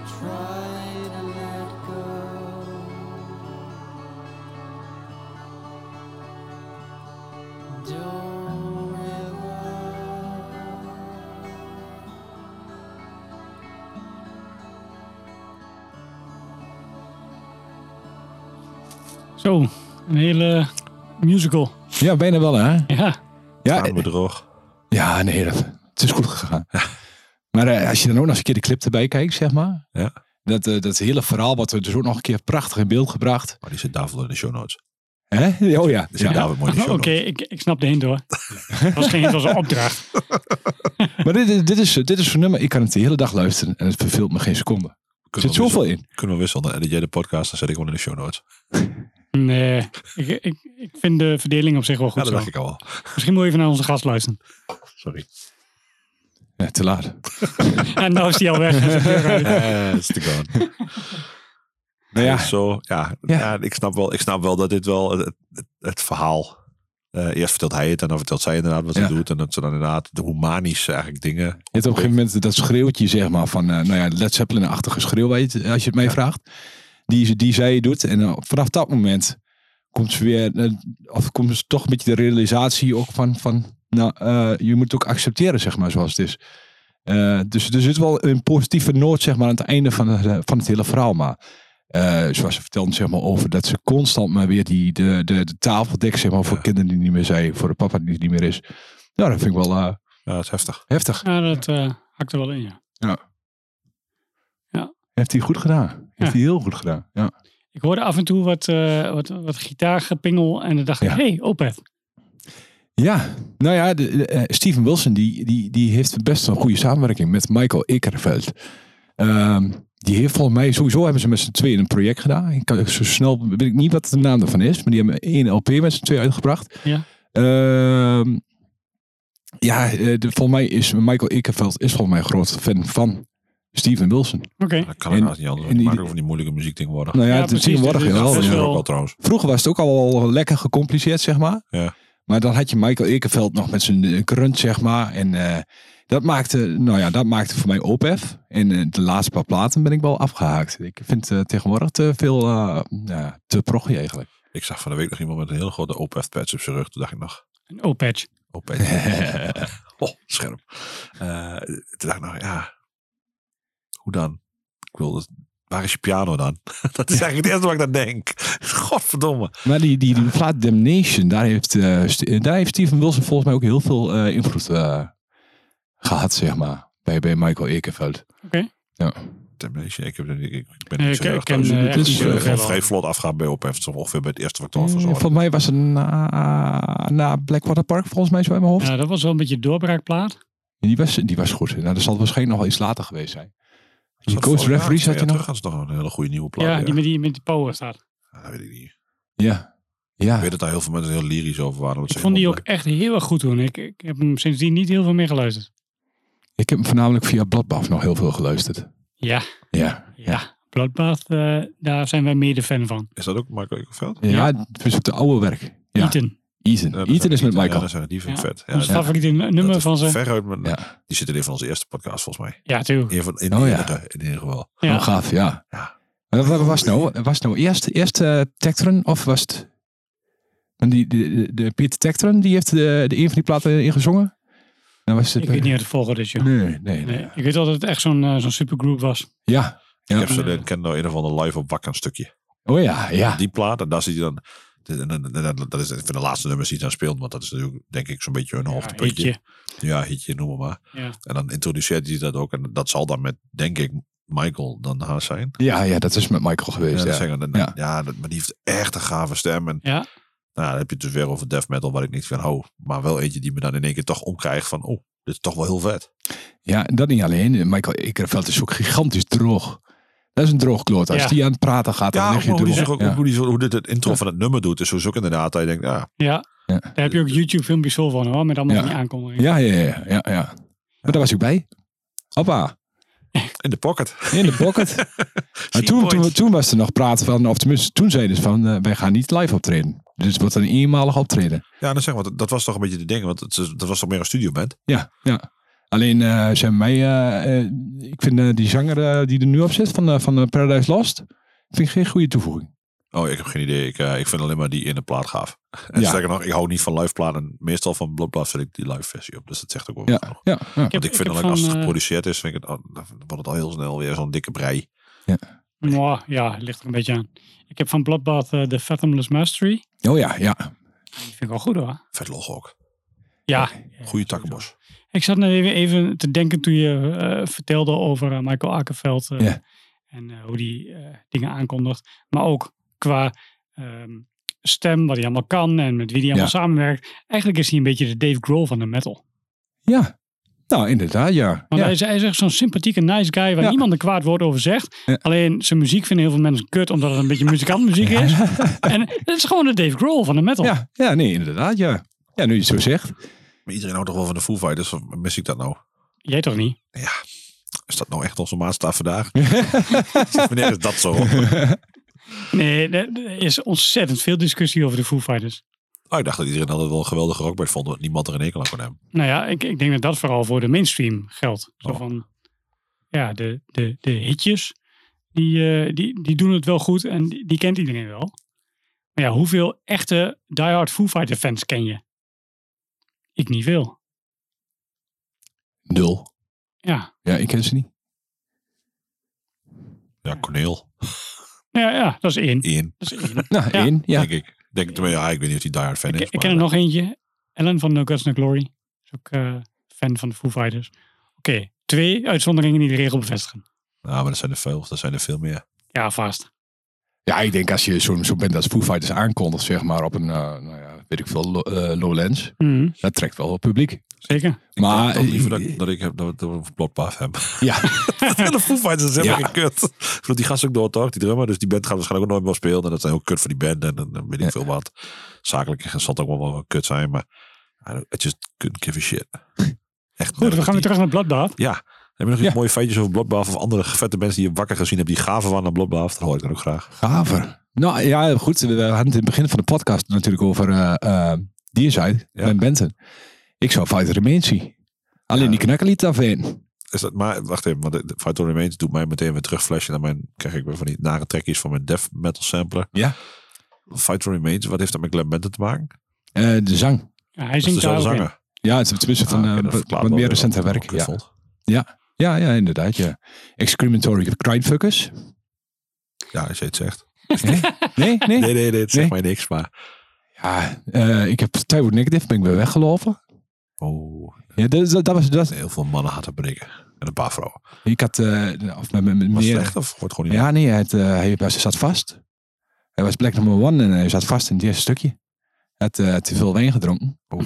Try to let go. Don't ever.
Zo, een hele musical.
Ja, bijna wel hè?
Ja,
Ja,
Aan bedrog.
ja nee, dat, het is goed gegaan. Maar eh, als je dan ook nog eens een keer de clip erbij kijkt, zeg maar.
Ja.
Dat, eh, dat hele verhaal wat we dus ook nog een keer prachtig in beeld gebracht.
Maar die zit daar wel in de show notes.
Hè? Oh ja.
Er zit
ja.
daar wel mooi in
(laughs) oké,
de
(laughs)
show notes.
ik, ik snap de hint hoor. Dat was geen hint, dat was een opdracht.
Maar dit, dit is, dit is zo'n nummer, ik kan het de hele dag luisteren en het verveelt me geen seconde. Er
Kunnen
zit
we
zoveel
wisselen?
in.
Kunnen we wisselen? Dan edit jij de podcast, dan zet ik gewoon in de show notes.
Nee, ik, ik, ik vind de verdeling op zich wel
Ja,
goed
dat
zo.
dacht ik al. wel.
Misschien moet je even naar onze gast luisteren.
Sorry.
Ja, te laat.
En nou is die al weg. Dus ik
(laughs)
deur uit.
(laughs) Eh, It's the gone.
Nou (laughs) ja,
Zo, ja.
Ja.
Ja. ik, snap wel, ik snap wel dat dit wel het, het, het verhaal... eh, eerst vertelt hij het en dan vertelt zij inderdaad wat
Ja.
hij doet. En dat ze dan inderdaad de humanische eigenlijk dingen...
Je hebt op een gegeven moment dat schreeuwtje, zeg maar, van eh, nou ja, Led Zeppelin-achtige schreeuw, weet je, als je het mij vraagt. Die, ze- die zij doet. En eh, vanaf dat moment komt ze weer, eh, of komt ze toch een beetje de realisatie ook van, van nou, eh, je moet het ook accepteren, zeg maar, zoals het is. Eh, dus er zit wel een positieve noot, zeg maar, aan het einde van, de- van het hele verhaal. Maar eh, zoals ze vertelde, zeg maar, over dat ze constant maar weer die, de, de, de tafel dekt, zeg maar, voor kinderen die niet meer zijn, voor de papa die niet meer is. Nou, dat vind ik wel eh,
Ja, dat is heftig.
heftig.
Ja, dat eh hakt er wel in, ja.
Heeft hij goed gedaan. Heeft
Ja.
hij heel goed gedaan. Ja.
Ik hoorde af en toe wat, eh wat, wat gitaargepingel en dan dacht ik,
Ja.
hey, Opet.
ja, nou ja, de, de, eh, Steven Wilson die, die, die heeft best wel een goede samenwerking met Michael Ekerveld. Ehm, die heeft volgens mij, sowieso hebben ze met z'n tweeën een project gedaan. Ik kan zo snel, weet ik niet wat de naam daarvan is, maar die hebben één LP met z'n tweeën uitgebracht.
Ja.
Ehm, ja, eh, de, volgens mij is Michael Ekerveld is volgens mij een groot fan van Steven Wilson.
Oké.
Ja, dat kan
En-
inderdaad niet anders. want
en
Die
die-
maken ook van die moeilijke muziekdingen worden.
Nou ja,
Ja,
het is
precies,
tegenwoordig
dus het is
wel.
dat
best
is
wel-
er ook al trouwens.
Vroeger was het ook al lekker gecompliceerd, zeg maar.
Ja.
Maar dan had je Michael Ekenveld nog met zijn eh, grunt, zeg maar. En eh, dat, maakte, nou ja, dat maakte voor mij ophef. En eh, de laatste paar platen ben ik wel afgehaakt. Ik vind eh, tegenwoordig te veel, eh, ja, te proggy eigenlijk.
Ik zag van de week nog iemand met een hele grote OPF-patch op zijn rug. Toen dacht ik nog,
Een Opatch.
OPF. oh, scherp. Eh, toen dacht ik nog, ja, hoe dan? Ik wil, dat- waar is je piano dan? (laughs) dat is eigenlijk het eerste wat ik dan denk. Godverdomme.
Maar die, die, die Vlaat Damnation, daar heeft, eh, St- eh, daar heeft Steven Wilson volgens mij ook heel veel eh, invloed eh, gehad, zeg maar. Bij, bij Michael Ekenveld.
Oké.
Ja.
Temptation, ik, heb, ik, ik ben
Eh,
niet
ik-
zo erg
ik ken,
thuis.
eh,
Het
echt
is
niet zo
eh,
erg
gewoon
veel.
vrij vlot afgaan bij OPF. Het is ongeveer bij het eerste wat ik
Eh,
ervan verzorgd.
Volgens mij was het na, na Blackwater Park, volgens mij zo in mijn hoofd.
Ja, dat was wel een beetje doorbraakplaat.
Ja, Die was, die was goed. Nou, dat zal waarschijnlijk nog wel iets later geweest zijn.
Zat
Die coach
vorig jaar,
referees
twee
had je
jaar
nog?
terug hadden ze nog een hele goede nieuwe plaat.
Ja,
weer.
die met die, met die power staat.
Ah, dat weet ik niet.
Ja.
Ik
Ja.
weet dat daar heel veel mensen heel lyrisch over waren. omdat ze
Ik vond die ook
helemaal
echt heel erg goed toen. Ik, ik heb hem sindsdien niet heel veel meer geluisterd.
Ik heb hem voornamelijk via Bloodbath nog heel veel geluisterd.
Ja,
Ja.
ja. Bloodbath, eh, daar zijn wij meer de fan van.
blij- Is dat ook Michael Ekelveld?
Ja, het is op de oude werk. Ja. Ethan.
Ethan.
Ethan,
Ja, dat zijn-
is met
Ja,
Michael.
dat zijn- die vind ik
Ja.
vet. Ja,
Ons
dat-
favoriete nummer
dat is
van ze.
Veruit mijn,
Ja.
Die zit in een van onze eerste podcasts volgens mij.
Ja, tuurlijk.
In, van, in,
Oh,
de
ja.
enige, in ieder geval.
Ja.
Oh, gaaf, ja.
Ja.
Maar Wat was nou? Was nou eerst, eerst eh, Tectron of was het... Want die, de, de, de Piet Tectron, die heeft de, de een van die platen ingezongen? Nou, was het,
Ik weet niet wat de volgorde is, joh.
Nee, nee, nee.
Nee, ik weet wel dat het echt zo'n eh, zo'n supergroup was.
Ja.
Ik
ja.
heb ze de, ken nou een of ander live op wakker een stukje.
Oh ja, ja.
Die plaat, en daar zit je dan... en- en- en- en Dat is een van de laatste nummers die ze dan speelt. Want dat is natuurlijk, denk ik, zo'n beetje hun hoogtepuntje.
Eetje.
Ja, hitje, noem maar.
Ja.
En dan introduceert hij dat ook. En dat zal dan met, denk ik, Michael dan haar zijn.
Ja, ja, dat is met Michael
Ja,
geweest.
dat
Ja,
zeggen we dan-
Ja.
ja. dat, maar die heeft echt een gave stem. En
Ja.
nou, dan heb je het dus weer over death metal, waar ik niet van hou. Maar wel eentje die me dan in één keer toch omkrijgt van... Oh, dit is toch wel heel vet.
Ja, en dat niet alleen. Michael Ekerveld is ook gigantisch droog. Dat is een droogkloot. Als
Ja.
die aan het praten gaat, dan
Ja,
leg
ook
je
maar hoe, die
droog.
zich ook,
Ja.
hoe, die, zo- hoe dit het intro van het nummer doet. Is dus ook inderdaad dat je denkt... Ja,
ja,
Ja.
Daar heb je ook YouTube filmpjes vol van hoor, met allemaal
Ja.
die aankondigingen.
Ja, ja, ja, ja, ja. Maar daar was ik bij. Hoppa,
In de pocket.
in de pocket. maar
See
toen,
point.
toen, toen was er nog praten van, of tenminste, toen zeiden ze van, eh, wij gaan niet live optreden. Dus het wordt een eenmalig optreden.
Ja, dan zeg maar, dat, dat was toch een beetje de ding, want het, is- dat was toch meer een studioband?
Ja, ja. Alleen eh ze hebben mij, eh, eh, ik vind eh, die zanger eh, die er nu op zit van, eh, van eh, Paradise Lost, vind ik geen goede toevoeging.
Oh, ik heb geen idee. Ik, eh, ik vind alleen maar die in de plaat gaaf. (laughs) En
Ja.
sterker nog, ik hou niet van live platen. Meestal van Bloodblad vind ik die live versie op. Dus dat zegt ook wel
Ja,
genoeg.
ja, ja.
heb-
Want ik
ik
vind
heb
dan ook als het
van, eh,
geproduceerd is, vind ik het, oh, dan wordt het al heel snel weer zo'n dikke brei.
eh, Mwah, ja, het ligt er een beetje aan. Ik heb van Bloodbath eh, de Fathomless Mastery.
Oh ja, ja.
Die vind ik wel goed hoor.
Vet log ook.
Ja.
Goeie takkenbos.
Ik zat net even, even te denken toen je eh, vertelde over eh, Michael Akerveld. eh,
Ja.
En eh, hoe die eh, dingen aankondigt. Maar ook qua ehm, stem, wat hij allemaal kan en met wie hij allemaal samenwerkt. Eigenlijk is hij een beetje de Dave Grohl van de metal.
Ja. Nou, inderdaad, ja.
Want
ja.
hij, is, hij is echt zo'n sympathieke, nice guy waar
Ja.
niemand een kwaad woord over zegt.
Ja.
Alleen zijn muziek vinden heel veel mensen kut omdat het een beetje muzikantmuziek is. En het is gewoon de Dave Grohl van de metal.
Ja, ja, nee, inderdaad, ja. Ja, nu je het zo zegt.
Maar iedereen houdt toch wel van de Foo Fighters? Of Mis ik dat nou?
Jij toch niet?
Is dat nou echt onze maatstaf
(laughs)
vandaag? Wanneer is dat zo? Oh,
Nee, er er is ontzettend veel discussie over de Foo Fighters.
Oh, ik dacht dat iedereen altijd wel een geweldige rockband vond. Dat niemand er een enkel aan kon hebben.
Nou ja, ik, ik denk dat dat vooral voor de mainstream geldt. Zo
Oh.
van, ja, de, de, de hitjes, die, eh, die, die doen het wel goed en die, die kent iedereen wel. Maar ja, hoeveel echte diehard Foo Fighter fans ken je? Ik niet veel.
Nul.
Ja,
Ja, ik ken ze niet.
Ja, Corneel.
Nou ja, ja dat is één.
Ian,
Dat is één.
Nou,
Ja.
één. Ja.
denk ik. Denk, ja, ik weet niet of hij die hard fan
Ik,
is.
ik
maar-
ken er nog eentje. Ellen van No Guts No Glory. Is ook eh, fan van de Foo Fighters. Oké, twee uitzonderingen die de regel bevestigen.
Nou, maar dat zijn er veel. Dat zijn er veel meer.
Ja, vast.
ja, ik denk als je zo'n zo bent als Foo Fighters aankondigt, zeg maar, op een, eh, nou ja, weet ik veel, lo, eh, Lowlands.
Mhm,
Dat trekt wel het publiek.
zeker.
Maar, eh,
ik denk toch liever dat, ik- dat ik heb dat, dat we een blokpaf heb. (laughs)
ja,
de Foo Fighters is helemaal
Ja.
geen kut. Ik bedoel, die gast ook door, toch? Die drummer. Dus die band gaat waarschijnlijk ook nooit meer spelen. En dat zijn ook kut voor die band. En dan weet ik
Ja.
veel wat. Zakelijk zal het ook wel wel kut zijn. Maar I don't- I just couldn't give a shit. Echt
Goed, we gaan weer terug naar Bloodbath.
Ja. Heb je nog iets
Ja.
mooie feitjes over Bloodbath of andere vette mensen die je wakker gezien hebt die gaven waren naar Bloodbath? Dat hoor ik dan ook graag.
gaver. Nou ja, goed. We hadden het in het begin van de podcast natuurlijk over eh eh Dierside,
Ja.
Ben Benton. Ik zou Fighter Remains zien. Alleen
Ja.
die knakker liet afheen.
Is dat, maar wacht even, want de- de Fight Remains doet mij meteen weer terugflashen. En mijn krijg ik weer van die nare trekjes van mijn death metal sampler.
Ja.
Fight Remains, wat heeft dat met Glenn Benton te maken?
Eh, de zang.
Ja, hij
Dat is
zingt daar
dezelfde
ook in.
zanger.
Ja, het is tenminste van
Ah, oké,
eh,
dat
wat-
verklaart
wat
wel weer
meer recenter
wat ik
werk.
kut
Ja.
vond.
Ja, ja, inderdaad. Ja. Excrementory Grindfuckers.
Ja, als je het zegt.
Nee? nee, nee.
Nee, nee, nee, het zegt
Nee.
mij niks, maar...
Ja, eh, ik heb Tyward Negative, ben ik weer weggelopen.
Oh,
Ja, dat, dat, dat was, dat,
heel veel mannen hadden breken. En een paar vrouwen.
ik had, eh, of met, met, met
Was
meer-
het echt of wordt gewoon niet
Ja, nee, hij, had, eh, hij was, zat vast. Hij was plek nummer one en hij zat vast in het eerste stukje. Hij had eh, te veel wijn gedronken.
Oh.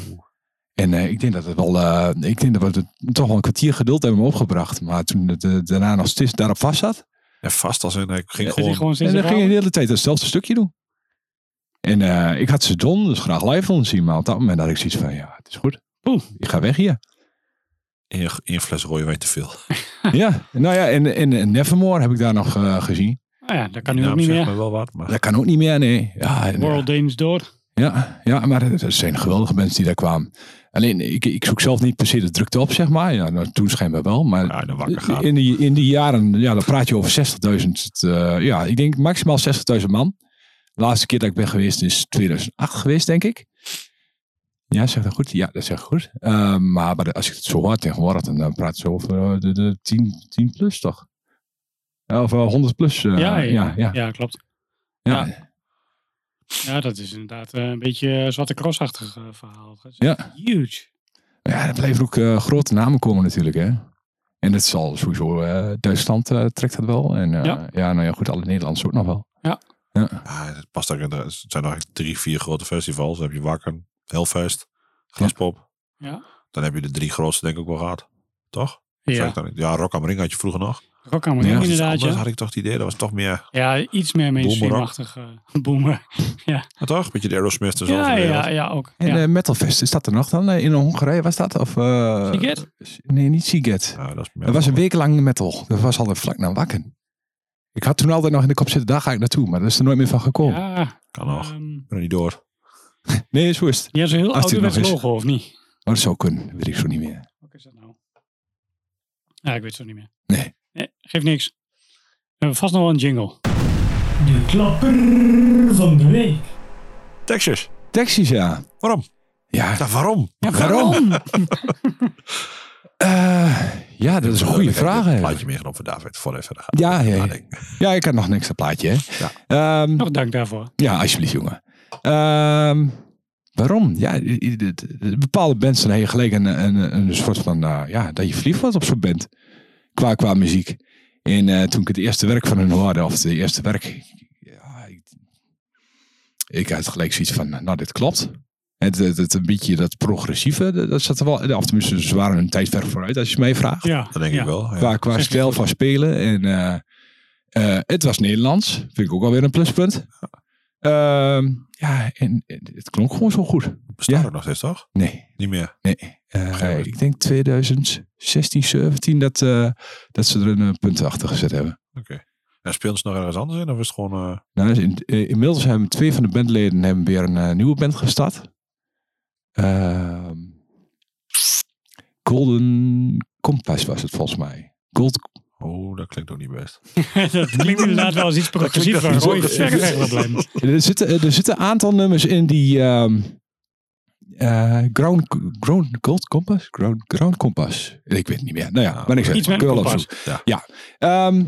En eh, ik denk dat het wel, eh, ik denk dat we het toch wel een kwartier geduld hebben hem opgebracht. Maar toen het eh, daarna nog steeds daarop vast zat,
En vast als in, hij ging
Is hij
gewoon...
gewoon
en
sinds
dan
de
ging hij
vrouw?
de hele tijd hetzelfde stukje doen. En eh, ik had ze John dus graag live willen zien, maar op dat moment had ik zoiets van, ja, het is goed. Oeh, ik ga weg hier. (laughs)
één één fles rode wijn te veel.
ja, nou ja, en, en, en Nevermore heb ik daar nog eh, gezien.
Ah ja, dat kan
Die
nu ook
naam
niet
zegt
meer.
me wel wat, maar...
Dat kan ook niet meer, nee. Ja, en, eh,
World Dames door.
Ja, ja, maar het het zijn geweldige mensen die daar kwamen. Alleen, ik, ik zoek zelf niet per se de drukte op, zeg maar. Ja, nou, toen schijnbaar wel, maar
Ja, dan wakker gaan.
in, die, in die jaren, ja, dan praat je over 60.000. eh, ja, ik denk maximaal 60.000 man. De laatste keer dat ik ben geweest is 2008 geweest, denk ik. Ja, zeg dat goed? Ja, dat zeg ik goed. Eh, maar, maar als ik het zo hoor tegenwoordig, dan eh, praat je over eh, de, de 10, 10 plus, toch? Ja, Of eh, 100 plus. eh,
ja,
ja, ja,
ja, klopt.
ja.
Ja, dat is inderdaad eh, een beetje eh, zwarte crossachtig eh, verhaal. Dat is
Ja.
echt Huge.
Ja, er blijven ook eh, grote namen komen natuurlijk, hè. En dat zal sowieso, eh, Duitsland eh, trekt dat wel. En eh,
Ja.
ja. nou ja, goed, alle Nederlanders ook nog wel.
Ja, Ah, het past ook in de- Het zijn nog eigenlijk drie, vier grote festivals. Dan heb je Wakken, Hellfest, Graspop.
Ja.
Dan heb je de drie grootste denk ik ook wel gehad. Toch? Zeg ik
Ja,
dan niet. Ja, Rock am Ring had je vroeger nog.
rock aan ja,
Dat is iets
inderdaad.
anders,
Ja.
had ik toch het idee. Dat was toch meer...
ja, iets meer mainstreamachtig eh boemer.
Ja, toch? Beetje de Aerosmith en zo. van
Ja,
de wereld.
ja, ja, ook.
En
Ja.
eh, Metalfest, is dat er nog dan? Eh, In Hongarije was dat? Of, eh,
Siget?
Nee, niet Siget.
Ja, dat is meer
Het was een week lang metal. Dat was altijd vlak na wakken. Ik had toen altijd nog in de kop zitten, daar ga ik naartoe. Maar dat is er nooit meer van gekomen.
Ja,
Kan nog. Ik
ehm,
ben er niet door.
Nee, is worst.
ja zo'n heel
Als dit
ouderwets
nog is.
logo, of niet?
Maar dat zou kunnen, weet ik zo niet meer.
Wat is dat nou? Ja, ik weet het zo niet meer.
Nee.
geeft niks. We hebben vast nog wel een jingle.
De klapper van de week.
Texas.
Taxis, ja.
Waarom? Nou.
Ja,
Ja, waarom?
waarom? Eh, ja, dat is een goede
Ik heb
vraag.
een
hè.
plaatje meegenomen voor David. Voor even Ah, gaan.
Ja, ja, ja.
nadenken.
ja, ik had nog niks een plaatje. Hè. Ehm,
Nog dank daarvoor.
Ja, alsjeblieft, jongen. Ehm, waarom? Ja, i- i- de- de- de bepaalde bands zijn heel gelijk een, een, een soort van, eh, ja, dat je verliefd wordt op zo'n band. Qua, qua muziek. En eh, toen ik het eerste werk van hun hoorde, of het eerste werk, ja, ik, ik had gelijk zoiets van, nou, dit klopt. Het, het, het een beetje dat progressieve, dat, dat zat er wel, of tenminste, ze waren een tijdverf vooruit, als je mij vraagt
Ja,
Dat denk
ja.
ik wel. Ja.
qua, qua stijl van spelen. En eh, eh, het was Nederlands. Vind ik ook alweer een pluspunt. Ehm, ja, en, en het klonk gewoon zo goed.
Bestaat
Ja.
ook nog steeds, toch?
Nee,
Niet meer.
nee. Eh,
Begrijp ik.
ik denk 2016, 17 dat, eh, dat ze er een eh, punt achter gezet hebben.
En speelt ze nog ergens anders in? Of is het gewoon... eh,
Nou, dus in, eh, inmiddels hebben twee van de bandleden hebben weer een eh, nieuwe band gestart. Ehm, Golden Compass was het volgens mij. Gold
Oh, dat klinkt ook niet best.
(laughs) dat klinkt inderdaad wel eens
(laughs)
iets progressief waar
niet
Roy
zo.
ver weg wil blijven.
Er zitten, eh, er zitten een aantal nummers in die ehm, eh, ground, ground Gold Compass? Ground, ground Compass. Ik weet het niet meer. Nou ja,
Nou,
maar ik zeg,
iets met
kun je wel
een
opzoeken.
Ja.
Ehm,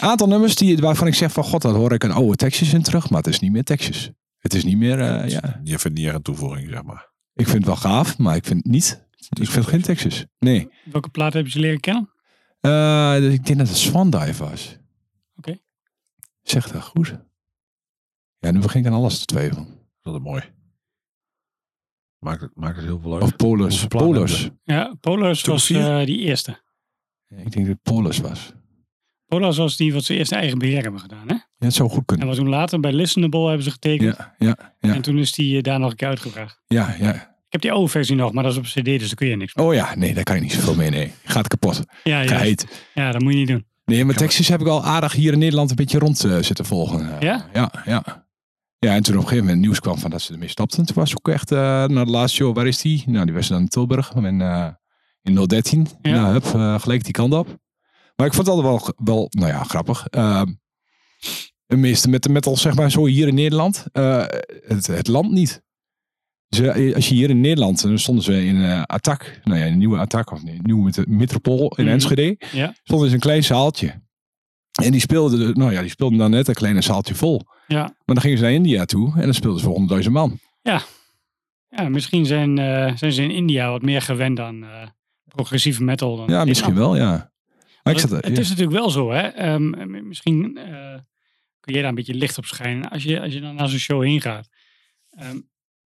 aantal nummers die, waarvan ik zeg van god, daar hoor ik een oude tekstjes in terug. Maar het is niet meer tekstjes. Het is niet meer, eh, ja.
Je vindt niet echt een toevoeging, zeg maar.
Ik vind het wel gaaf, maar ik vind het niet. Ik vind geen tekstjes. Nee.
Welke plaat hebben ze leren kennen?
Eh, dus ik denk dat het Swandive was.
Oké.
Zeg dat goed. Ja, nu begin ik aan alles te twijfelen.
Dat is mooi. Maakt het, maakt het heel veel uit.
Of Polos.
Hoeveel platen hebben
Polos.
ze?
Ja, Polos
Toen
was
vier?
eh, die eerste.
Ik denk dat het Polis was.
Polos was die wat ze eerst eigen beheer hebben gedaan. Hè?
Ja, het zou goed
En
kunnen.
wat toen later bij Listenable hebben ze getekend.
Ja, ja, ja,
En toen is die eh, daar nog een keer uitgebracht.
ja, ja.
Ik heb die oude versie nog, maar dat is op cd, dus daar kun je niks mee.
Oh ja, nee, daar kan je niet zoveel mee. Nee, gaat kapot.
Ja, ja,
Geheid.
ja, dat moet je niet doen.
Nee, maar tekstjes heb ik al aardig hier in Nederland een beetje rond eh, zitten volgen. Eh,
Ja?
Ja, ja. Ja, en toen op een gegeven moment nieuws kwam van dat ze ermee stopten. Toen was ook echt, eh na de laatste show, waar is die? Nou, die was dan in Tilburg en, eh, in 013.
Ja.
Nou, hup, eh, gelijk die kant op. Maar ik vond dat wel, wel nou ja, grappig. Ehm de meeste met de metal, zeg maar, zo hier in Nederland. eh, het, het land niet. Ze, eh, als je hier in Nederland, dan stonden ze in eh Attack. Nou ja, in een nieuwe Attack, of nee, nieuwe met- metropool in
Mhm.
Enschede.
Ja.
Stonden ze een klein zaaltje. En die speelden, nou ja, die speelden dan net een kleine zaaltje vol.
Ja,
Maar dan gingen ze naar India toe en dan speelden ze voor 100.000 man.
ja misschien zijn, eh, zijn ze in India wat meer gewend aan eh, progressieve metal. Dan
Ja,
in
misschien
Nederland.
wel, ja. Maar
Want
ik zat,
het, het is natuurlijk wel zo, hè. Ehm, m- misschien eh, kun je daar een beetje licht op schijnen. Als je, als je dan naar zo'n show heen gaat. Ehm,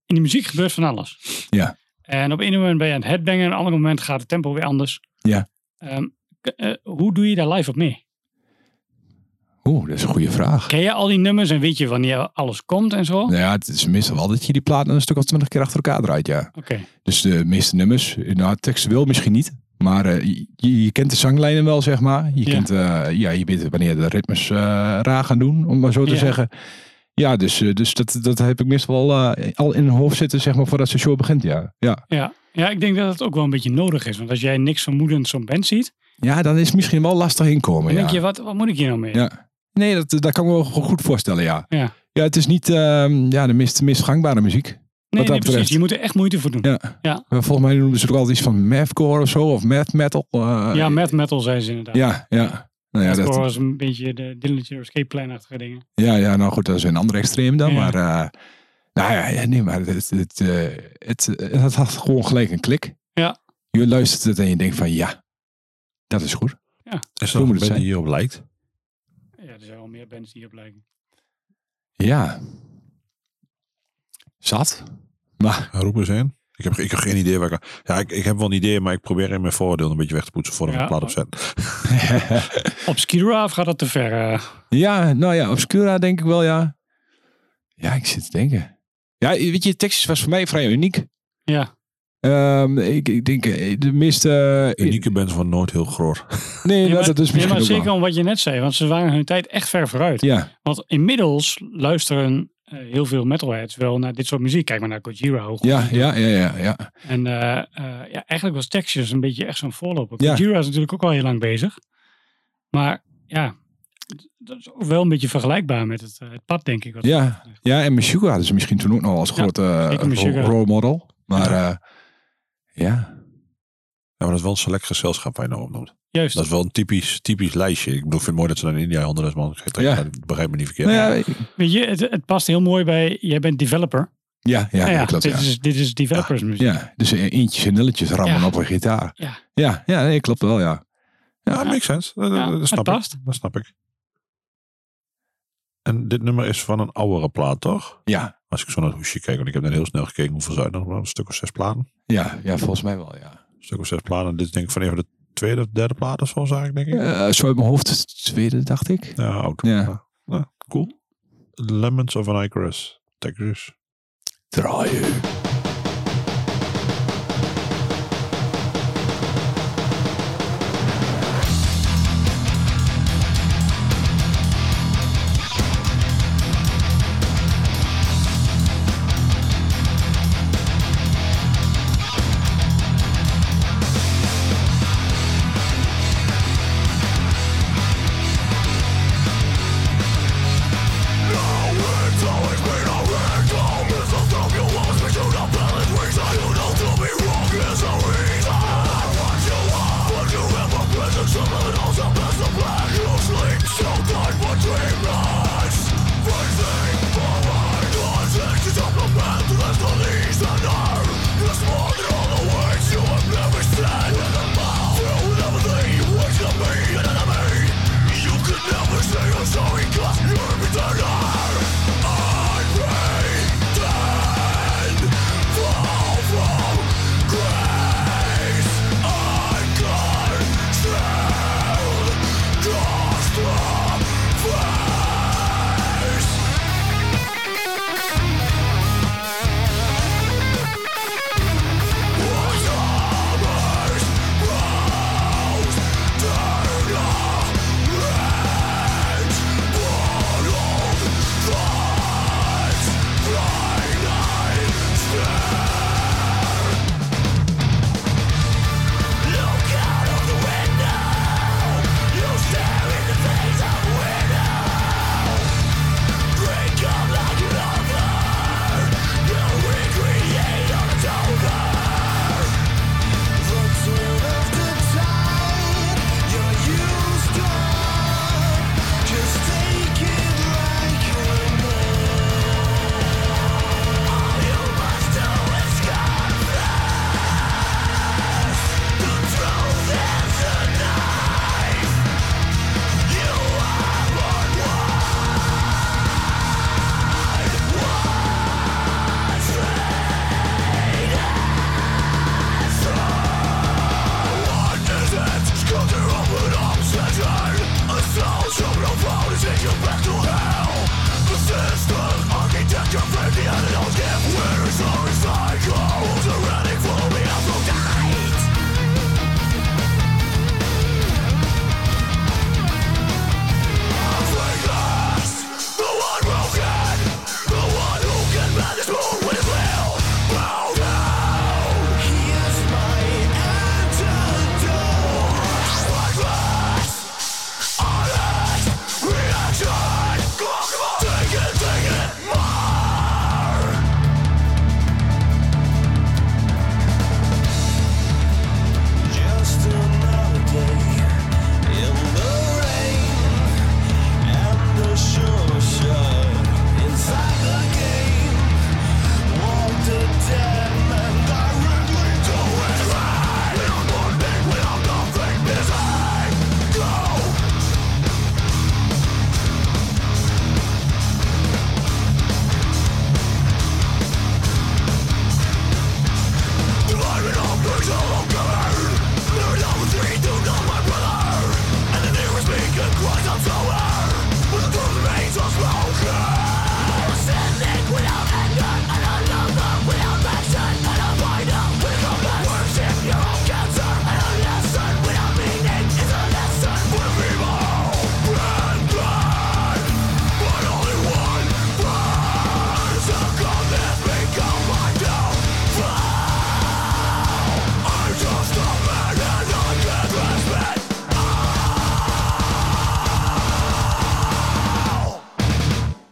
in de muziek gebeurt van alles.
Ja.
En op een moment ben je aan het headbangen. En op een ander moment gaat het tempo weer anders.
Ja.
Ehm, k- eh, hoe doe je daar live op mee?
Oeh, dat is een goede vraag.
Ken je al die nummers en weet je wanneer alles komt en zo?
Nou ja, het is meestal wel dat je die plaat een stuk of 20 keer achter elkaar draait, ja.
Oké.
Dus de meeste nummers, eh, nou textueel misschien niet, maar eh, je, je kent de zanglijnen wel, zeg maar. Je,
Ja.
Kent, eh, ja, je weet wanneer de ritmes eh, raar gaan doen, om maar zo te
Ja.
zeggen. Ja, dus, eh, dus dat, dat heb ik meestal wel eh, al in hun hoofd zitten, zeg maar, voordat de show begint, ja. Ja,
Ja. ja, ik denk dat het ook wel een beetje nodig is. Want als jij niks vermoedend zo'n band ziet,
ja dan is het misschien wel lastig inkomen,
dan
Oh ja.
denk je, wat, wat moet ik hier nou mee?
Ja. Nee, dat, dat kan ik me wel goed voorstellen, ja.
Ja.
Ja, het is niet ehm, ja, de meest, meest gangbare muziek.
nee,
dat
nee,
betreft.
precies. Je moet er echt moeite voor doen. Ja,
Ja. Maar Volgens mij noemen ze het ook altijd iets van mathcore of zo, of math metal. eh,
met metal zijn ze inderdaad.
Ja, ja. Nou ja,
dat
dat,
was een beetje de Dillinger Escape Plan-achtige dingen.
ja, ja, nou goed, dat is een ander extreem dan.
Ja.
Maar, eh, nou ja, ja, nee, maar het, het, eh, het, eh, het had gewoon gelijk een klik.
Ja.
Je luistert het en je denkt van ja, dat is goed.
Is er een
Hoe moet het
band
zijn?
die hierop lijkt?
Ja, er zijn wel meer bands die op lijken.
Ja. Zat. Maar
Roep eens in. Ik heb, ge- ik heb geen idee waar ik... aan- Ja, ik, ik heb wel een idee, maar ik probeer in mijn voordeel een beetje weg te poetsen voordat ik
Ja.
de plaat opzet.
Obscura of gaat dat te ver? eh?
(laughs) Ja, nou ja, Obscura denk ik wel, ja. Ja, ik zit te denken. Ja, weet je, Texas was voor mij vrij uniek.
ja.
Ehm, ik, ik denk eh, de meest... eh,
Unieke bands van nooit heel groot.
Nee,
Nee,
dat,
maar,
dat
nee,
is misschien
maar
ook wel.
zeker om wat je net zei, want ze waren hun tijd echt ver vooruit.
Ja,
Want inmiddels luisteren eh, heel veel metalheads wel naar dit soort muziek. Kijk maar naar Gojira. hoe goed
ja,
die doet.
ja, ja, ja, ja.
En eh, eh, ja, eigenlijk was Texas een beetje echt zo'n voorloper.
Ja.
Gojira is natuurlijk ook al heel lang bezig. Maar ja, d- dat is ook wel een beetje vergelijkbaar met het, eh, het pad, denk ik. wat-
Ja, ja en Meshuggah hadden ze misschien toen ook nog als grote eh,
zeker Meshuggah.
ro- role model. Maar eh, ja.
Ja, maar dat is wel een select gezelschap waar je nou opnoemt.
Juist.
Dat is wel een typisch, typisch lijstje. Ik bedoel, ik vind het mooi dat ze naar India handelen. man.
Ja.
Ja. Begrijp me niet verkeerd.
Nou ja, ik-
Weet je, het, het past heel mooi bij, jij bent developer.
ja, ja,
Nou ja,
ja, klopt.
dit,
Ja.
Is, dit is developers muziek.
ja, dus e- eentjes en nulletjes rammen
Ja.
op een gitaar.
Ja.
ja, ja nee, klopt wel, ja.
Ja, makes sense. Dat,
Ja,
dat
het
snap
past.
ik. Dat snap ik. En dit nummer is van een oudere plaat, toch?
Ja,
Als ik zo naar het hoesje kijk, want ik heb net heel snel gekeken hoeveel zijn er. Een stuk of zes platen.
ja, ja volgens mij wel, ja.
Een stuk of zes platen. En dit is denk ik van even de tweede of derde plaat of zo, zag ik, denk ik. Ja,
Eh, zo uit mijn hoofd, tweede, dacht ik.
oud.
Ja.
Ja, cool. Lemons of an Icarus. Texas.
Draaien.
It's always been a red dawn, it's a thumb you lost, but you don't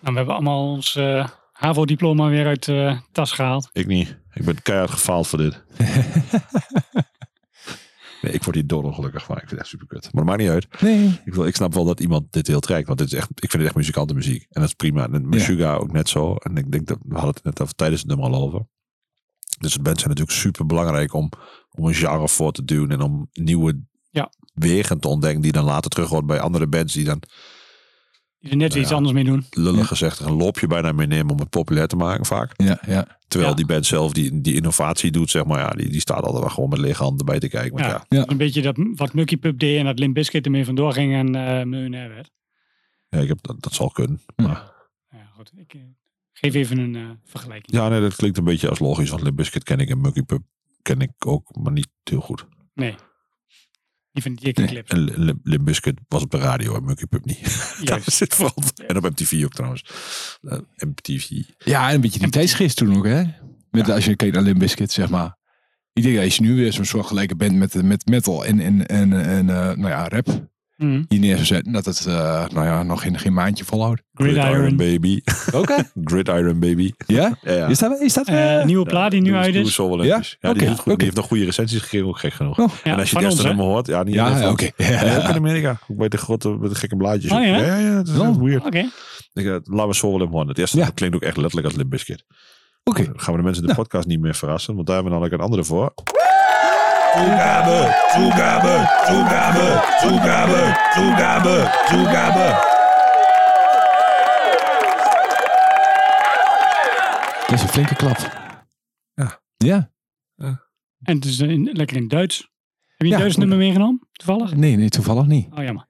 Nou, hebben allemaal ons eh, HAVO-diploma weer uit de tas gehaald.
Ik niet. Ik ben keihard gefaald voor dit. nee, ik word hier doodongelukkig van. Ik vind het echt super kut. Maar dat maakt niet uit.
Nee.
Ik, wil, ik snap wel dat iemand dit heel trekt. Want dit is echt, ik vind het echt muzikantenmuziek. En dat is prima. En met
Ja.
Suga ook net zo. En ik denk dat we hadden het net over tijdens het nummer al over. Dus de bands zijn natuurlijk super belangrijk om, om een genre voor te duwen. En om nieuwe
Ja.
wegen te ontdekken. Die dan later terug hoort bij andere bands. Die dan
Die er net
Nou
iets
ja.
anders mee doen.
lullig
Ja.
gezegd een loopje bijna mee nemen om het populair te maken vaak.
Ja, ja.
Terwijl
Ja.
die band zelf die, die innovatie doet, zeg maar. Ja, die, die staat altijd maar gewoon met lege handen bij te kijken. Want
Ja.
ja,
Ja.
Een beetje dat, wat Mucky Pup deed en dat Limp Bizkit ermee vandoor ging en eh miljonair werd.
ja, ik heb, dat, dat zal kunnen.
Ja.
Maar
Ja, goed. Ik eh, geef even een eh, vergelijking.
Ja, nee, dat klinkt een beetje als logisch. Want Limp Bizkit ken ik en Muggy Pub ken ik ook, maar niet heel goed.
Die van die dikke clips.
(laughs) En Li- Li- Limp Bizkit was op de radio en Muggy Pub niet. (laughs) Daar
Juist.
zit vooral. En op MTV ook trouwens. Eh, MTV.
Ja, en een beetje die tijdsgeest toen ook, hè? Met, Als je kijkt naar Limp Bizkit, zeg maar. Ik denk dat je nu weer zo'n soortgelijke band met, met metal en, en, en, en eh, nou ja, rap
Mhm.
hier neer zou zetten. Dat het, eh, nou ja, nog geen, geen maandje volhoudt.
Gridiron.
Baby. (laughs)
Oké.
Gridiron Baby.
(laughs) ja?
Ja, ja.
Is dat... Is dat
Eh,
eh,
nieuwe plaat die nu
Doe-
uit
doe
is.
zo wel
Ja?
eventjes. Ja, die,
Oké,
heeft goed, die
oké.
heeft nog goede recensies gegeven, ook gek genoeg.
Oh.
Ja,
en als je
van ons,
het eerste
hè?
nummer hoort, ja, niet
Ja,
alleen
(laughs) ja,
van-
oké.
Ja, ook in Amerika. Ook bij de grote, met de gekke blaadjes.
Oh,
ook.
ja?
ja, ja, dat is
Wel.
echt weird.
Oké.
Ik, eh, laten we zo wel even horen. Het eerste
Ja.
nummer klinkt ook echt letterlijk als Limp Bizkit.
Oké.
Dan gaan we de mensen in
Nou.
de podcast niet meer verrassen, want daar hebben we dan ook een andere voor.
Toegabe, toegabe, toegabe, toegabe, toegabe, toegabe.
Dat is een flinke klap.
Ja.
Ja?
En het is eh, in- lekker in het Duits. Heb je
Ja,
een Duits
goed.
nummer meegenomen? Toevallig?
Nee, nee, toevallig niet.
Oh, jammer.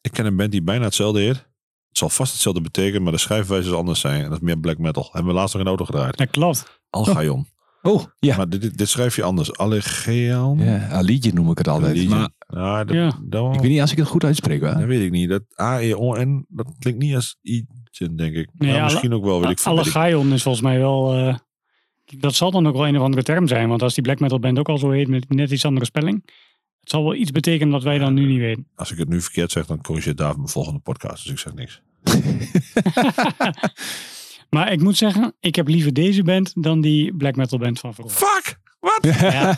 Ik ken een band die bijna hetzelfde heet. Het zal vast hetzelfde betekenen, maar de schrijfwijze zal anders zijn. En dat is meer black metal. Hebben we laatst nog een auto gedraaid.
Dat klopt.
Algaion.
Oh, ja.
Maar dit, dit, dit schrijf je anders. Allegeon.
Ja, een liedje noem ik het altijd.
Allegion.
Maar
Nou, dat,
Ja.
dat-
ik weet niet als ik het goed uitspreek, hoor.
dat weet ik niet. Dat A-E-O-N, dat klinkt niet als Iten, denk ik.
Nee,
Ja,
alle-
misschien ook wel, weet ik veel. weet ik-
Allegion is volgens mij wel... eh, dat zal dan ook wel een of andere term zijn. Want als die black metal band ook al zo heet met net iets andere spelling. Het zal wel iets betekenen dat wij dan nu niet weten.
Als ik het nu verkeerd zeg, dan corrigeert David mijn volgende podcast. Dus ik zeg niks.
Maar ik moet zeggen, ik heb liever deze band dan die black metal band van vroeger.
Fuck!
(laughs)
Wat?
Ja.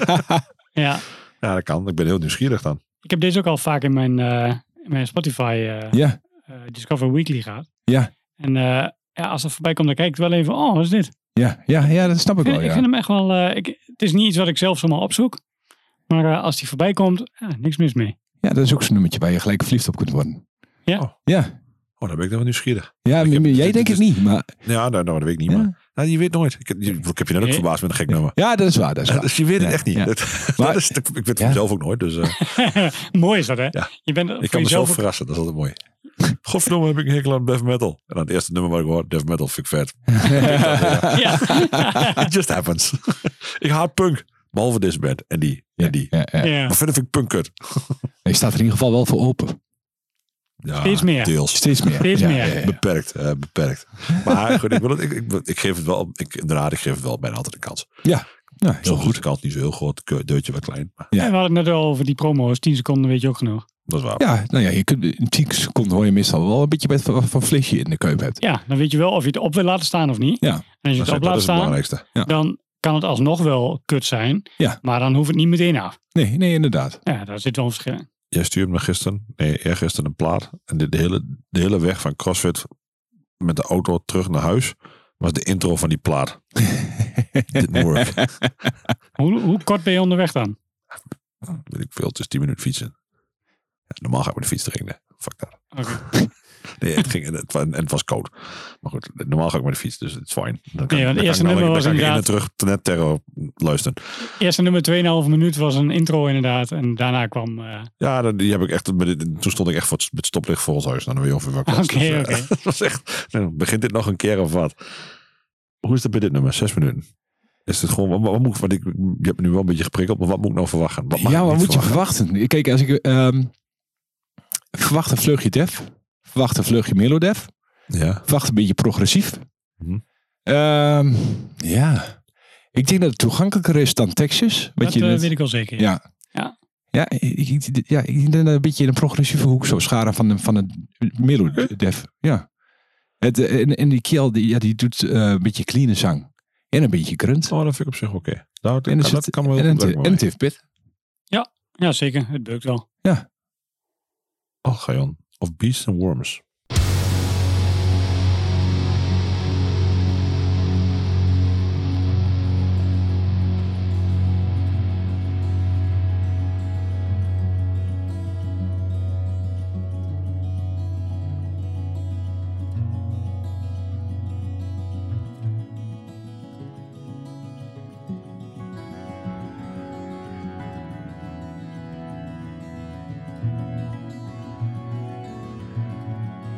ja.
Ja, dat kan. Ik ben heel nieuwsgierig dan.
Ik heb deze ook al vaak in mijn, eh, in mijn Spotify eh,
Ja.
eh, Discover Weekly gehad.
Ja.
En eh, ja, als dat voorbij komt, dan kijk ik wel even, oh, wat is dit?
Ja, ja, ja, dat snap ik
Ik vind,
wel,
ik
ja.
vind hem echt wel, eh, ik, het is niet iets wat ik zelf zomaar opzoek. Maar eh, als die voorbij komt, ja, niks mis mee.
Ja, dat is ook zo'n nummertje waar je gelijk verliefd op kunt worden.
Ja.
Oh. Ja.
Oh, dan ben ik dan wel nieuwsgierig.
Ja,
Ik heb-
maar jij
dit
denkt
is-
het niet, maar...
Ja, nou, nou, dat weet ik niet,
Ja.
maar nou, je weet nooit. Ik, je- ik heb je net ook
Nee.
verbaasd met een gek nummer.
(laughs) Ja, dat is waar, dat is waar.
Dus je weet het
Ja,
echt niet.
ja.
Dat, (laughs) dat is, ik weet het
Ja.
vanzelf ook nooit,
(laughs)
dus eh,
(laughs) Mooi is dat, hè?
Ja.
Je bent voor
ik kan mezelf
jezelf ook-
verrassen. Dat is altijd mooi. Godverdomme heb ik een hekel aan death metal. En aan het eerste nummer wat ik hoor, death metal, vind ik
(laughs)
vet.
Ja.
(laughs) It just happens. (laughs) ik haat punk. Behalve deze band en die en die.
Ja, ja.
ja.
Maar verder vind ik punk kut.
Ik sta er in ieder geval wel voor open.
Ja,
Steeds meer.
Deels.
Steeds meer.
Steeds
Ja,
meer.
ja, ja.
Beperkt, eh, beperkt. Maar goed, ik, wil het, ik, ik, ik geef het wel, ik, inderdaad, ik geef het wel bijna altijd een kans.
Nou, heel
Soms is
goed.
de kans niet zo heel groot, ke- deurtje wat klein. Maar
Ja.
En we hadden het net al over die promo's. 10 seconden weet je ook genoeg.
dat is waar.
Ja, nou ja, je kunt, in 10 seconden hoor je meestal wel een beetje bij het van, van flesje in de keup hebt.
Ja, dan weet je wel of je het op wil laten staan of niet.
Ja.
En als je
dat,
het
is-
op
dat
laat
is het
staan,
belangrijkste.
dan kan het alsnog wel kut zijn.
Ja.
Maar dan hoeft het niet meteen af.
Nee, nee, inderdaad.
Ja, daar zit wel een verschil in.
Jij stuurde me gisteren, nee, eergisteren een plaat. En de, de, hele, de hele weg van CrossFit met de auto terug naar huis was de intro van die
(laughs)
plaat. Didn't work.
Hoe, hoe kort ben je onderweg dan?
Weet ik veel, het is 10 minuten fietsen. Ja, normaal ga ik met de fiets erin. Fuck dat.
Oké.
Nee, het ging, en het, wa- en het was koud. Maar goed, normaal ga ik met de fiets, dus het is fijn.
Nee,
Dan
want het
dan
eerste
ik, dan,
nummer was
dan kan ik in en
inderdaad-
terug te net terror luisteren.
Eerste nummer 2,5 minuut was een intro inderdaad. En daarna kwam... eh,
Ja, dan- die heb ik echt, bij dit- toen stond ik echt voor het, het stoplicht voor ons huis. Nou, dan weet je ongeveer welke
Oké,
kant. Dus, eh,
oké.
(laughs) dat was echt, nou, begint dit nog een keer of wat? Hoe is dat bij dit nummer? Zes minuten. Is het gewoon, wat, wat moet ik, want ik, je hebt me nu wel een beetje geprikkeld, maar wat moet ik nou verwachten? Wat mag
ja,
ik
wat
niet
moet je
verwachten?
verwachten? Ik- Kijk, als ik ehm, verwacht een vleugje def, verwacht een vleugje melodef,
Ja.
verwacht een beetje progressief.
Mhm.
Ehm, ja, ik denk dat het toegankelijker is dan Texas. Wat
dat
je
eh,
net-
weet ik wel zeker.
Ja. Ja, ik, ik- ja, ik denk dat het een beetje in een progressieve hoek zo scharen van de, van de melodef. Ja. Het, eh, en, en die keel, die, ja, die doet eh, een beetje clean zang. En een beetje grunt.
Oh, dat vind ik op zich oké. Nou, dat,
en
kan, dat kan wel goed
en, een,
werken
ti-
bij
en een
mij.
tiftbit.
Ja, zeker. Het beukt wel.
Oh, Gajan. Of Beasts and Worms.
Thank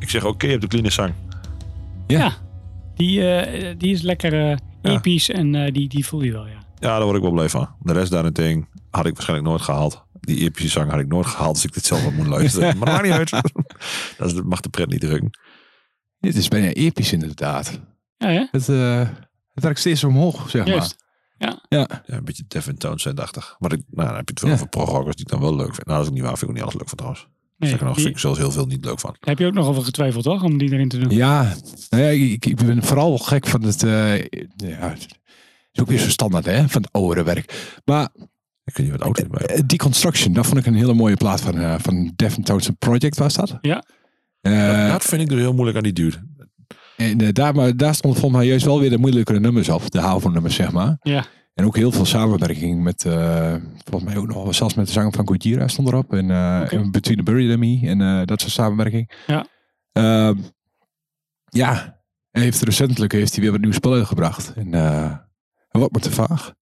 zeg oké op de clean zang.
Die, eh, die is lekker eh,
Ja.
episch en eh, die, die voel je wel, ja.
Ja, daar word ik wel blij van. De rest daarentegen had ik waarschijnlijk nooit gehaald. Die epische zang had ik nooit gehaald als ik dit zelf had moeten
(laughs)
luisteren. maar dat maakt niet uit. (laughs) dat is- dat mag de pret niet drukken.
Dit is bijna episch inderdaad.
Ja, hè?
Het, eh het raakt steeds omhoog, zeg
Juist.
maar. Ja.
Ja, een beetje Devin Townsend-achtig. Maar ik, nou, dan heb je het wel
Ja.
over pro-rockers die ik dan wel leuk vind. Nou, dat is ook niet waar. Vind ik ook niet alles leuk van trouwens.
Nee,
Zeker nog,
die-
vind ik zelfs heel veel niet leuk van.
daar heb je ook nog over getwijfeld, toch? Om die erin te doen.
Ja, nou ja ik, ik ben vooral gek van het... eh, ja, het is ook weer zo standaard, hè? Van het oude werk. Maar
Ik weet niet wat oud is, maar
Eh, Deconstruction, dat vond ik een hele mooie plaat van, eh van Devin Townsend Project, was dat?
Ja.
Eh,
dat vind ik dus heel moeilijk aan die dude.
en eh, daar, maar, daar stond volgens mij juist wel weer de moeilijkere nummers op, de HAVO-nummers, zeg maar.
Ja.
En ook heel veel samenwerking met, eh, volgens mij ook nog, wel, zelfs met de zanger van Gojira stond erop. En, eh,
Oké.
en Between the Buried and Me en eh, dat soort samenwerking.
Ja.
Ehm, ja, hij heeft recentelijk heeft hij weer wat nieuw spel uitgebracht. En eh, hij wordt me te vaag.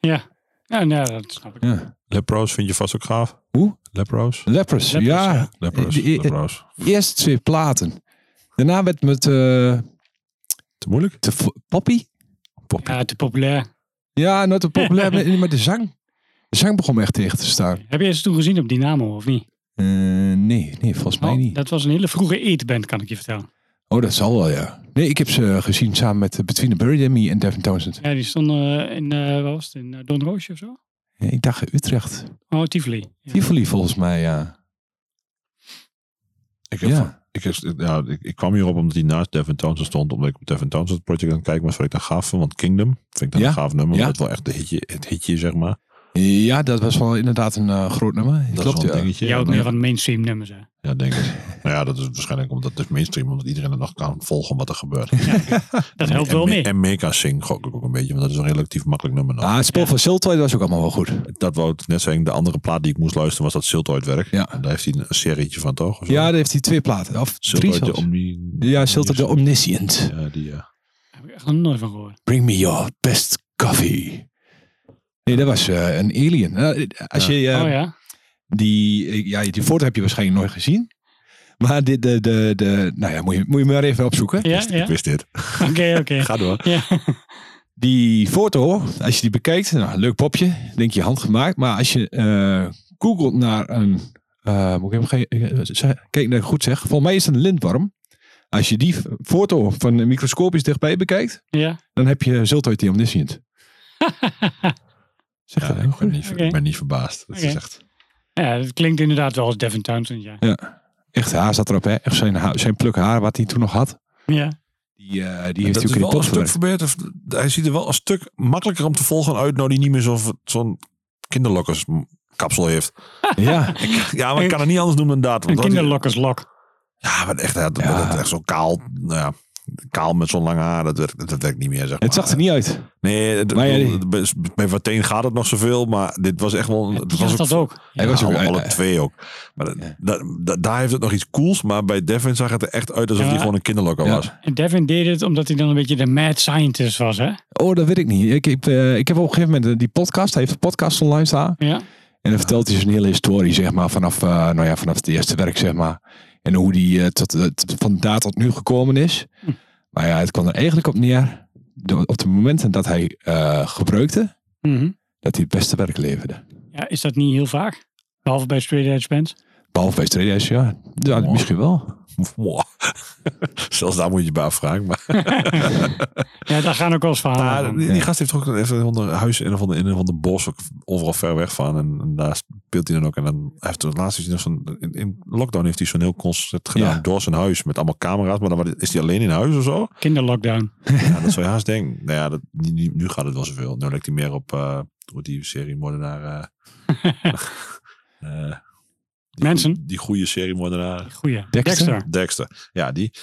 Ja, nou, dat snap ik.
Ja.
Leprose vind je vast ook gaaf.
Hoe?
Leprose?
Lepros,
Lepros,
ja.
ja.
Leprose.
Die-
Leprose.
Eerst twee platen. Daarna werd met eh
Te moeilijk?
te vo- Poppy.
Poppy.
Ja, te populair.
Ja, nooit
(laughs)
te populair, maar- maar de zang. De zang begon me echt tegen te staan.
Heb je ze toen gezien op Dynamo, of niet?
Eh, nee, nee, volgens mij
Oh,
niet.
Dat was een hele vroege eetband, kan ik je vertellen.
Oh, dat zal wel, ja. Nee, ik heb ze gezien samen met eh, Between the Buried and Me en Devin Townsend.
Ja, die stonden eh, in, eh wat was het, in eh, Don Roosje of zo?
Nee, ik dacht Utrecht.
Oh, Tivoli. Ja.
Tivoli volgens mij, ja.
Ik, heb van-
Ja,
ik, heb- ja, ik, ik kwam hierop omdat hij naast Devin Townsend stond. Omdat ik op Devin Townsend project aan het kijken was. Wat ik dan gaaf van. Want Kingdom vind ik dan
Ja.
een gaaf nummer.
Ja.
Dat is wel echt de hitje, het hitje, zeg maar.
ja dat was wel inderdaad een eh, groot nummer.
Dat
Klopt,
is wel een
ja.
dingetje.
Ja, ook
En,
meer
eh,
van mainstream nummers. Hè.
Ja, denk ik. Nou ja, dat is waarschijnlijk omdat het is mainstream, omdat iedereen er nog kan volgen wat er gebeurt.
Dat helpt
en,
wel
me-
mee.
En Mega Sing gok ik ook een beetje, want dat is een relatief makkelijk nummer nog.
Ah, het spel van Siltoid was ook allemaal wel goed.
Dat wou ik net zeggen, de andere plaat die ik moest luisteren was dat Siltoid-werk.
Ja.
En daar heeft hij een serietje van, toch? Of zo?
Ja, daar heeft hij twee platen. Of drie
Siltoid de
zelfs.
Omni...
Ja, Siltoid de Omniscient.
Ja, die, eh, ja.
Daar heb ik echt nog nooit van gehoord.
Bring me your best coffee. Nee, dat was eh, een alien. Nou, als je eh,
oh ja?
die, eh, ja, die foto heb je waarschijnlijk nooit gezien. Maar dit, de, de, de, nou ja, moet je, moet je maar even opzoeken.
Ja,
Wist-
ja.
Ik wist dit.
Oké, oké.
(laughs) Ga door.
Ja.
Die foto, als je die bekijkt, nou, leuk popje, denk je handgemaakt. Maar als je eh googelt naar een, eh, moet ik hem ge- eh, ze- kijk naar goed zeg, volgens mij is het een lintworm. Als je die foto van een microscopisch dichtbij bekijkt,
Ja.
dan heb je Zultoid die omniscient. (laughs) zeg
Ja,
dat
ik
goed?
ben niet,
Oké.
ik ben niet verbaasd. Dat is
Oké.
echt...
ja, dat klinkt inderdaad wel als Devin Townsend, ja.
Echt haar zat erop, hè? Echt zijn, haar, zijn pluk haar, wat hij toen nog had.
Ja,
Die, eh, die
Dat
heeft
is
hij
wel
ook in
een
de
stuk
top
verbeterd. Hij ziet er wel een stuk makkelijker om te volgen uit, nou die niet meer zo'n zo'n kinderlokkerskapsel heeft.
(laughs) Ja,
Ja, maar ik kan het niet anders noemen dan dat.
een
want dat-
kinderlokkerslok.
Ja, maar echt, dat,
Ja.
dat echt zo kaal. Nou ja, kaal met zo'n lang haar, dat werkt, dat werkt niet meer, zeg maar.
het zag er niet uit.
Nee, het-
Maar ja, die-
bij- bij Verteen gaat het nog zoveel, maar dit was echt wel... Het
Die was dat ook.
Hij was ook
alle, alle
eh,
twee ook. Maar dat-
Ja.
dat- dat- daar heeft het nog iets cools, maar bij Devin zag het er echt uit alsof
Ja.
hij gewoon een kinderlokker
Ja.
was. (laughs)
En Devin deed het omdat hij dan een beetje de mad scientist was, hè?
Oh, dat weet ik niet. Ik heb, eh, ik heb op een gegeven moment eh, die podcast, hij heeft een podcast online staan.
Ja.
En dan vertelt hij zijn hele historie, zeg maar, vanaf, eh, nou ja, vanaf het eerste werk, zeg maar. En hoe die eh, tot, eh, tot- van daar tot nu gekomen is.
Hm.
Maar ja, het kwam er eigenlijk op neer, de- op de momenten dat hij eh, gebruikte,
Mhm.
dat hij het beste werk leverde.
ja. Is dat niet heel vaak? Behalve bij Straight Edge bands.
Behalve bij 3DS, ja. ja
Mooi.
misschien wel.
Mwah. (laughs) Zelfs daar moet je je bij afvragen. Maar,
Ja, daar gaan ook wel eens verhalen
Nou,
maar
van.
Ah, die, die gast heeft toch ook even onder huis in of onder, in of onder bos, ook overal ver weg van. En, en daar speelt hij dan ook. En dan hij heeft er laatst is hij nog zo'n, in, in lockdown heeft hij zo'n heel concert gedaan
Ja.
door zijn huis met allemaal camera's. Maar dan is hij alleen in huis of zo.
Kinderlockdown.
Ja, dat zou je haast denken. Nou ja, dat, nu- nu, nu gaat het wel zoveel. Nu lijkt hij meer op eh, hoe die serie Moordenaar.
(laughs)
eh, eh, die
Mensen?
goeie- Die goede serie Moordenaar.
Goeie.
Dexter?
Dexter. Ja, die. (laughs)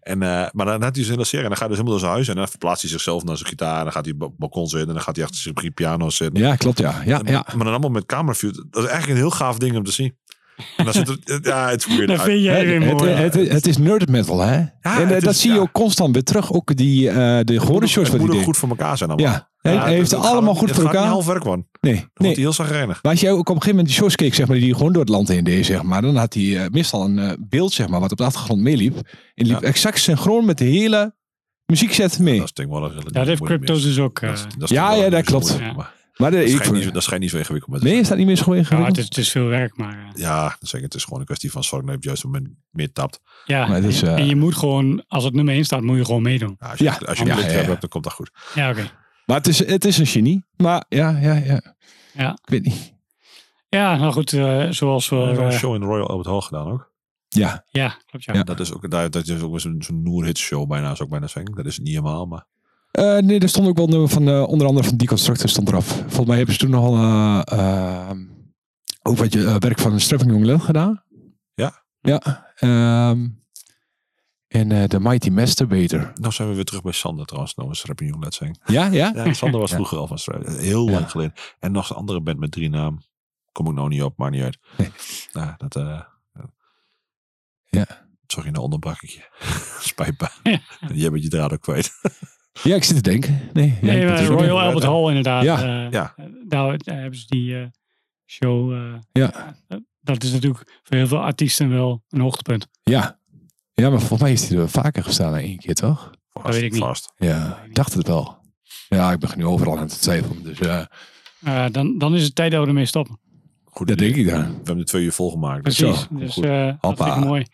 en, eh, maar dan had hij zijn hele serie. En dan gaat hij dus helemaal door zijn huis. En dan verplaatst hij zichzelf naar zijn gitaar. En dan gaat hij op het balkon zitten. En dan gaat hij achter zijn piano zitten.
Ja, klopt, ja. Ja, ja.
Maar dan allemaal met cameraview. Dat is eigenlijk een heel gaaf ding om te zien. En dan zit
(laughs)
er, ja, het is weird.
Dat vind jij weer
het,
mooi.
het, het, het is nerd metal, hè? en eh,
het
dat
is-
zie je
ja.
ook constant weer terug. Ook die, eh de gore shows
Het
wat
moet
hij
ook
deed.
goed voor elkaar zijn allemaal.
Ja, hij hij heeft ze
het gaat
allemaal
niet-
goed voor
Het gaat
elkaar.
niet half werk, man. Dan
Nee,
wordt
nee.
hij heel zagrijnig.
Maar als je ook op een gegeven moment die shows keek, zeg maar, die gewoon door het land heen deed, zeg maar, dan had hij eh, meestal een eh, beeld, zeg maar, wat op de achtergrond meeliep. En liep exact synchroon met de hele muziekset mee.
Dat is denk ik wel een
Ja, dat heeft
moeilijk
Cryptos
mix.
dus ook. eh,
Dat is- dat is
Ja,
denk ik wel
ja,
een
dat
moeilijk
klopt.
moeilijk, maar
maar de,
dat
ik,
schijnt niet zo- Dat schijnt niet zo ingewikkeld. maar het
nee,
is-
is dat niet meer zo
ja, het,
ingewikkeld?
is, het is veel werk, maar. eh,
Ja, dat zeg ik, het is gewoon een kwestie van zorg dat je op het juiste moment meer tapt.
ja,
Maar het is, eh,
en je moet gewoon, als het nummer 1 staat, moet je gewoon meedoen.
Ja, Nou, als je,
Ja.
als je een
Ja,
blik
ja,
hebt,
ja.
hebt, dan komt dat goed.
Ja, oké.
Maar het is, het is een genie. Maar ja, ja, ja.
Ja.
Ik weet niet.
Ja, nou goed, eh, zoals we.
We hebben
eh,
een show in de Royal Albert Hall gedaan ook.
Ja,
ja, klopt ja.
Ja.
Dat is ook, daar- dat is ook zo'n zo'n Noerhits show bijna, zou ik bijna zeggen. Dat is het niet helemaal, maar
Eh, nee, er stond ook wel een nummer van, eh, onder andere van Deconstructor stond eraf. Volgens mij hebben ze toen nogal eh, eh, ook wat je, eh, werk van Strapping Young Lil gedaan.
Ja.
Ja. ehm, en eh The Mighty Masturbator.
nou zijn we weer terug bij Sander trouwens. Nou, een Strapping Young, let's zeggen.
Ja, ja.
Ja, Sander was
Ja.
vroeger al van Strapping Heel lang
Ja.
geleden. En nog een andere band met drie naam. Kom ik nou niet op, maar niet uit.
Nee.
Nou, dat... eh,
Ja.
Sorry, nou onderbrak ik je. (laughs) Spijt me.
Ja.
Jij bent je draad ook kwijt.
Ja, ik zit te denken. Nee, ja,
Nee,
dat
maar
is ook
Royal
niet.
Albert Hall inderdaad.
Ja,
eh,
ja.
Daar, daar hebben ze die eh, show. eh,
Ja.
dat is natuurlijk voor heel veel artiesten wel een hoogtepunt.
Ja. ja, maar volgens mij is hij er wel vaker gestaan dan één keer, toch?
Vast,
weet ik niet.
Vast.
Ja, ik dacht het wel. Ja, ik begin nu overal aan te twijfelen. Dus eh,
Eh, dan, dan is het tijd dat we ermee stoppen.
Goed
dat
idee.
denk ik
We
dan.
hebben de twee uur volgemaakt. dus
Precies.
zo, komt
dus
goed.
eh dat
Hoppa.
vind ik mooi.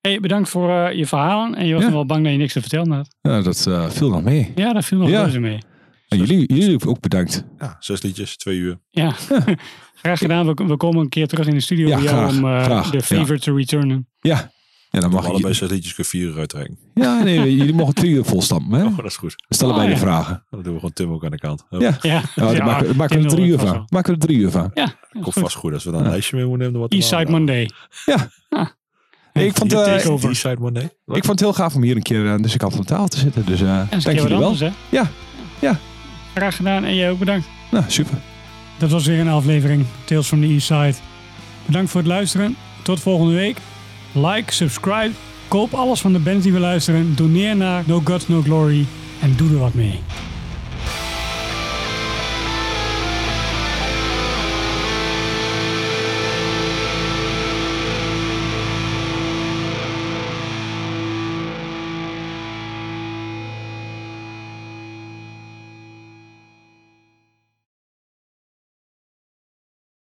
Hey, bedankt voor eh, je verhalen. En je was
Ja.
nog wel bang dat je niks te vertellen had.
Ja, dat eh, viel nog mee.
Ja, daar viel nog
Ja.
reuze mee.
En jullie, jullie ook bedankt.
ja, zes liedjes, twee uur.
(laughs) Ja, graag gedaan. We, we komen een keer terug in de studio
Ja,
bij jou
graag,
om eh,
graag,
de
ja.
favor te returnen.
Ja. Ja, dan
Mag
mag
allebei
je.
zes liedjes keer vier uur uittrekken.
Ja, nee, jullie mogen twee uur volstampen. Hè?
Oh, dat is goed.
We stellen
Oh,
beide
ja.
vragen.
Dan doen we gewoon Tim ook aan de kant. Hup.
Ja.
Ja,
Ja, daar maken, we- maken we er
kinderen
drie uur
vast
van.
wel.
Maken we er drie uur van.
Ja,
Komt
goed.
vast goed als we dan een
Ja.
lijstje mee moeten nemen. dan wordt het
Eastside
wel-
Monday. Ah.
Nee, ik, vond,
Hier,
eh,
take
ik
over. Eastside Monday.
vond het heel gaaf om hier een keer eh, aan de deze kant van de tafel te zitten. Dus eh,
En
dank jullie wel.
Hè?
Ja. Ja.
Graag gedaan en jij ook bedankt.
Nou, super.
Dat was weer een aflevering Tales from the East Side. Bedankt voor het luisteren. Tot volgende week. Like, subscribe, koop alles van de band die we luisteren. Doneer naar No God No Glory en doe er wat mee.